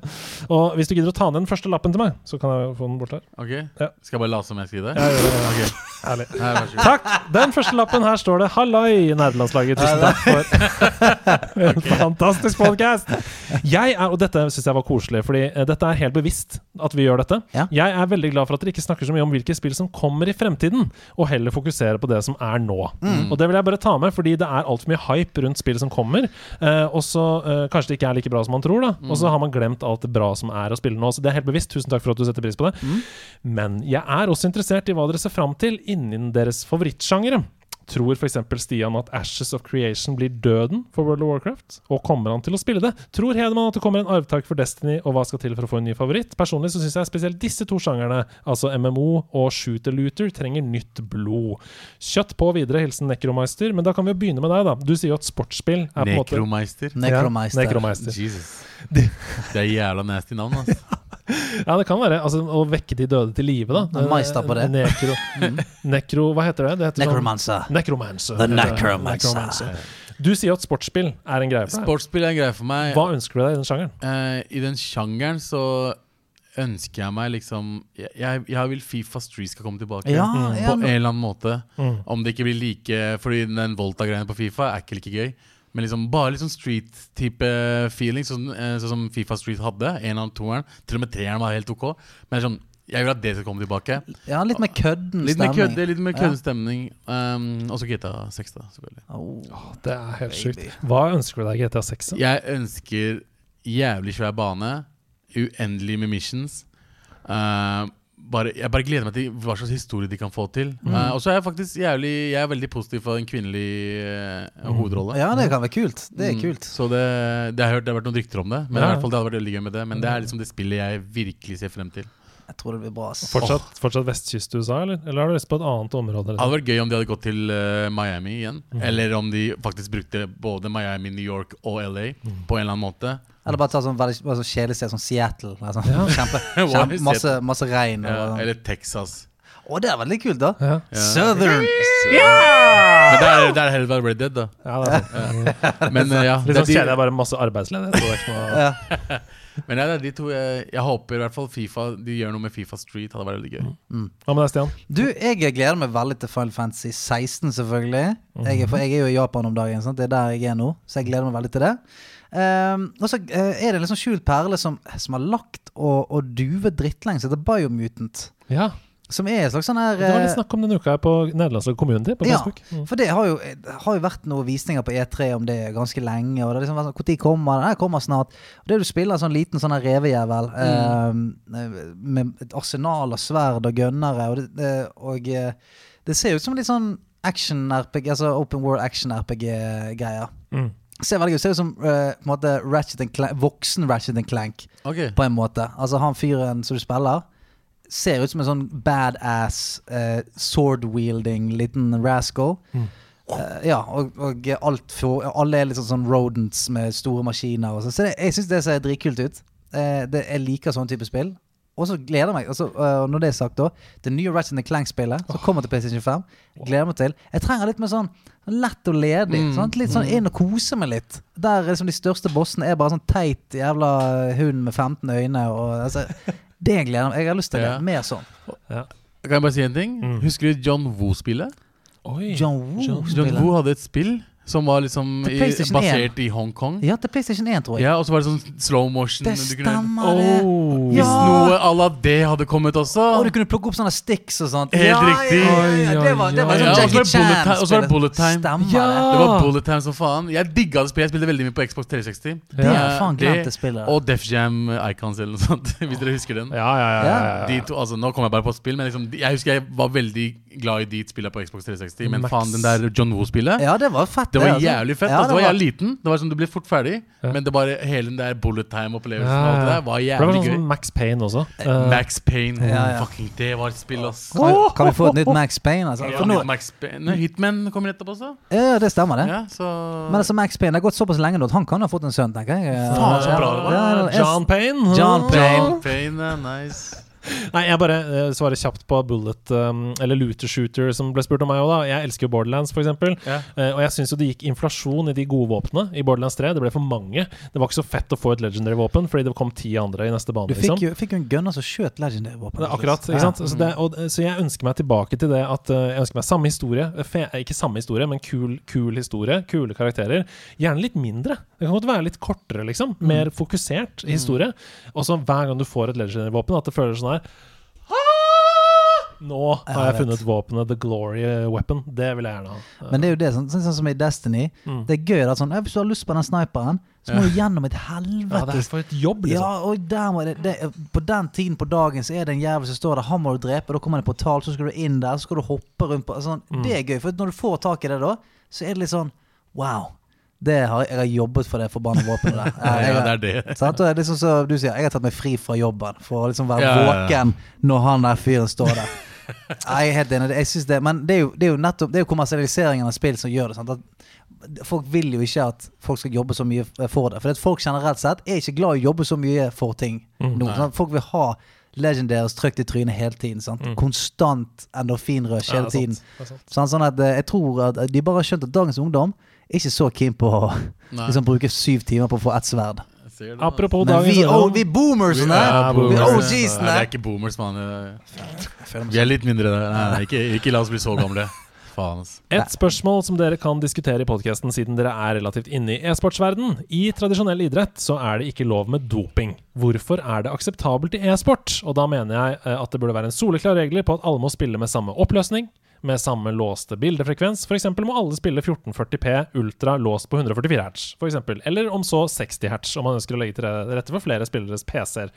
[SPEAKER 1] Og hvis du gidder å ta ned den første lappen til meg, så kan jeg få den bort her.
[SPEAKER 7] Ok,
[SPEAKER 1] Ja.
[SPEAKER 7] Skal jeg bare late som jeg skriver?
[SPEAKER 1] Ja, gjør det.
[SPEAKER 7] Ok,
[SPEAKER 1] Herlig.
[SPEAKER 7] her, vær så god.
[SPEAKER 1] Takk! Den første lappen her står det 'Hallai, nerdelandslaget'. Tusen takk for en fantastisk podkast! Jeg er, og dette syns jeg var koselig, fordi eh, dette er helt bevisst at vi gjør dette.
[SPEAKER 2] Ja.
[SPEAKER 1] Jeg er veldig glad for at dere ikke snakker så mye om hvilke spill som kommer i fremtiden, og heller fokuserer på det som er nå. Og det vil jeg bare ta med, fordi det er altfor mye hype rundt spill som kommer, eh, og så eh, kanskje det ikke er like bra som man tror, da. Og så har man glemt alt det bra som er å spille nå, så det er helt bevisst. Tusen takk for at du setter pris på det. Men jeg er også interessert i hva dere ser fram til innen deres favorittsjangere. Tror f.eks. Stian at Ashes of Creation blir døden for World of Warcraft? Og kommer han til å spille det? Tror Hedman at det kommer en arvtaker for Destiny, og hva skal til for å få en ny favoritt? Personlig så syns jeg spesielt disse to sjangerne, altså MMO og shooter-looter, trenger nytt blod. Kjøtt på videre, hilsen Necromeister. Men da kan vi jo begynne med deg, da. Du sier jo at sportsspill er på en måte
[SPEAKER 7] Nekromeister.
[SPEAKER 1] Ja,
[SPEAKER 2] Necromeister.
[SPEAKER 1] Necromeister.
[SPEAKER 7] Jesus. Det er jævla nasty navn, altså.
[SPEAKER 1] Ja, det kan være. Altså, å vekke de døde til live, da.
[SPEAKER 2] Ja, meister på det. Mm.
[SPEAKER 1] Nekro, nekro Hva heter det? det heter sånn-
[SPEAKER 2] Necromancer.
[SPEAKER 1] Necromancer.
[SPEAKER 2] The
[SPEAKER 1] heter det.
[SPEAKER 2] Necromancer.
[SPEAKER 1] Du sier at sportsspill er en greie for deg.
[SPEAKER 7] Sportsspill er en greie for meg.
[SPEAKER 1] Hva ønsker du deg i den sjangeren?
[SPEAKER 7] Eh, I den sjangeren så ønsker jeg meg liksom Jeg, jeg, jeg vil Fifa Street skal komme tilbake.
[SPEAKER 2] Ja, ja,
[SPEAKER 7] på en
[SPEAKER 2] men-
[SPEAKER 7] eller annen måte. Om det ikke blir like Fordi den Volta-greia på Fifa er ikke like gøy. Men liksom bare liksom street-type feeling, sånn, eh, sånn som Fifa Street hadde. En av toeren. Til og med treeren var helt ok. Men sånn, jeg vil at det skal komme tilbake.
[SPEAKER 2] ja, litt mer kødden
[SPEAKER 7] Litt mer kødde, litt mer
[SPEAKER 2] Ja.
[SPEAKER 7] køddestemning. Um, og så GTA 6, da. selvfølgelig
[SPEAKER 2] Oh.
[SPEAKER 1] Det er helt sjukt. Hva ønsker du deg i GTA 6?
[SPEAKER 7] Jeg ønsker jævlig svær bane, uendelig med missions. Eh, bare, jeg bare gleder meg til hva slags historie de kan få til.
[SPEAKER 2] Mm.
[SPEAKER 7] Eh, og så er jeg faktisk jævlig Jeg er veldig positiv for en kvinnelig eh, hovedrolle.
[SPEAKER 2] Mm. Ja, det kan være kult. Det er
[SPEAKER 7] Mm,
[SPEAKER 2] kult.
[SPEAKER 7] Så det, det har jeg hørt det har vært noen rykter om det. Men i
[SPEAKER 1] Ja.
[SPEAKER 7] hvert fall det hadde vært veldig gøy med det Men det er liksom det spillet jeg virkelig ser frem til.
[SPEAKER 2] Jeg tror det blir bra. ass.
[SPEAKER 1] Fortsatt, fortsatt vestkyst-USA, eller? Eller har du lyst på et annet område? liksom?
[SPEAKER 7] Det hadde vært gøy om de hadde gått til eh, Miami igjen.
[SPEAKER 2] Mm.
[SPEAKER 7] Eller om de faktisk brukte både Miami, New York og LA
[SPEAKER 2] Mm.
[SPEAKER 7] på en eller annen måte.
[SPEAKER 2] Eller bare ta sånn veldig bare sånn kjedelig sted som Seattle. eller sånn.
[SPEAKER 1] Ja.
[SPEAKER 2] Kjempe, kjempe, masse, masse regn. Og,
[SPEAKER 7] Ja,
[SPEAKER 2] sånn.
[SPEAKER 7] Eh, eller Texas.
[SPEAKER 2] Å, det er veldig kult, da.
[SPEAKER 1] Ja.
[SPEAKER 2] Southern.
[SPEAKER 7] Men det er, det er heller bare Red Dead, da.
[SPEAKER 1] Ja, det er sant.
[SPEAKER 7] Men eh, ja,
[SPEAKER 1] Litt
[SPEAKER 7] det
[SPEAKER 1] sånn
[SPEAKER 7] er
[SPEAKER 1] kjedelig, bare masse arbeidsledighet. så det er ikke noe-
[SPEAKER 2] Ja.
[SPEAKER 7] de, men ja, det er de to jeg, jeg håper i hvert fall Fifa De gjør noe med Fifa Street. Hadde vært veldig gøy.
[SPEAKER 1] Mm. Hva med deg, Stian?
[SPEAKER 2] Du, jeg gleder meg veldig til Final Fantasy 16, selvfølgelig. Jeg er, for jeg er jo i Japan om dagen, sant? det er der jeg er nå. Så jeg gleder meg veldig til det. Ehm, og så eh, er det en litt sånn skjult perle som, som har lagt og, og duvet drittlenge, som heter Biomutant.
[SPEAKER 1] Ja,
[SPEAKER 2] Som er en slags sånn her
[SPEAKER 1] Det var litt
[SPEAKER 2] eh,
[SPEAKER 1] snakk om denne uka her på Nederlandslaget Community på
[SPEAKER 2] ja,
[SPEAKER 1] Facebook. Mm.
[SPEAKER 2] for det har jo, det har jo vært noen visninger på E3 om det ganske lenge. Og det har liksom vært sånn, Når kommer den? Den kommer snart. Og det du spiller en sånn liten sånn her revejævel
[SPEAKER 1] Mm.
[SPEAKER 2] eh, med et arsenal av sverd og gønnere, og, det, eh, og eh, det ser ut som litt sånn action-RPG, altså open world action-RPG-greier.
[SPEAKER 1] Mm.
[SPEAKER 2] Ser veldig ut. Ser ut som eh, på en måte Ratchet and Clank, voksen Ratchet and Clank
[SPEAKER 7] Ok,
[SPEAKER 2] på en måte. Altså han fyren som du spiller, ser ut som en sånn badass, eh, sword-wielding liten rascal. Eh, ja, og, og alt for, alle er liksom sånn rodents med store maskiner. Og sånn. så det, jeg syns det ser dritkult ut. Eh, det, jeg liker sånn type spill. Og så gleder jeg meg altså, eh, Når det er sagt, da det nye Ratchet Clank-spillet som kommer til PlayStation 5, gleder jeg meg til. Jeg trenger litt mer sånn lett og ledig. Sant? Litt
[SPEAKER 7] Mm.
[SPEAKER 2] sånn inn og kose meg litt. Der er liksom de største bossene er bare sånn teit jævla hund med 15 øyne. Og, altså, det gleder jeg meg. Jeg har lyst til det.
[SPEAKER 7] Ja.
[SPEAKER 2] Mer sånn.
[SPEAKER 7] Kan jeg bare si en ting?
[SPEAKER 1] Mm.
[SPEAKER 7] Husker du John Woo-spillet?
[SPEAKER 1] Oi.
[SPEAKER 2] John Woo.
[SPEAKER 7] John
[SPEAKER 2] spiller.
[SPEAKER 7] Woo hadde et spill som var liksom
[SPEAKER 2] Til
[SPEAKER 7] i,
[SPEAKER 2] PlayStation 1.
[SPEAKER 7] basert i Hongkong.
[SPEAKER 2] Ja,
[SPEAKER 7] Ja.
[SPEAKER 2] til PlayStation 1, tror jeg.
[SPEAKER 7] og så var det sånn slow motion.
[SPEAKER 2] det
[SPEAKER 7] du kunne,
[SPEAKER 2] stemmer, det.
[SPEAKER 1] Oh.
[SPEAKER 7] Hvis
[SPEAKER 2] Ja.
[SPEAKER 7] noe à la det hadde kommet også
[SPEAKER 2] Og du kunne plukke opp sånne sticks og sånt.
[SPEAKER 7] Helt riktig.
[SPEAKER 2] Ja, ja, ja, det var, det
[SPEAKER 1] Oi, oi,
[SPEAKER 2] var sånn
[SPEAKER 1] oi.
[SPEAKER 2] Jackie
[SPEAKER 7] Ja, og så var det bullet
[SPEAKER 2] Chan.
[SPEAKER 7] time- og
[SPEAKER 2] spiller. Stemmer det.
[SPEAKER 7] så var det bullet time.
[SPEAKER 1] Ja.
[SPEAKER 7] Det var bullet time som faen. Jeg digga det spillet. Jeg spilte veldig mye på Xbox 360.
[SPEAKER 2] Det har jeg
[SPEAKER 7] Eh,
[SPEAKER 2] faen glemt det spillet.
[SPEAKER 7] Og Def Jam Icons eller noe sånt, hvis dere husker den.
[SPEAKER 1] Ja, ja, ja, ja, ja.
[SPEAKER 7] De to, altså, nå kom jeg bare på spill, men liksom, jeg husker jeg var veldig glad i de spillene på Xbox 360. Men
[SPEAKER 1] Max.
[SPEAKER 7] faen, den der John Woo-spillet
[SPEAKER 2] Ja, det var fett.
[SPEAKER 7] Det var
[SPEAKER 2] altså.
[SPEAKER 7] jævlig fett.
[SPEAKER 2] Ja,
[SPEAKER 7] altså,
[SPEAKER 2] det
[SPEAKER 7] var
[SPEAKER 2] var-
[SPEAKER 7] jeg liten. Det var som Du ble fort ferdig. Men det bare hele den der bullet time-opplevelsen
[SPEAKER 1] Ja,
[SPEAKER 7] og alt det
[SPEAKER 1] ja. For det
[SPEAKER 7] der var
[SPEAKER 1] var
[SPEAKER 7] jævlig
[SPEAKER 1] sånn
[SPEAKER 7] gøy.
[SPEAKER 1] som Max Payne også. Eh,
[SPEAKER 7] Max Payne.
[SPEAKER 2] Ja, ja.
[SPEAKER 7] Fucking, det var et spill, ass.
[SPEAKER 2] Kan vi- Kan vi få et nytt Max Payne? Altså?
[SPEAKER 7] Ja,
[SPEAKER 2] For nå,
[SPEAKER 7] Max Payne. Nei, Hitman kommer etterpå også.
[SPEAKER 2] ja, det stemmer, det.
[SPEAKER 7] Ja, så
[SPEAKER 2] Men altså, Max Payne har gått såpass lenge nå at han kan ha fått en sønn, tenker jeg.
[SPEAKER 1] Eh,
[SPEAKER 7] Faen, så bra det var.
[SPEAKER 2] Ja, ja, ja.
[SPEAKER 1] John Payne.
[SPEAKER 2] John Payne.
[SPEAKER 7] John Payne, eh, nice.
[SPEAKER 1] Nei, jeg bare eh, svarer kjapt på bullet um, eller looter shooter, som ble spurt om meg òg, da. Jeg elsker jo Borderlands, for eksempel.
[SPEAKER 7] Ja.
[SPEAKER 1] Eh, og jeg syns jo det gikk inflasjon i de gode våpnene i Borderlands 3. Det ble for mange. Det var ikke så fett å få et legendary-våpen, fordi det kom ti andre i neste bane,
[SPEAKER 2] Du fikk
[SPEAKER 1] liksom.
[SPEAKER 2] jo, fikk jo en gunner som skjøt legendary-våpen.
[SPEAKER 1] Det er akkurat, ikke sant? Så, det, og, så jeg ønsker meg tilbake til det at eh, jeg ønsker meg samme historie. eh, Fe, eh, ikke samme historie, men kul, kul historie. Kule karakterer. Gjerne litt mindre. Det kan godt være litt kortere, liksom. Mer fokusert historie. Og så hver gang du får et legendary-våpen, at det føles sånn her «Ah! Nå har jeg
[SPEAKER 2] Jeg vet.
[SPEAKER 1] funnet våpenet The Glory Weapon. Det vil jeg gjerne ha. Eh,
[SPEAKER 2] Men det er jo det, sånn, sånn, sånn som i Destiny.
[SPEAKER 1] Mm.
[SPEAKER 2] Det er gøy. Da, sånn, ja, hvis du har lyst på den sniperen, så må du gjennom et
[SPEAKER 1] Ja, det
[SPEAKER 2] helvetes
[SPEAKER 1] er for et jobb, liksom.
[SPEAKER 2] Ja, og der må det, det, På den tiden på dagen så er det en jævel som står der, han må du drepe, da kommer det en portal, så skal du inn der, så skal du hoppe rundt på sånn.
[SPEAKER 7] Mm.
[SPEAKER 2] Det er gøy, for når du får tak i det da, så er det litt sånn wow. Det har, jeg har jobbet for det forbanna våpenet der. Jeg,
[SPEAKER 7] Ja, det er det.
[SPEAKER 2] Sant? Og det er liksom så du sier, jeg har tatt meg fri fra jobben for å liksom være
[SPEAKER 7] Ja, ja, ja.
[SPEAKER 2] våken når han der fyren står der. Nei, Jeg er helt enig. Jeg synes det, men det er, jo, det er jo nettopp Det er jo kommersialiseringen av spill som gjør det. Sant? At folk vil jo ikke at folk skal jobbe så mye for det. For at folk generelt sett er ikke glad i å jobbe så mye for ting.
[SPEAKER 1] Mm,
[SPEAKER 2] nå, sant? Folk vil ha legendaries trygt i trynet hele tiden. Sant? Konstant endorfinrush
[SPEAKER 1] Mm. Ja,
[SPEAKER 2] hele
[SPEAKER 1] det er
[SPEAKER 2] tiden.
[SPEAKER 1] sant. Det er sant.
[SPEAKER 2] Sånn, sånn at eh, Jeg tror at de bare har skjønt at dagens ungdom er ikke så keen på å
[SPEAKER 7] Nei.
[SPEAKER 2] liksom, bruke syv timer på å få ett sverd.
[SPEAKER 7] Jeg ser det,
[SPEAKER 1] Apropos
[SPEAKER 2] Men
[SPEAKER 1] dagens
[SPEAKER 2] vi, oh,
[SPEAKER 1] ungdom.
[SPEAKER 2] vi boomersene!
[SPEAKER 1] Ja,
[SPEAKER 2] vi
[SPEAKER 1] boomers.
[SPEAKER 7] altså. Nei, det
[SPEAKER 2] OGs-ene!
[SPEAKER 7] er ikke boomers, mann. Vi er litt mindre der. Nei, nei, ikke, ikke la oss bli så gamle. Faen, ass.
[SPEAKER 1] Et spørsmål som dere kan diskutere i podkasten, siden dere er relativt inne i e-sportsverden. I tradisjonell idrett så er det ikke lov med doping. Hvorfor er det akseptabelt i e-sport? Og da mener jeg eh, at det burde være en soleklar regel på at alle må spille med samme oppløsning. Med samme låste bildefrekvens. F.eks. må alle spille 1440P ultra låst på 144 hertz. For eksempel. Eller om så 60 hertz, om man ønsker å legge til rette for flere spilleres PC-er.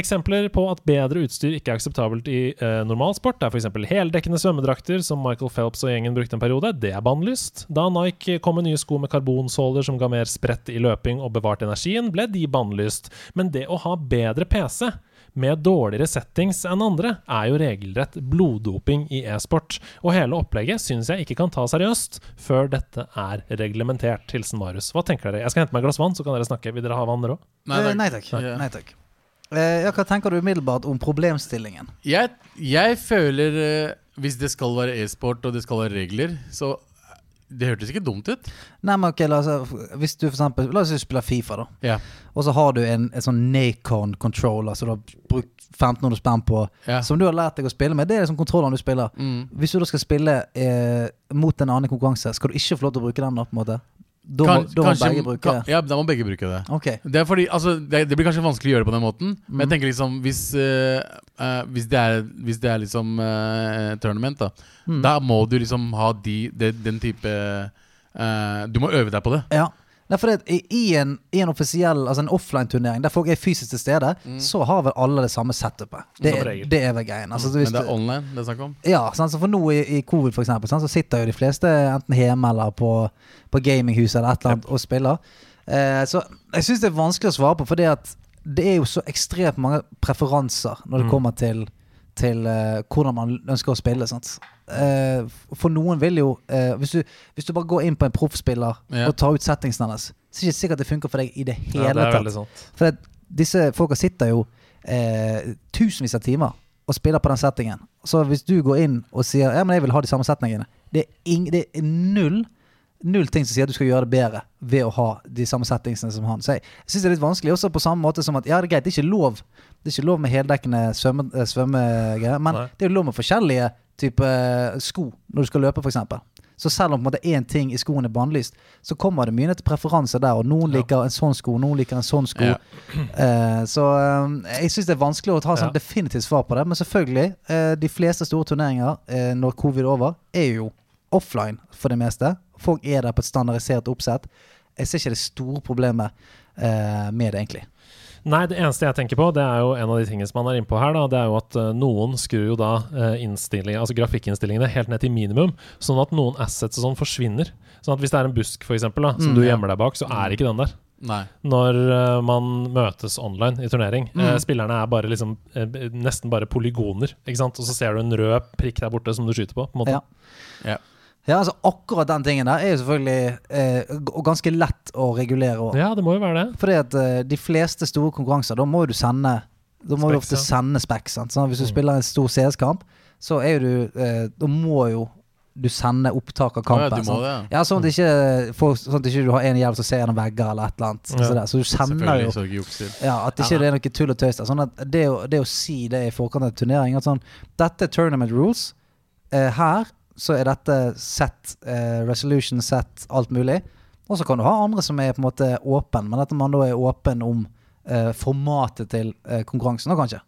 [SPEAKER 1] Eksempler på at bedre utstyr ikke er akseptabelt i eh, normalsport, er f.eks. heldekkende svømmedrakter, som Michael Phelps og gjengen brukte en periode. Det er bannlyst. Da Nike kom med nye sko med karbonsåler som ga mer spredt i løping og bevarte energien, ble de bannlyst. Men det å ha bedre PC med dårligere settings enn andre, er jo regelrett bloddoping i e-sport. Og hele opplegget syns jeg ikke kan ta seriøst før dette er reglementert. Hilsen Marius. Hva tenker dere? Jeg skal hente meg et glass vann, så kan dere snakke. Vil dere ha vann, dere òg?
[SPEAKER 7] Nei,
[SPEAKER 2] Eh,
[SPEAKER 7] takk.
[SPEAKER 2] Nei takk.
[SPEAKER 7] Ja.
[SPEAKER 2] Nei, takk. Eh, ja, hva tenker du umiddelbart om problemstillingen?
[SPEAKER 7] Jeg, jeg føler eh, Hvis det skal være e-sport og det skal være regler, så eh, Det hørtes ikke dumt ut.
[SPEAKER 2] Nei, men ok, La oss, eh, hvis du for eksempel, la oss si du spiller Fifa, da.
[SPEAKER 7] Ja.
[SPEAKER 2] Og så har du en, en sånn Nacon-controller som du har brukt 1500 spenn på,
[SPEAKER 7] Ja. Mm.
[SPEAKER 2] som du har lært deg å spille med. Det er liksom kontrolleren du spiller. Hvis du da skal spille eh, mot en annen i konkurranse, skal du ikke få lov til å bruke den? da, på en måte? Da må,
[SPEAKER 7] Kan-
[SPEAKER 2] da må
[SPEAKER 7] kanskje-
[SPEAKER 2] begge bruke
[SPEAKER 7] kan-
[SPEAKER 2] det.
[SPEAKER 7] Ja, da må begge bruke det.
[SPEAKER 2] Ok.
[SPEAKER 7] Det, er fordi, altså, det, det blir kanskje vanskelig å gjøre det på den måten, men
[SPEAKER 2] Mm.
[SPEAKER 7] jeg tenker liksom Hvis, eh, eh, hvis, det, er, hvis det er liksom eh, tournament, da,
[SPEAKER 2] Mm.
[SPEAKER 7] da må du liksom ha de, de, den type eh, Du må øve deg på det.
[SPEAKER 2] Ja. Nei, for det, i- I en, i en offisiell, altså en offline-turnering der folk er fysisk til stede,
[SPEAKER 7] Mm.
[SPEAKER 2] så har vel alle det samme setupet. Det,
[SPEAKER 1] Som
[SPEAKER 2] er-
[SPEAKER 1] regel.
[SPEAKER 2] det er vel greien. Altså, hvis
[SPEAKER 7] Men det
[SPEAKER 2] du-
[SPEAKER 7] er online det er snakk om.
[SPEAKER 2] Ja, sant? så for nå i, i covid for eksempel, sant? så sitter jo de fleste enten hjemme eller på, på gaminghuset eller et eller annet og spiller. Eh, så jeg syns det er vanskelig å svare på, fordi at det er jo så ekstremt mange preferanser når det
[SPEAKER 1] Mm.
[SPEAKER 2] kommer til, til eh, hvordan man ønsker å spille. Sant? Eh, for noen vil jo eh, hvis, du, hvis du bare går inn på en proffspiller
[SPEAKER 7] Ja.
[SPEAKER 2] og tar ut settingsen hennes, så er det ikke sikkert det funker for deg i det hele
[SPEAKER 1] Ja, det er
[SPEAKER 2] tatt.
[SPEAKER 1] veldig sant.
[SPEAKER 2] For at disse folka sitter jo eh, tusenvis av timer og spiller på den settingen. Så hvis du går inn og sier ja, men jeg vil ha de samme setningene, det er, ing, det er null Null ting som sier at du skal gjøre det bedre ved å ha de samme settingsene som han. Så jeg syns det er litt vanskelig, også på samme måte som at ja, det er greit, det er ikke lov Det er ikke lov med heldekkende svømme- eh, svømmegreier, men
[SPEAKER 1] Nei.
[SPEAKER 2] det er jo lov med forskjellige typer sko når du skal løpe, f.eks. Så selv om på en måte én ting i skoen er bannlyst, så kommer det mye ned til preferanser der. Og noen liker en sånn sko, noen liker en sånn sko.
[SPEAKER 7] Ja.
[SPEAKER 2] Eh, så eh, jeg syns det er vanskelig å ta sånn
[SPEAKER 1] Ja.
[SPEAKER 2] definitivt svar på det. Men selvfølgelig, eh, de fleste store turneringer eh, når covid er over, er jo offline for det meste. Folk er der på et standardisert oppsett. Jeg ser ikke det store problemet eh, med det, egentlig.
[SPEAKER 1] Nei, det eneste jeg tenker på, det er jo en av de tingene som man er inne på her, da, det er jo at eh, noen skrur jo da eh, innstilling- altså grafikkinnstillingene helt ned til minimum, sånn at noen assets og sånn forsvinner. Sånn at hvis det er en busk for eksempel, da, som du gjemmer deg bak, så er ikke den der.
[SPEAKER 7] Nei.
[SPEAKER 1] Når eh, man møtes online i turnering. Eh, spillerne er bare liksom, eh, b- nesten bare polygoner, ikke sant? og så ser du en rød prikk der borte som du skyter på. på en måte.
[SPEAKER 2] Ja. Ja, altså Akkurat den tingen der er jo selvfølgelig eh, g- og ganske lett å regulere òg.
[SPEAKER 1] Ja, det må jo være det.
[SPEAKER 2] Fordi at eh, de fleste store konkurranser, da må jo du sende Da må
[SPEAKER 1] Specs,
[SPEAKER 2] du
[SPEAKER 1] Mm.
[SPEAKER 2] ofte sende speks. Sant? Sånn, hvis du spiller en stor CS-kamp, så er jo du eh, Da må jo du sende opptak av kampen.
[SPEAKER 7] Å ja, Mm. du må
[SPEAKER 2] sant?
[SPEAKER 7] det,
[SPEAKER 2] ja, sånn at ikke folk, sånn at ikke du har en jævel som ser gjennom vegger eller et eller annet.
[SPEAKER 1] Ja.
[SPEAKER 2] Så, der. så du sender jo
[SPEAKER 7] Selvfølgelig. Så ikke jukser.
[SPEAKER 2] ja, At ikke det er noe tull og tøys der. Sånn at det, å, det å si det i forkant av turnering at sånn, Dette er tournament rules. Eh, her så er dette set, eh, resolution set, alt mulig. Og så kan du ha andre som er på en måte åpen, men at man da er åpen om eh, formatet til eh, konkurransen, da kanskje.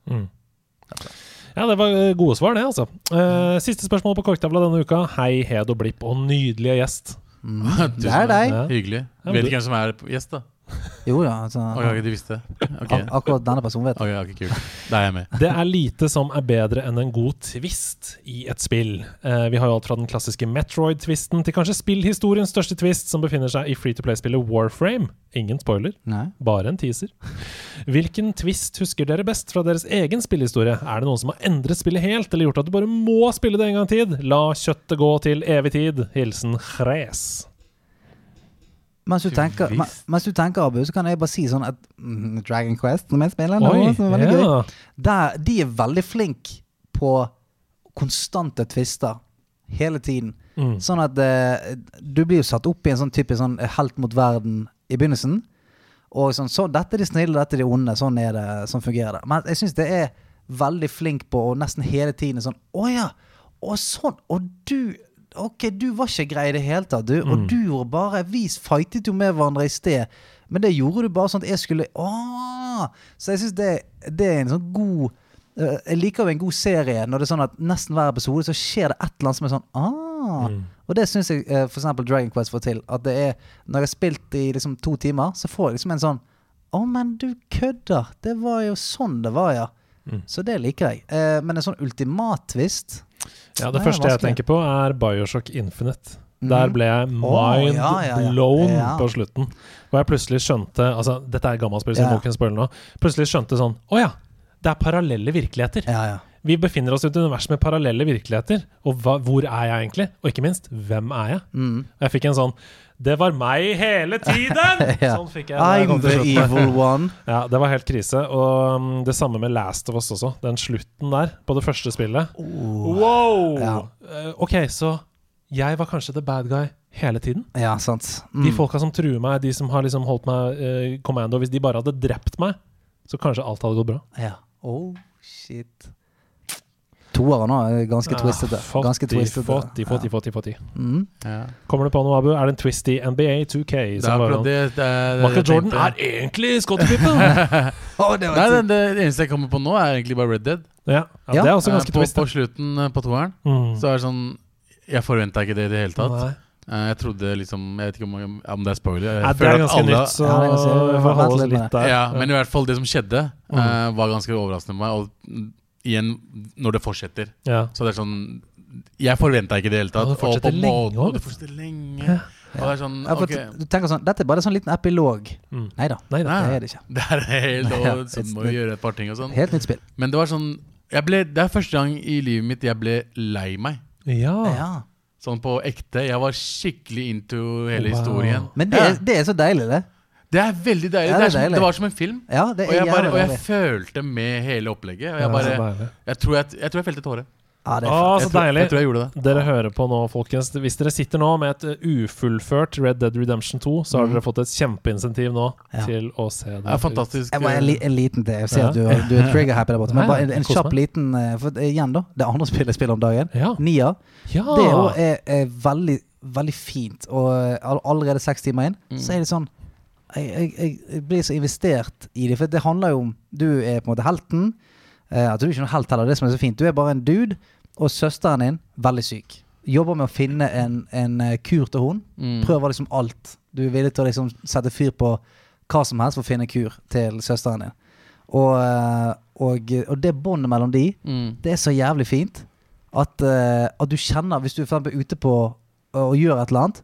[SPEAKER 1] Ja, det var eh, gode svar, det, altså. Eh, siste spørsmål på korktavla denne uka. Hei, Hed og Blipp og nydelige gjest.
[SPEAKER 7] Tusen
[SPEAKER 2] Det er
[SPEAKER 7] takk.
[SPEAKER 2] deg.
[SPEAKER 1] Ja.
[SPEAKER 7] Hyggelig.
[SPEAKER 1] men
[SPEAKER 7] vet
[SPEAKER 1] du-
[SPEAKER 7] ikke hvem som er på gjest, da.
[SPEAKER 2] Jo ja, altså,
[SPEAKER 7] Ok, ok, de visste. Ok,
[SPEAKER 2] ak akkurat denne personen vet det.
[SPEAKER 7] ok, ok, kult. Da er jeg med.
[SPEAKER 1] Det er lite som er bedre enn en god twist i et spill. Eh, vi har jo alt fra den klassiske Metroid-twisten til kanskje spillhistoriens største twist, som befinner seg i free to play-spillet Warframe. Ingen spoiler,
[SPEAKER 2] Nei.
[SPEAKER 1] bare en teaser. Hvilken twist husker dere best fra deres egen spillehistorie? Er det noen som har endret spillet helt, eller gjort at du bare må spille det en gang tid? La kjøttet gå til evig tid. Hilsen Chres.
[SPEAKER 2] Mens du tenker, men- mens du tenker Abu, så kan jeg bare si sånn at mm, Dragon Quest, som jeg spiller nå, som er veldig gøy
[SPEAKER 1] ja.
[SPEAKER 2] der, De er veldig flinke på konstante tvister hele tiden.
[SPEAKER 1] Mm.
[SPEAKER 2] Sånn at eh, du blir jo satt opp i en sånn type sånn helt mot verden i begynnelsen. Og sånn, så, dette er de snille, dette er de onde. Sånn er det, sånn fungerer det. Men jeg syns det er veldig flink på å nesten hele tiden sånn Å ja! Og sånn! Og du Ok, du var ikke grei i det hele tatt, du. Og du gjorde bare Vi fightet jo med hverandre i sted, men det gjorde du bare sånn at jeg skulle Å! Så jeg syns det, det er en sånn god eh, Jeg liker jo en god serie når det er sånn at nesten hver episode så skjer det et eller annet som er sånn Ah! Og det syns jeg eh, for eksempel Dragon Quest får til. At det er Når jeg har spilt i liksom to timer, så får jeg liksom en sånn Å, men du kødder! Det var jo sånn det var, ja. Så det liker jeg. Eh, men en sånn ultimat-twist
[SPEAKER 1] Ja,
[SPEAKER 2] Det
[SPEAKER 1] det
[SPEAKER 2] er
[SPEAKER 1] første jeg
[SPEAKER 2] vanskelig.
[SPEAKER 1] tenker på, er Bioshock Infinite. Der ble jeg mind
[SPEAKER 2] Mhm. ja, ja, ja.
[SPEAKER 1] blown
[SPEAKER 2] Ja.
[SPEAKER 1] på slutten. Og jeg plutselig skjønte Altså, dette er gammelt spill, så jeg
[SPEAKER 2] Ja.
[SPEAKER 1] må kunne spoile nå. Plutselig skjønte sånn Å ja! Det er parallelle virkeligheter.
[SPEAKER 2] Ja, ja.
[SPEAKER 1] Vi befinner oss i et univers med parallelle virkeligheter. Og hva, hvor er jeg egentlig? Og ikke minst, hvem er jeg?
[SPEAKER 2] Mhm.
[SPEAKER 1] Og jeg fikk en sånn Det var meg hele tiden!
[SPEAKER 2] Ja.
[SPEAKER 1] Sånn fikk jeg. da jeg
[SPEAKER 2] I'm
[SPEAKER 1] kom til
[SPEAKER 2] the
[SPEAKER 1] slutten.
[SPEAKER 2] evil one.
[SPEAKER 1] Ja, det var helt krise. Og um, det samme med Last of Us også. Den slutten der, på det første spillet.
[SPEAKER 7] Oh.
[SPEAKER 1] wow!
[SPEAKER 2] Ja.
[SPEAKER 1] Eh, ok, så jeg var kanskje the bad guy hele tiden.
[SPEAKER 2] Ja, sant.
[SPEAKER 1] De
[SPEAKER 2] Mm.
[SPEAKER 1] folka som truer meg, de som har liksom holdt meg eh, kommando, hvis de bare hadde drept meg, så kanskje alt hadde gått bra.
[SPEAKER 2] Ja. Oh, shit. Toeren nå er ganske
[SPEAKER 1] Ah,
[SPEAKER 7] eh.
[SPEAKER 2] twistete. Ganske Mm. twistete.
[SPEAKER 1] Fotti, fotti, fotti, fotti.
[SPEAKER 7] Ja.
[SPEAKER 1] Kommer du på noe, Abu? Er det en twist i NBA 2K?
[SPEAKER 7] Det er
[SPEAKER 1] Som var
[SPEAKER 7] akkurat
[SPEAKER 1] sånn,
[SPEAKER 7] det. det, er- det,
[SPEAKER 1] Michael
[SPEAKER 7] jeg
[SPEAKER 1] Jordan
[SPEAKER 7] tenkte.
[SPEAKER 1] er egentlig Scottie Pippen!
[SPEAKER 2] Ja. Å, det var
[SPEAKER 7] Nei, det,
[SPEAKER 2] et-
[SPEAKER 7] det eneste jeg kommer på nå, er egentlig bare Red Dead.
[SPEAKER 1] ja, ja,
[SPEAKER 2] Ja.
[SPEAKER 1] det er også
[SPEAKER 7] Eh,
[SPEAKER 1] ganske
[SPEAKER 7] på,
[SPEAKER 1] twist.
[SPEAKER 7] på slutten eh, på toeren
[SPEAKER 1] Mm.
[SPEAKER 7] så er det sånn Jeg forventa ikke det i det hele tatt.
[SPEAKER 1] Nei.
[SPEAKER 7] Eh, Jeg trodde liksom Jeg vet ikke om, om det er spoiler. Jeg
[SPEAKER 1] Ja, det
[SPEAKER 7] føler
[SPEAKER 1] er
[SPEAKER 7] at
[SPEAKER 1] ganske
[SPEAKER 7] alle-
[SPEAKER 1] nytt, så
[SPEAKER 2] Ja, det er ganske- eh,
[SPEAKER 1] vi får holde oss litt der.
[SPEAKER 7] Ja, men i hvert fall det som skjedde,
[SPEAKER 1] Mm.
[SPEAKER 7] eh, var ganske overraskende for meg. Og mm, igjen, når det fortsetter.
[SPEAKER 1] Ja.
[SPEAKER 7] Så det er sånn Jeg forventa ikke det i det hele tatt.
[SPEAKER 1] Og det fortsetter
[SPEAKER 7] på
[SPEAKER 1] lenge
[SPEAKER 7] måten-
[SPEAKER 1] også,
[SPEAKER 7] og det fortsetter lenge. Og det er sånn
[SPEAKER 2] Ja, for
[SPEAKER 7] Ok, Ah.
[SPEAKER 2] t- Du tenker sånn, Dette er bare en sånn liten epilog.
[SPEAKER 1] Mm.
[SPEAKER 2] Nei da,
[SPEAKER 1] Nei,
[SPEAKER 2] det
[SPEAKER 1] nei.
[SPEAKER 2] er det ikke.
[SPEAKER 7] det er helt
[SPEAKER 2] Ja,
[SPEAKER 7] og Sånn
[SPEAKER 2] it's
[SPEAKER 7] må vi
[SPEAKER 2] the-
[SPEAKER 7] gjøre et par ting og sånn.
[SPEAKER 2] Helt nytt spill.
[SPEAKER 7] Men det var sånn jeg ble, Det er første gang i livet mitt jeg ble lei meg.
[SPEAKER 1] Ja.
[SPEAKER 2] Ja.
[SPEAKER 7] Sånn på ekte. Jeg var skikkelig into hele
[SPEAKER 1] Wow.
[SPEAKER 7] historien.
[SPEAKER 2] Men det er, det er så deilig, det.
[SPEAKER 7] Det er veldig deilig.
[SPEAKER 2] Ja,
[SPEAKER 7] det,
[SPEAKER 2] det er
[SPEAKER 7] er som,
[SPEAKER 2] deilig.
[SPEAKER 7] det var som en film.
[SPEAKER 2] Ja, det
[SPEAKER 7] og,
[SPEAKER 2] er
[SPEAKER 7] jeg bare,
[SPEAKER 2] jævlig
[SPEAKER 7] og jeg
[SPEAKER 2] deilig.
[SPEAKER 7] følte med hele opplegget.
[SPEAKER 1] Ja,
[SPEAKER 7] Og jeg, bare,
[SPEAKER 1] så deilig.
[SPEAKER 7] jeg, tror jeg, jeg tror jeg felte tårer.
[SPEAKER 2] Ja, det er
[SPEAKER 1] Å,
[SPEAKER 2] fett.
[SPEAKER 1] så
[SPEAKER 7] jeg, tror,
[SPEAKER 1] deilig.
[SPEAKER 7] jeg tror jeg gjorde det.
[SPEAKER 1] Dere hører på nå, folkens. Hvis dere sitter nå med et eh, ufullført Red Dead Redemption 2, så har dere fått et kjempeinsentiv nå
[SPEAKER 2] Mm. Ja.
[SPEAKER 1] til å se det.
[SPEAKER 7] Det er fantastisk.
[SPEAKER 2] Jeg bare en, li, en liten til. Jeg ser
[SPEAKER 1] Ja.
[SPEAKER 2] at du, du
[SPEAKER 7] Ah.
[SPEAKER 2] er trigger-happy der borte. Men
[SPEAKER 1] Ja,
[SPEAKER 2] bare en, en
[SPEAKER 1] jeg koser meg.
[SPEAKER 2] kjapp liten eh, For eh, igjen, da. Det andre spillet jeg spiller om dagen,
[SPEAKER 7] Ah.
[SPEAKER 1] Ja.
[SPEAKER 2] Nia,
[SPEAKER 1] Ja.
[SPEAKER 2] det er, jo- er, er veldig, veldig fint. Og eh, all- allerede seks timer inn, så er det sånn jeg, jeg, jeg, jeg blir så investert i det. For det handler jo om Du er på en måte helten. Eh, at du er ikke noen helt heller, det som er så fint. Du er bare en dude, og søsteren din, veldig syk. Jobber med å finne en, en eh, kur til henne.
[SPEAKER 7] mm.
[SPEAKER 2] Prøver liksom alt. Du er villig til å liksom sette fyr på hva som helst for å finne en kur til søsteren din. Og, eh, og, og det båndet mellom de, det er så jævlig fint at, eh, at du kjenner Hvis du for eksempel er ute på og gjør et eller annet,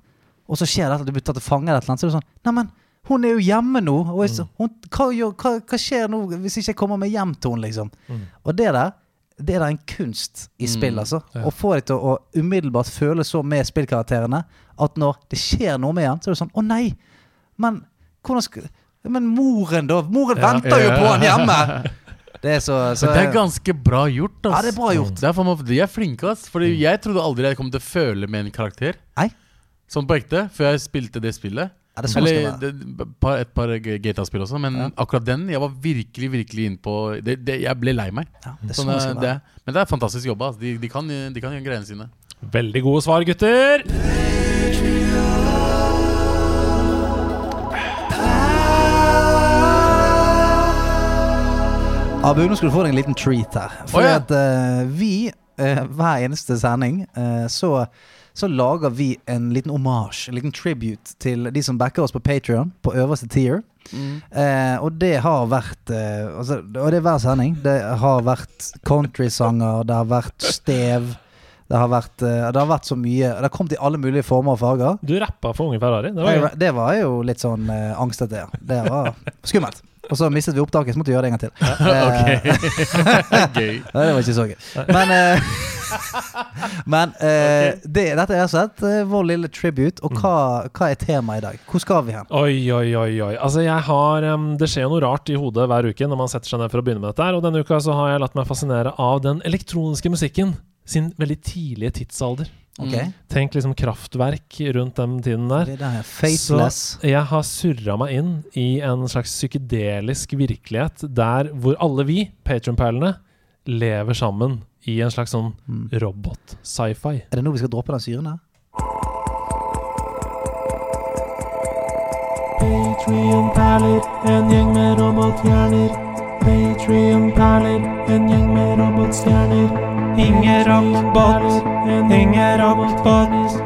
[SPEAKER 2] og så skjer det at du blir tatt til fange, eller et eller annet, så er det sånn Neimen, hun er jo hjemme nå! Og jeg, så-
[SPEAKER 7] Mm.
[SPEAKER 2] hun, hva, gjør, hva, hva skjer nå hvis ikke jeg kommer meg hjem til henne, liksom?
[SPEAKER 7] Mm.
[SPEAKER 2] Og det der, det er da en kunst i spill, altså. Å få deg til å å umiddelbart føle så med spillkarakterene at når det skjer noe med han, så er det sånn Å nei! Men hvordan skal Men moren, da? Moren venter jo på han hjemme! Det er så, så
[SPEAKER 7] Men det er ganske bra gjort. Ass.
[SPEAKER 2] Eh, Ja, det er bra gjort. Mm.
[SPEAKER 7] Det er faen meg- de er flinke, ass. Fordi jeg trodde aldri jeg kom til å føle med en karakter.
[SPEAKER 2] Nei.
[SPEAKER 7] Sånn på ekte, før jeg spilte det spillet.
[SPEAKER 2] Er det sånn det
[SPEAKER 7] Eller
[SPEAKER 2] skal være?
[SPEAKER 7] det, par, et par GTA-spill også, men akkurat den jeg var virkelig virkelig inne på det, det, Jeg ble lei meg.
[SPEAKER 2] Ja, det er
[SPEAKER 7] Sånn
[SPEAKER 2] sånn det
[SPEAKER 7] er-
[SPEAKER 2] skal
[SPEAKER 7] det
[SPEAKER 2] være.
[SPEAKER 7] er- men det er fantastisk jobba. ass. De, de, kan, eh, de kan gjøre greiene sine.
[SPEAKER 5] Veldig gode svar, gutter.
[SPEAKER 2] Abu, nå skal du få deg en liten treat her. For
[SPEAKER 7] Å, ja.
[SPEAKER 2] at eh, vi, eh, hver eneste sending, eh, så, så lager vi en liten omasj, en liten tribute til de som backer oss på Patrion, på øverste tier.
[SPEAKER 7] Mm.
[SPEAKER 2] Eh, og det har vært eh, altså, Og det er hver sending. Det har vært countrysanger, det har vært stev. Det har vært, eh, det har vært så mye Det har kommet i alle mulige former og farger.
[SPEAKER 5] Du rappa for Unge Ferrari. Det var
[SPEAKER 2] Det
[SPEAKER 5] gøy.
[SPEAKER 2] var, det var jo litt sånn eh, angstete, ja. Det var skummelt. Og så mistet vi opptaket, så måtte vi gjøre det en gang til. Eh,
[SPEAKER 7] Gøy.
[SPEAKER 2] Nei, det var ikke så gøy. Men, eh, men eh, det, dette er sett eh, vår lille tribute. Og hva, hva er temaet i dag? Hvor skal vi hen?
[SPEAKER 5] Oi, oi, oi. oi Altså jeg har em, Det skjer jo noe rart i hodet hver uke når man setter seg ned for å begynne med dette. her Og denne uka så har jeg latt meg fascinere av den elektroniske musikken sin veldig tidlige tidsalder.
[SPEAKER 2] Ok,
[SPEAKER 5] Tenk liksom kraftverk rundt den tiden der.
[SPEAKER 2] Det der er Faceless.
[SPEAKER 5] Så jeg har surra meg inn i en slags psykedelisk virkelighet der hvor alle vi, Patron-perlene, lever sammen i en slags sånn robot-sci-fi.
[SPEAKER 2] Er det nå vi skal droppe den syren her?
[SPEAKER 5] Patrion-perler, en gjeng med robotstjerner. Patrion-perler, en gjeng med robotstjerner. Inger Rockbot, Inger Rockbot,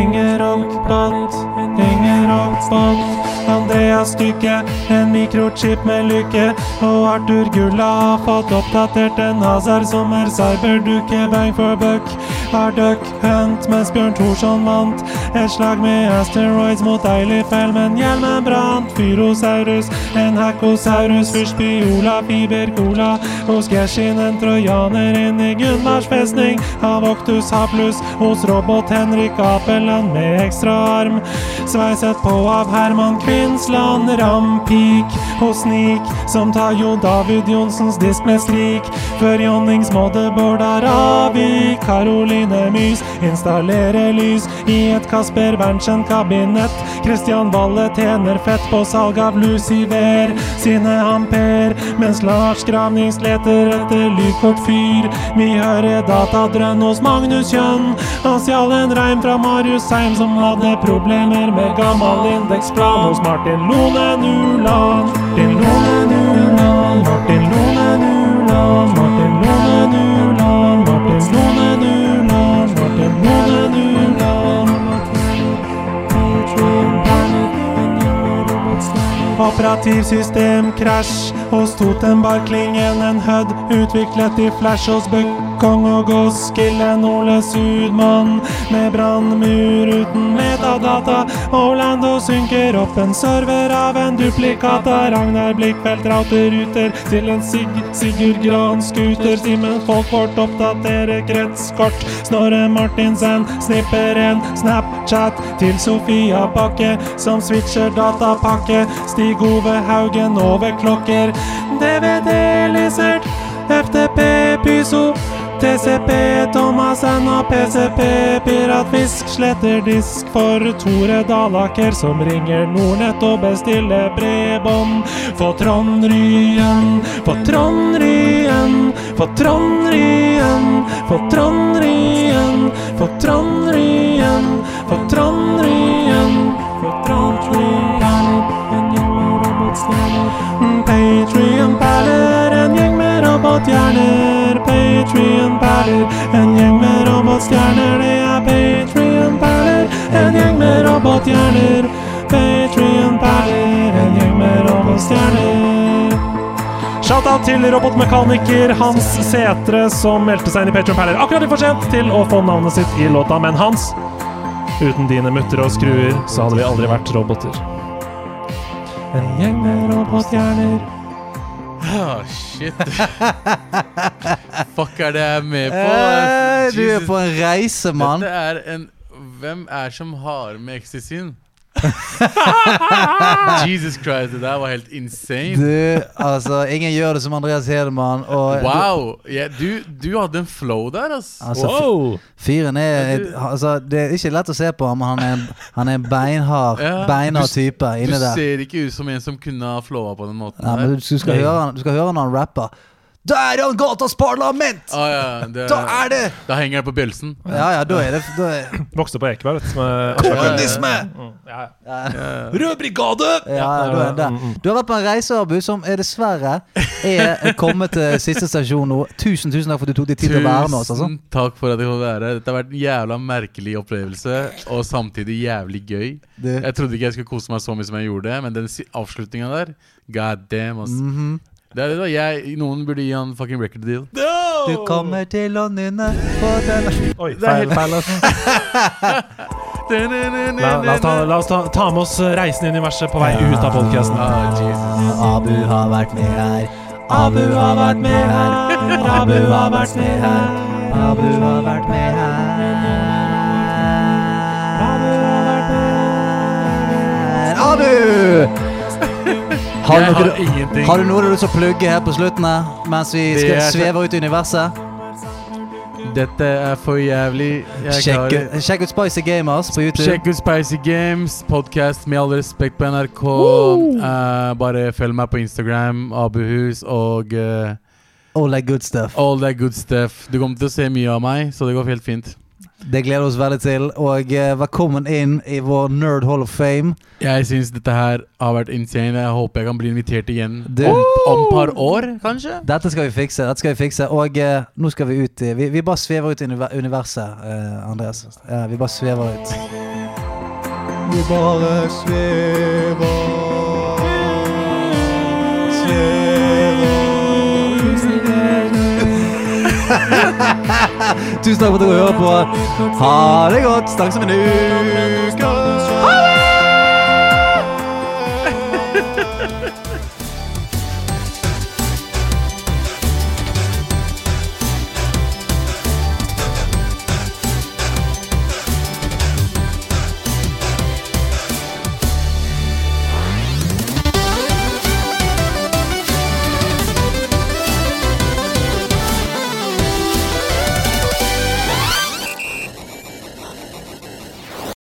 [SPEAKER 5] Inger Rockbot, Inger Rockbot. Andreas Dykke, en mikrochip med lykke. Og Arthur Gulla har fått oppdatert en Hazar som er cyberdukke. Bang for buck har duck hunt, mens Bjørn Thorsson vant. Et slag med asteroids mot Eilifel, men hjelmen brant. Fyrosaurus, en hackosaurus, fyrstby Ola, fiber-cola. Hos Gershin en trojaner inn i Gunnars festning. Av Oktus Haplus hos robot-Henrik Apeland med ekstra arm. Sveiset på av Herman Kvinsland, rampik hos Snik, som tar jo David Johnsens disk med skrik. Før Jonnings Bård er avvik. Karoline Mys installerer lys i et Kasper Berntsen-kabinett. Christian Valle tjener fett på salg av Lucifer sine amper, mens Lars Gravnings leter etter lydkort fyr. Vi hører datadrønn hos Magnus Kjønn. Han stjal en reim fra Marius Heim, som hadde problemer med gammel indeksplan hos Martin Lonen Uland. Martin Lonen Uland, Martin Lonen Uland, Martin Lonen Uland, Martin Lonen Uland, Martin Lonen Uland. Operativsystem krasj hos Totenbar-klingen en hødd utviklet i flash hos Bøkkong og Goskillen Ole Sudmann med brannmur uten metadata Orlando synker opp en server av en duplikata Ragnar Blikkfeldt router ruter til en Sig Sigurd Gran scooter Simen Folkvort oppdaterer kretskort Snorre Martinsen snipper en Snapchat til Sofia Bakke som switcher datapakke Stig Ove Haugen overklokker DVD-lisert FTP Pyso TCP Thomassen og PCP Piratfisk sletter disk for Tore Dalaker som ringer Nordnett og bestiller bredbånd For Trond Ryen, for Trond Ryen, for Trond Ryen, for Trond Ryen, for Trond Ryen, for Trond Ryen, for Trond Ryen. En gjeng med robotstjerner. Patrion-perler, en gjeng med robothjerner. Patrion-perler, en gjeng med robotstjerner. Det er Patrion-perler, en gjeng med robothjerner. Patrion-perler, en gjeng med robotstjerner. Shout-out til robotmekaniker Hans Setre, som meldte seg inn i Patreon Perler akkurat i for sent til å få navnet sitt i låta. Men Hans, uten dine mutter og skruer, så hadde vi aldri vært roboter. En gjeng med robothjerner
[SPEAKER 7] Ah, shit. Fuck er det jeg er med på?
[SPEAKER 2] Eh, du er
[SPEAKER 7] Jesus.
[SPEAKER 2] på en reise, mann.
[SPEAKER 7] Dette er en Hvem er som har med ecstasyen? Jesus Christ, det der var helt insane.
[SPEAKER 2] Du, altså, ingen gjør det som Andreas Hedemann. Og
[SPEAKER 7] Wow. Ja, du, du hadde en flow der, ass.
[SPEAKER 2] Altså,
[SPEAKER 1] Wow!
[SPEAKER 2] Fyren er altså, Det er ikke lett å se på ham, men han er en, han er en beinhard,
[SPEAKER 7] Ja.
[SPEAKER 2] beinhard
[SPEAKER 7] Du-
[SPEAKER 2] type
[SPEAKER 7] Du
[SPEAKER 2] inni der.
[SPEAKER 7] ser ikke ut som en som kunne ha flowa på den måten.
[SPEAKER 2] Ja, men du,
[SPEAKER 7] der.
[SPEAKER 2] du, skal høre, han- du skal høre når han rapper. Der er gatas parlament!
[SPEAKER 7] Ah, ja, det,
[SPEAKER 2] Da er det
[SPEAKER 7] Da henger det på bjølsen.
[SPEAKER 2] Ja, ja, da er det da er,
[SPEAKER 1] Vokste på Ekeberg, vet du. Med
[SPEAKER 2] Kommunisme!
[SPEAKER 1] Ja, ja.
[SPEAKER 7] Rød brigade!
[SPEAKER 2] Ja, da er det
[SPEAKER 7] Mm,
[SPEAKER 2] det. Du har vært på en reise, Abu, som er dessverre er kommet til siste stasjon nå. Tusen tusen takk for at du tok deg tid til å være med oss. Altså.
[SPEAKER 7] Tusen takk for at jeg fikk være her. Dette har vært en jævla merkelig opplevelse, og samtidig jævlig gøy.
[SPEAKER 2] Det-
[SPEAKER 7] Jeg trodde ikke jeg skulle kose meg så mye som jeg gjorde, men den si- avslutninga der God damn, ass. Det er det da, jeg, Noen burde gi han fucking record deal.
[SPEAKER 2] Du kommer til å nynne på den
[SPEAKER 1] Oi, feil, feil. altså. La, la oss, ta, la oss ta, ta med oss reisen inn i verset på vei ut av podkasten.
[SPEAKER 7] Ah, Jesus.
[SPEAKER 2] Abu har vært med her. Abu har vært med her. Abu har vært med her. Abu har vært med her. Abu! Har
[SPEAKER 7] Jeg
[SPEAKER 2] du,
[SPEAKER 7] har
[SPEAKER 2] noe, du-
[SPEAKER 7] ingenting.
[SPEAKER 2] har du noe du har lyst til å plugge her på slutten her, mens vi
[SPEAKER 7] Det
[SPEAKER 2] skal
[SPEAKER 7] er-
[SPEAKER 2] sveve ut i universet?
[SPEAKER 7] Dette er for jævlig. Jeg
[SPEAKER 2] Sjekk,
[SPEAKER 7] klarer-
[SPEAKER 2] ut- sjekk ut Spicy Gamers på YouTube.
[SPEAKER 7] Sjekk ut Spicy Games, podkast med all respekt på NRK. Eh, bare følg meg på Instagram, Abuhus og eh,
[SPEAKER 2] All that good stuff.
[SPEAKER 7] all that good stuff. Du kommer til å se mye av meg, så det går helt fint.
[SPEAKER 2] Det gleder vi oss veldig til. Og eh, velkommen inn i vår Nerd Hall of Fame.
[SPEAKER 7] Jeg syns dette her har vært insane. Jeg håper jeg kan bli invitert igjen
[SPEAKER 2] Du-
[SPEAKER 7] om, om par år, kanskje.
[SPEAKER 2] Dette skal vi fikse. dette skal vi fikse Og eh, nå skal vi ut i Vi, vi bare svever ut i univer- universet, eh, Andreas. Ja, vi bare svever ut. Vi bare svever Tusen takk for at dere hører på. Ha det godt. Snakkes om en uke.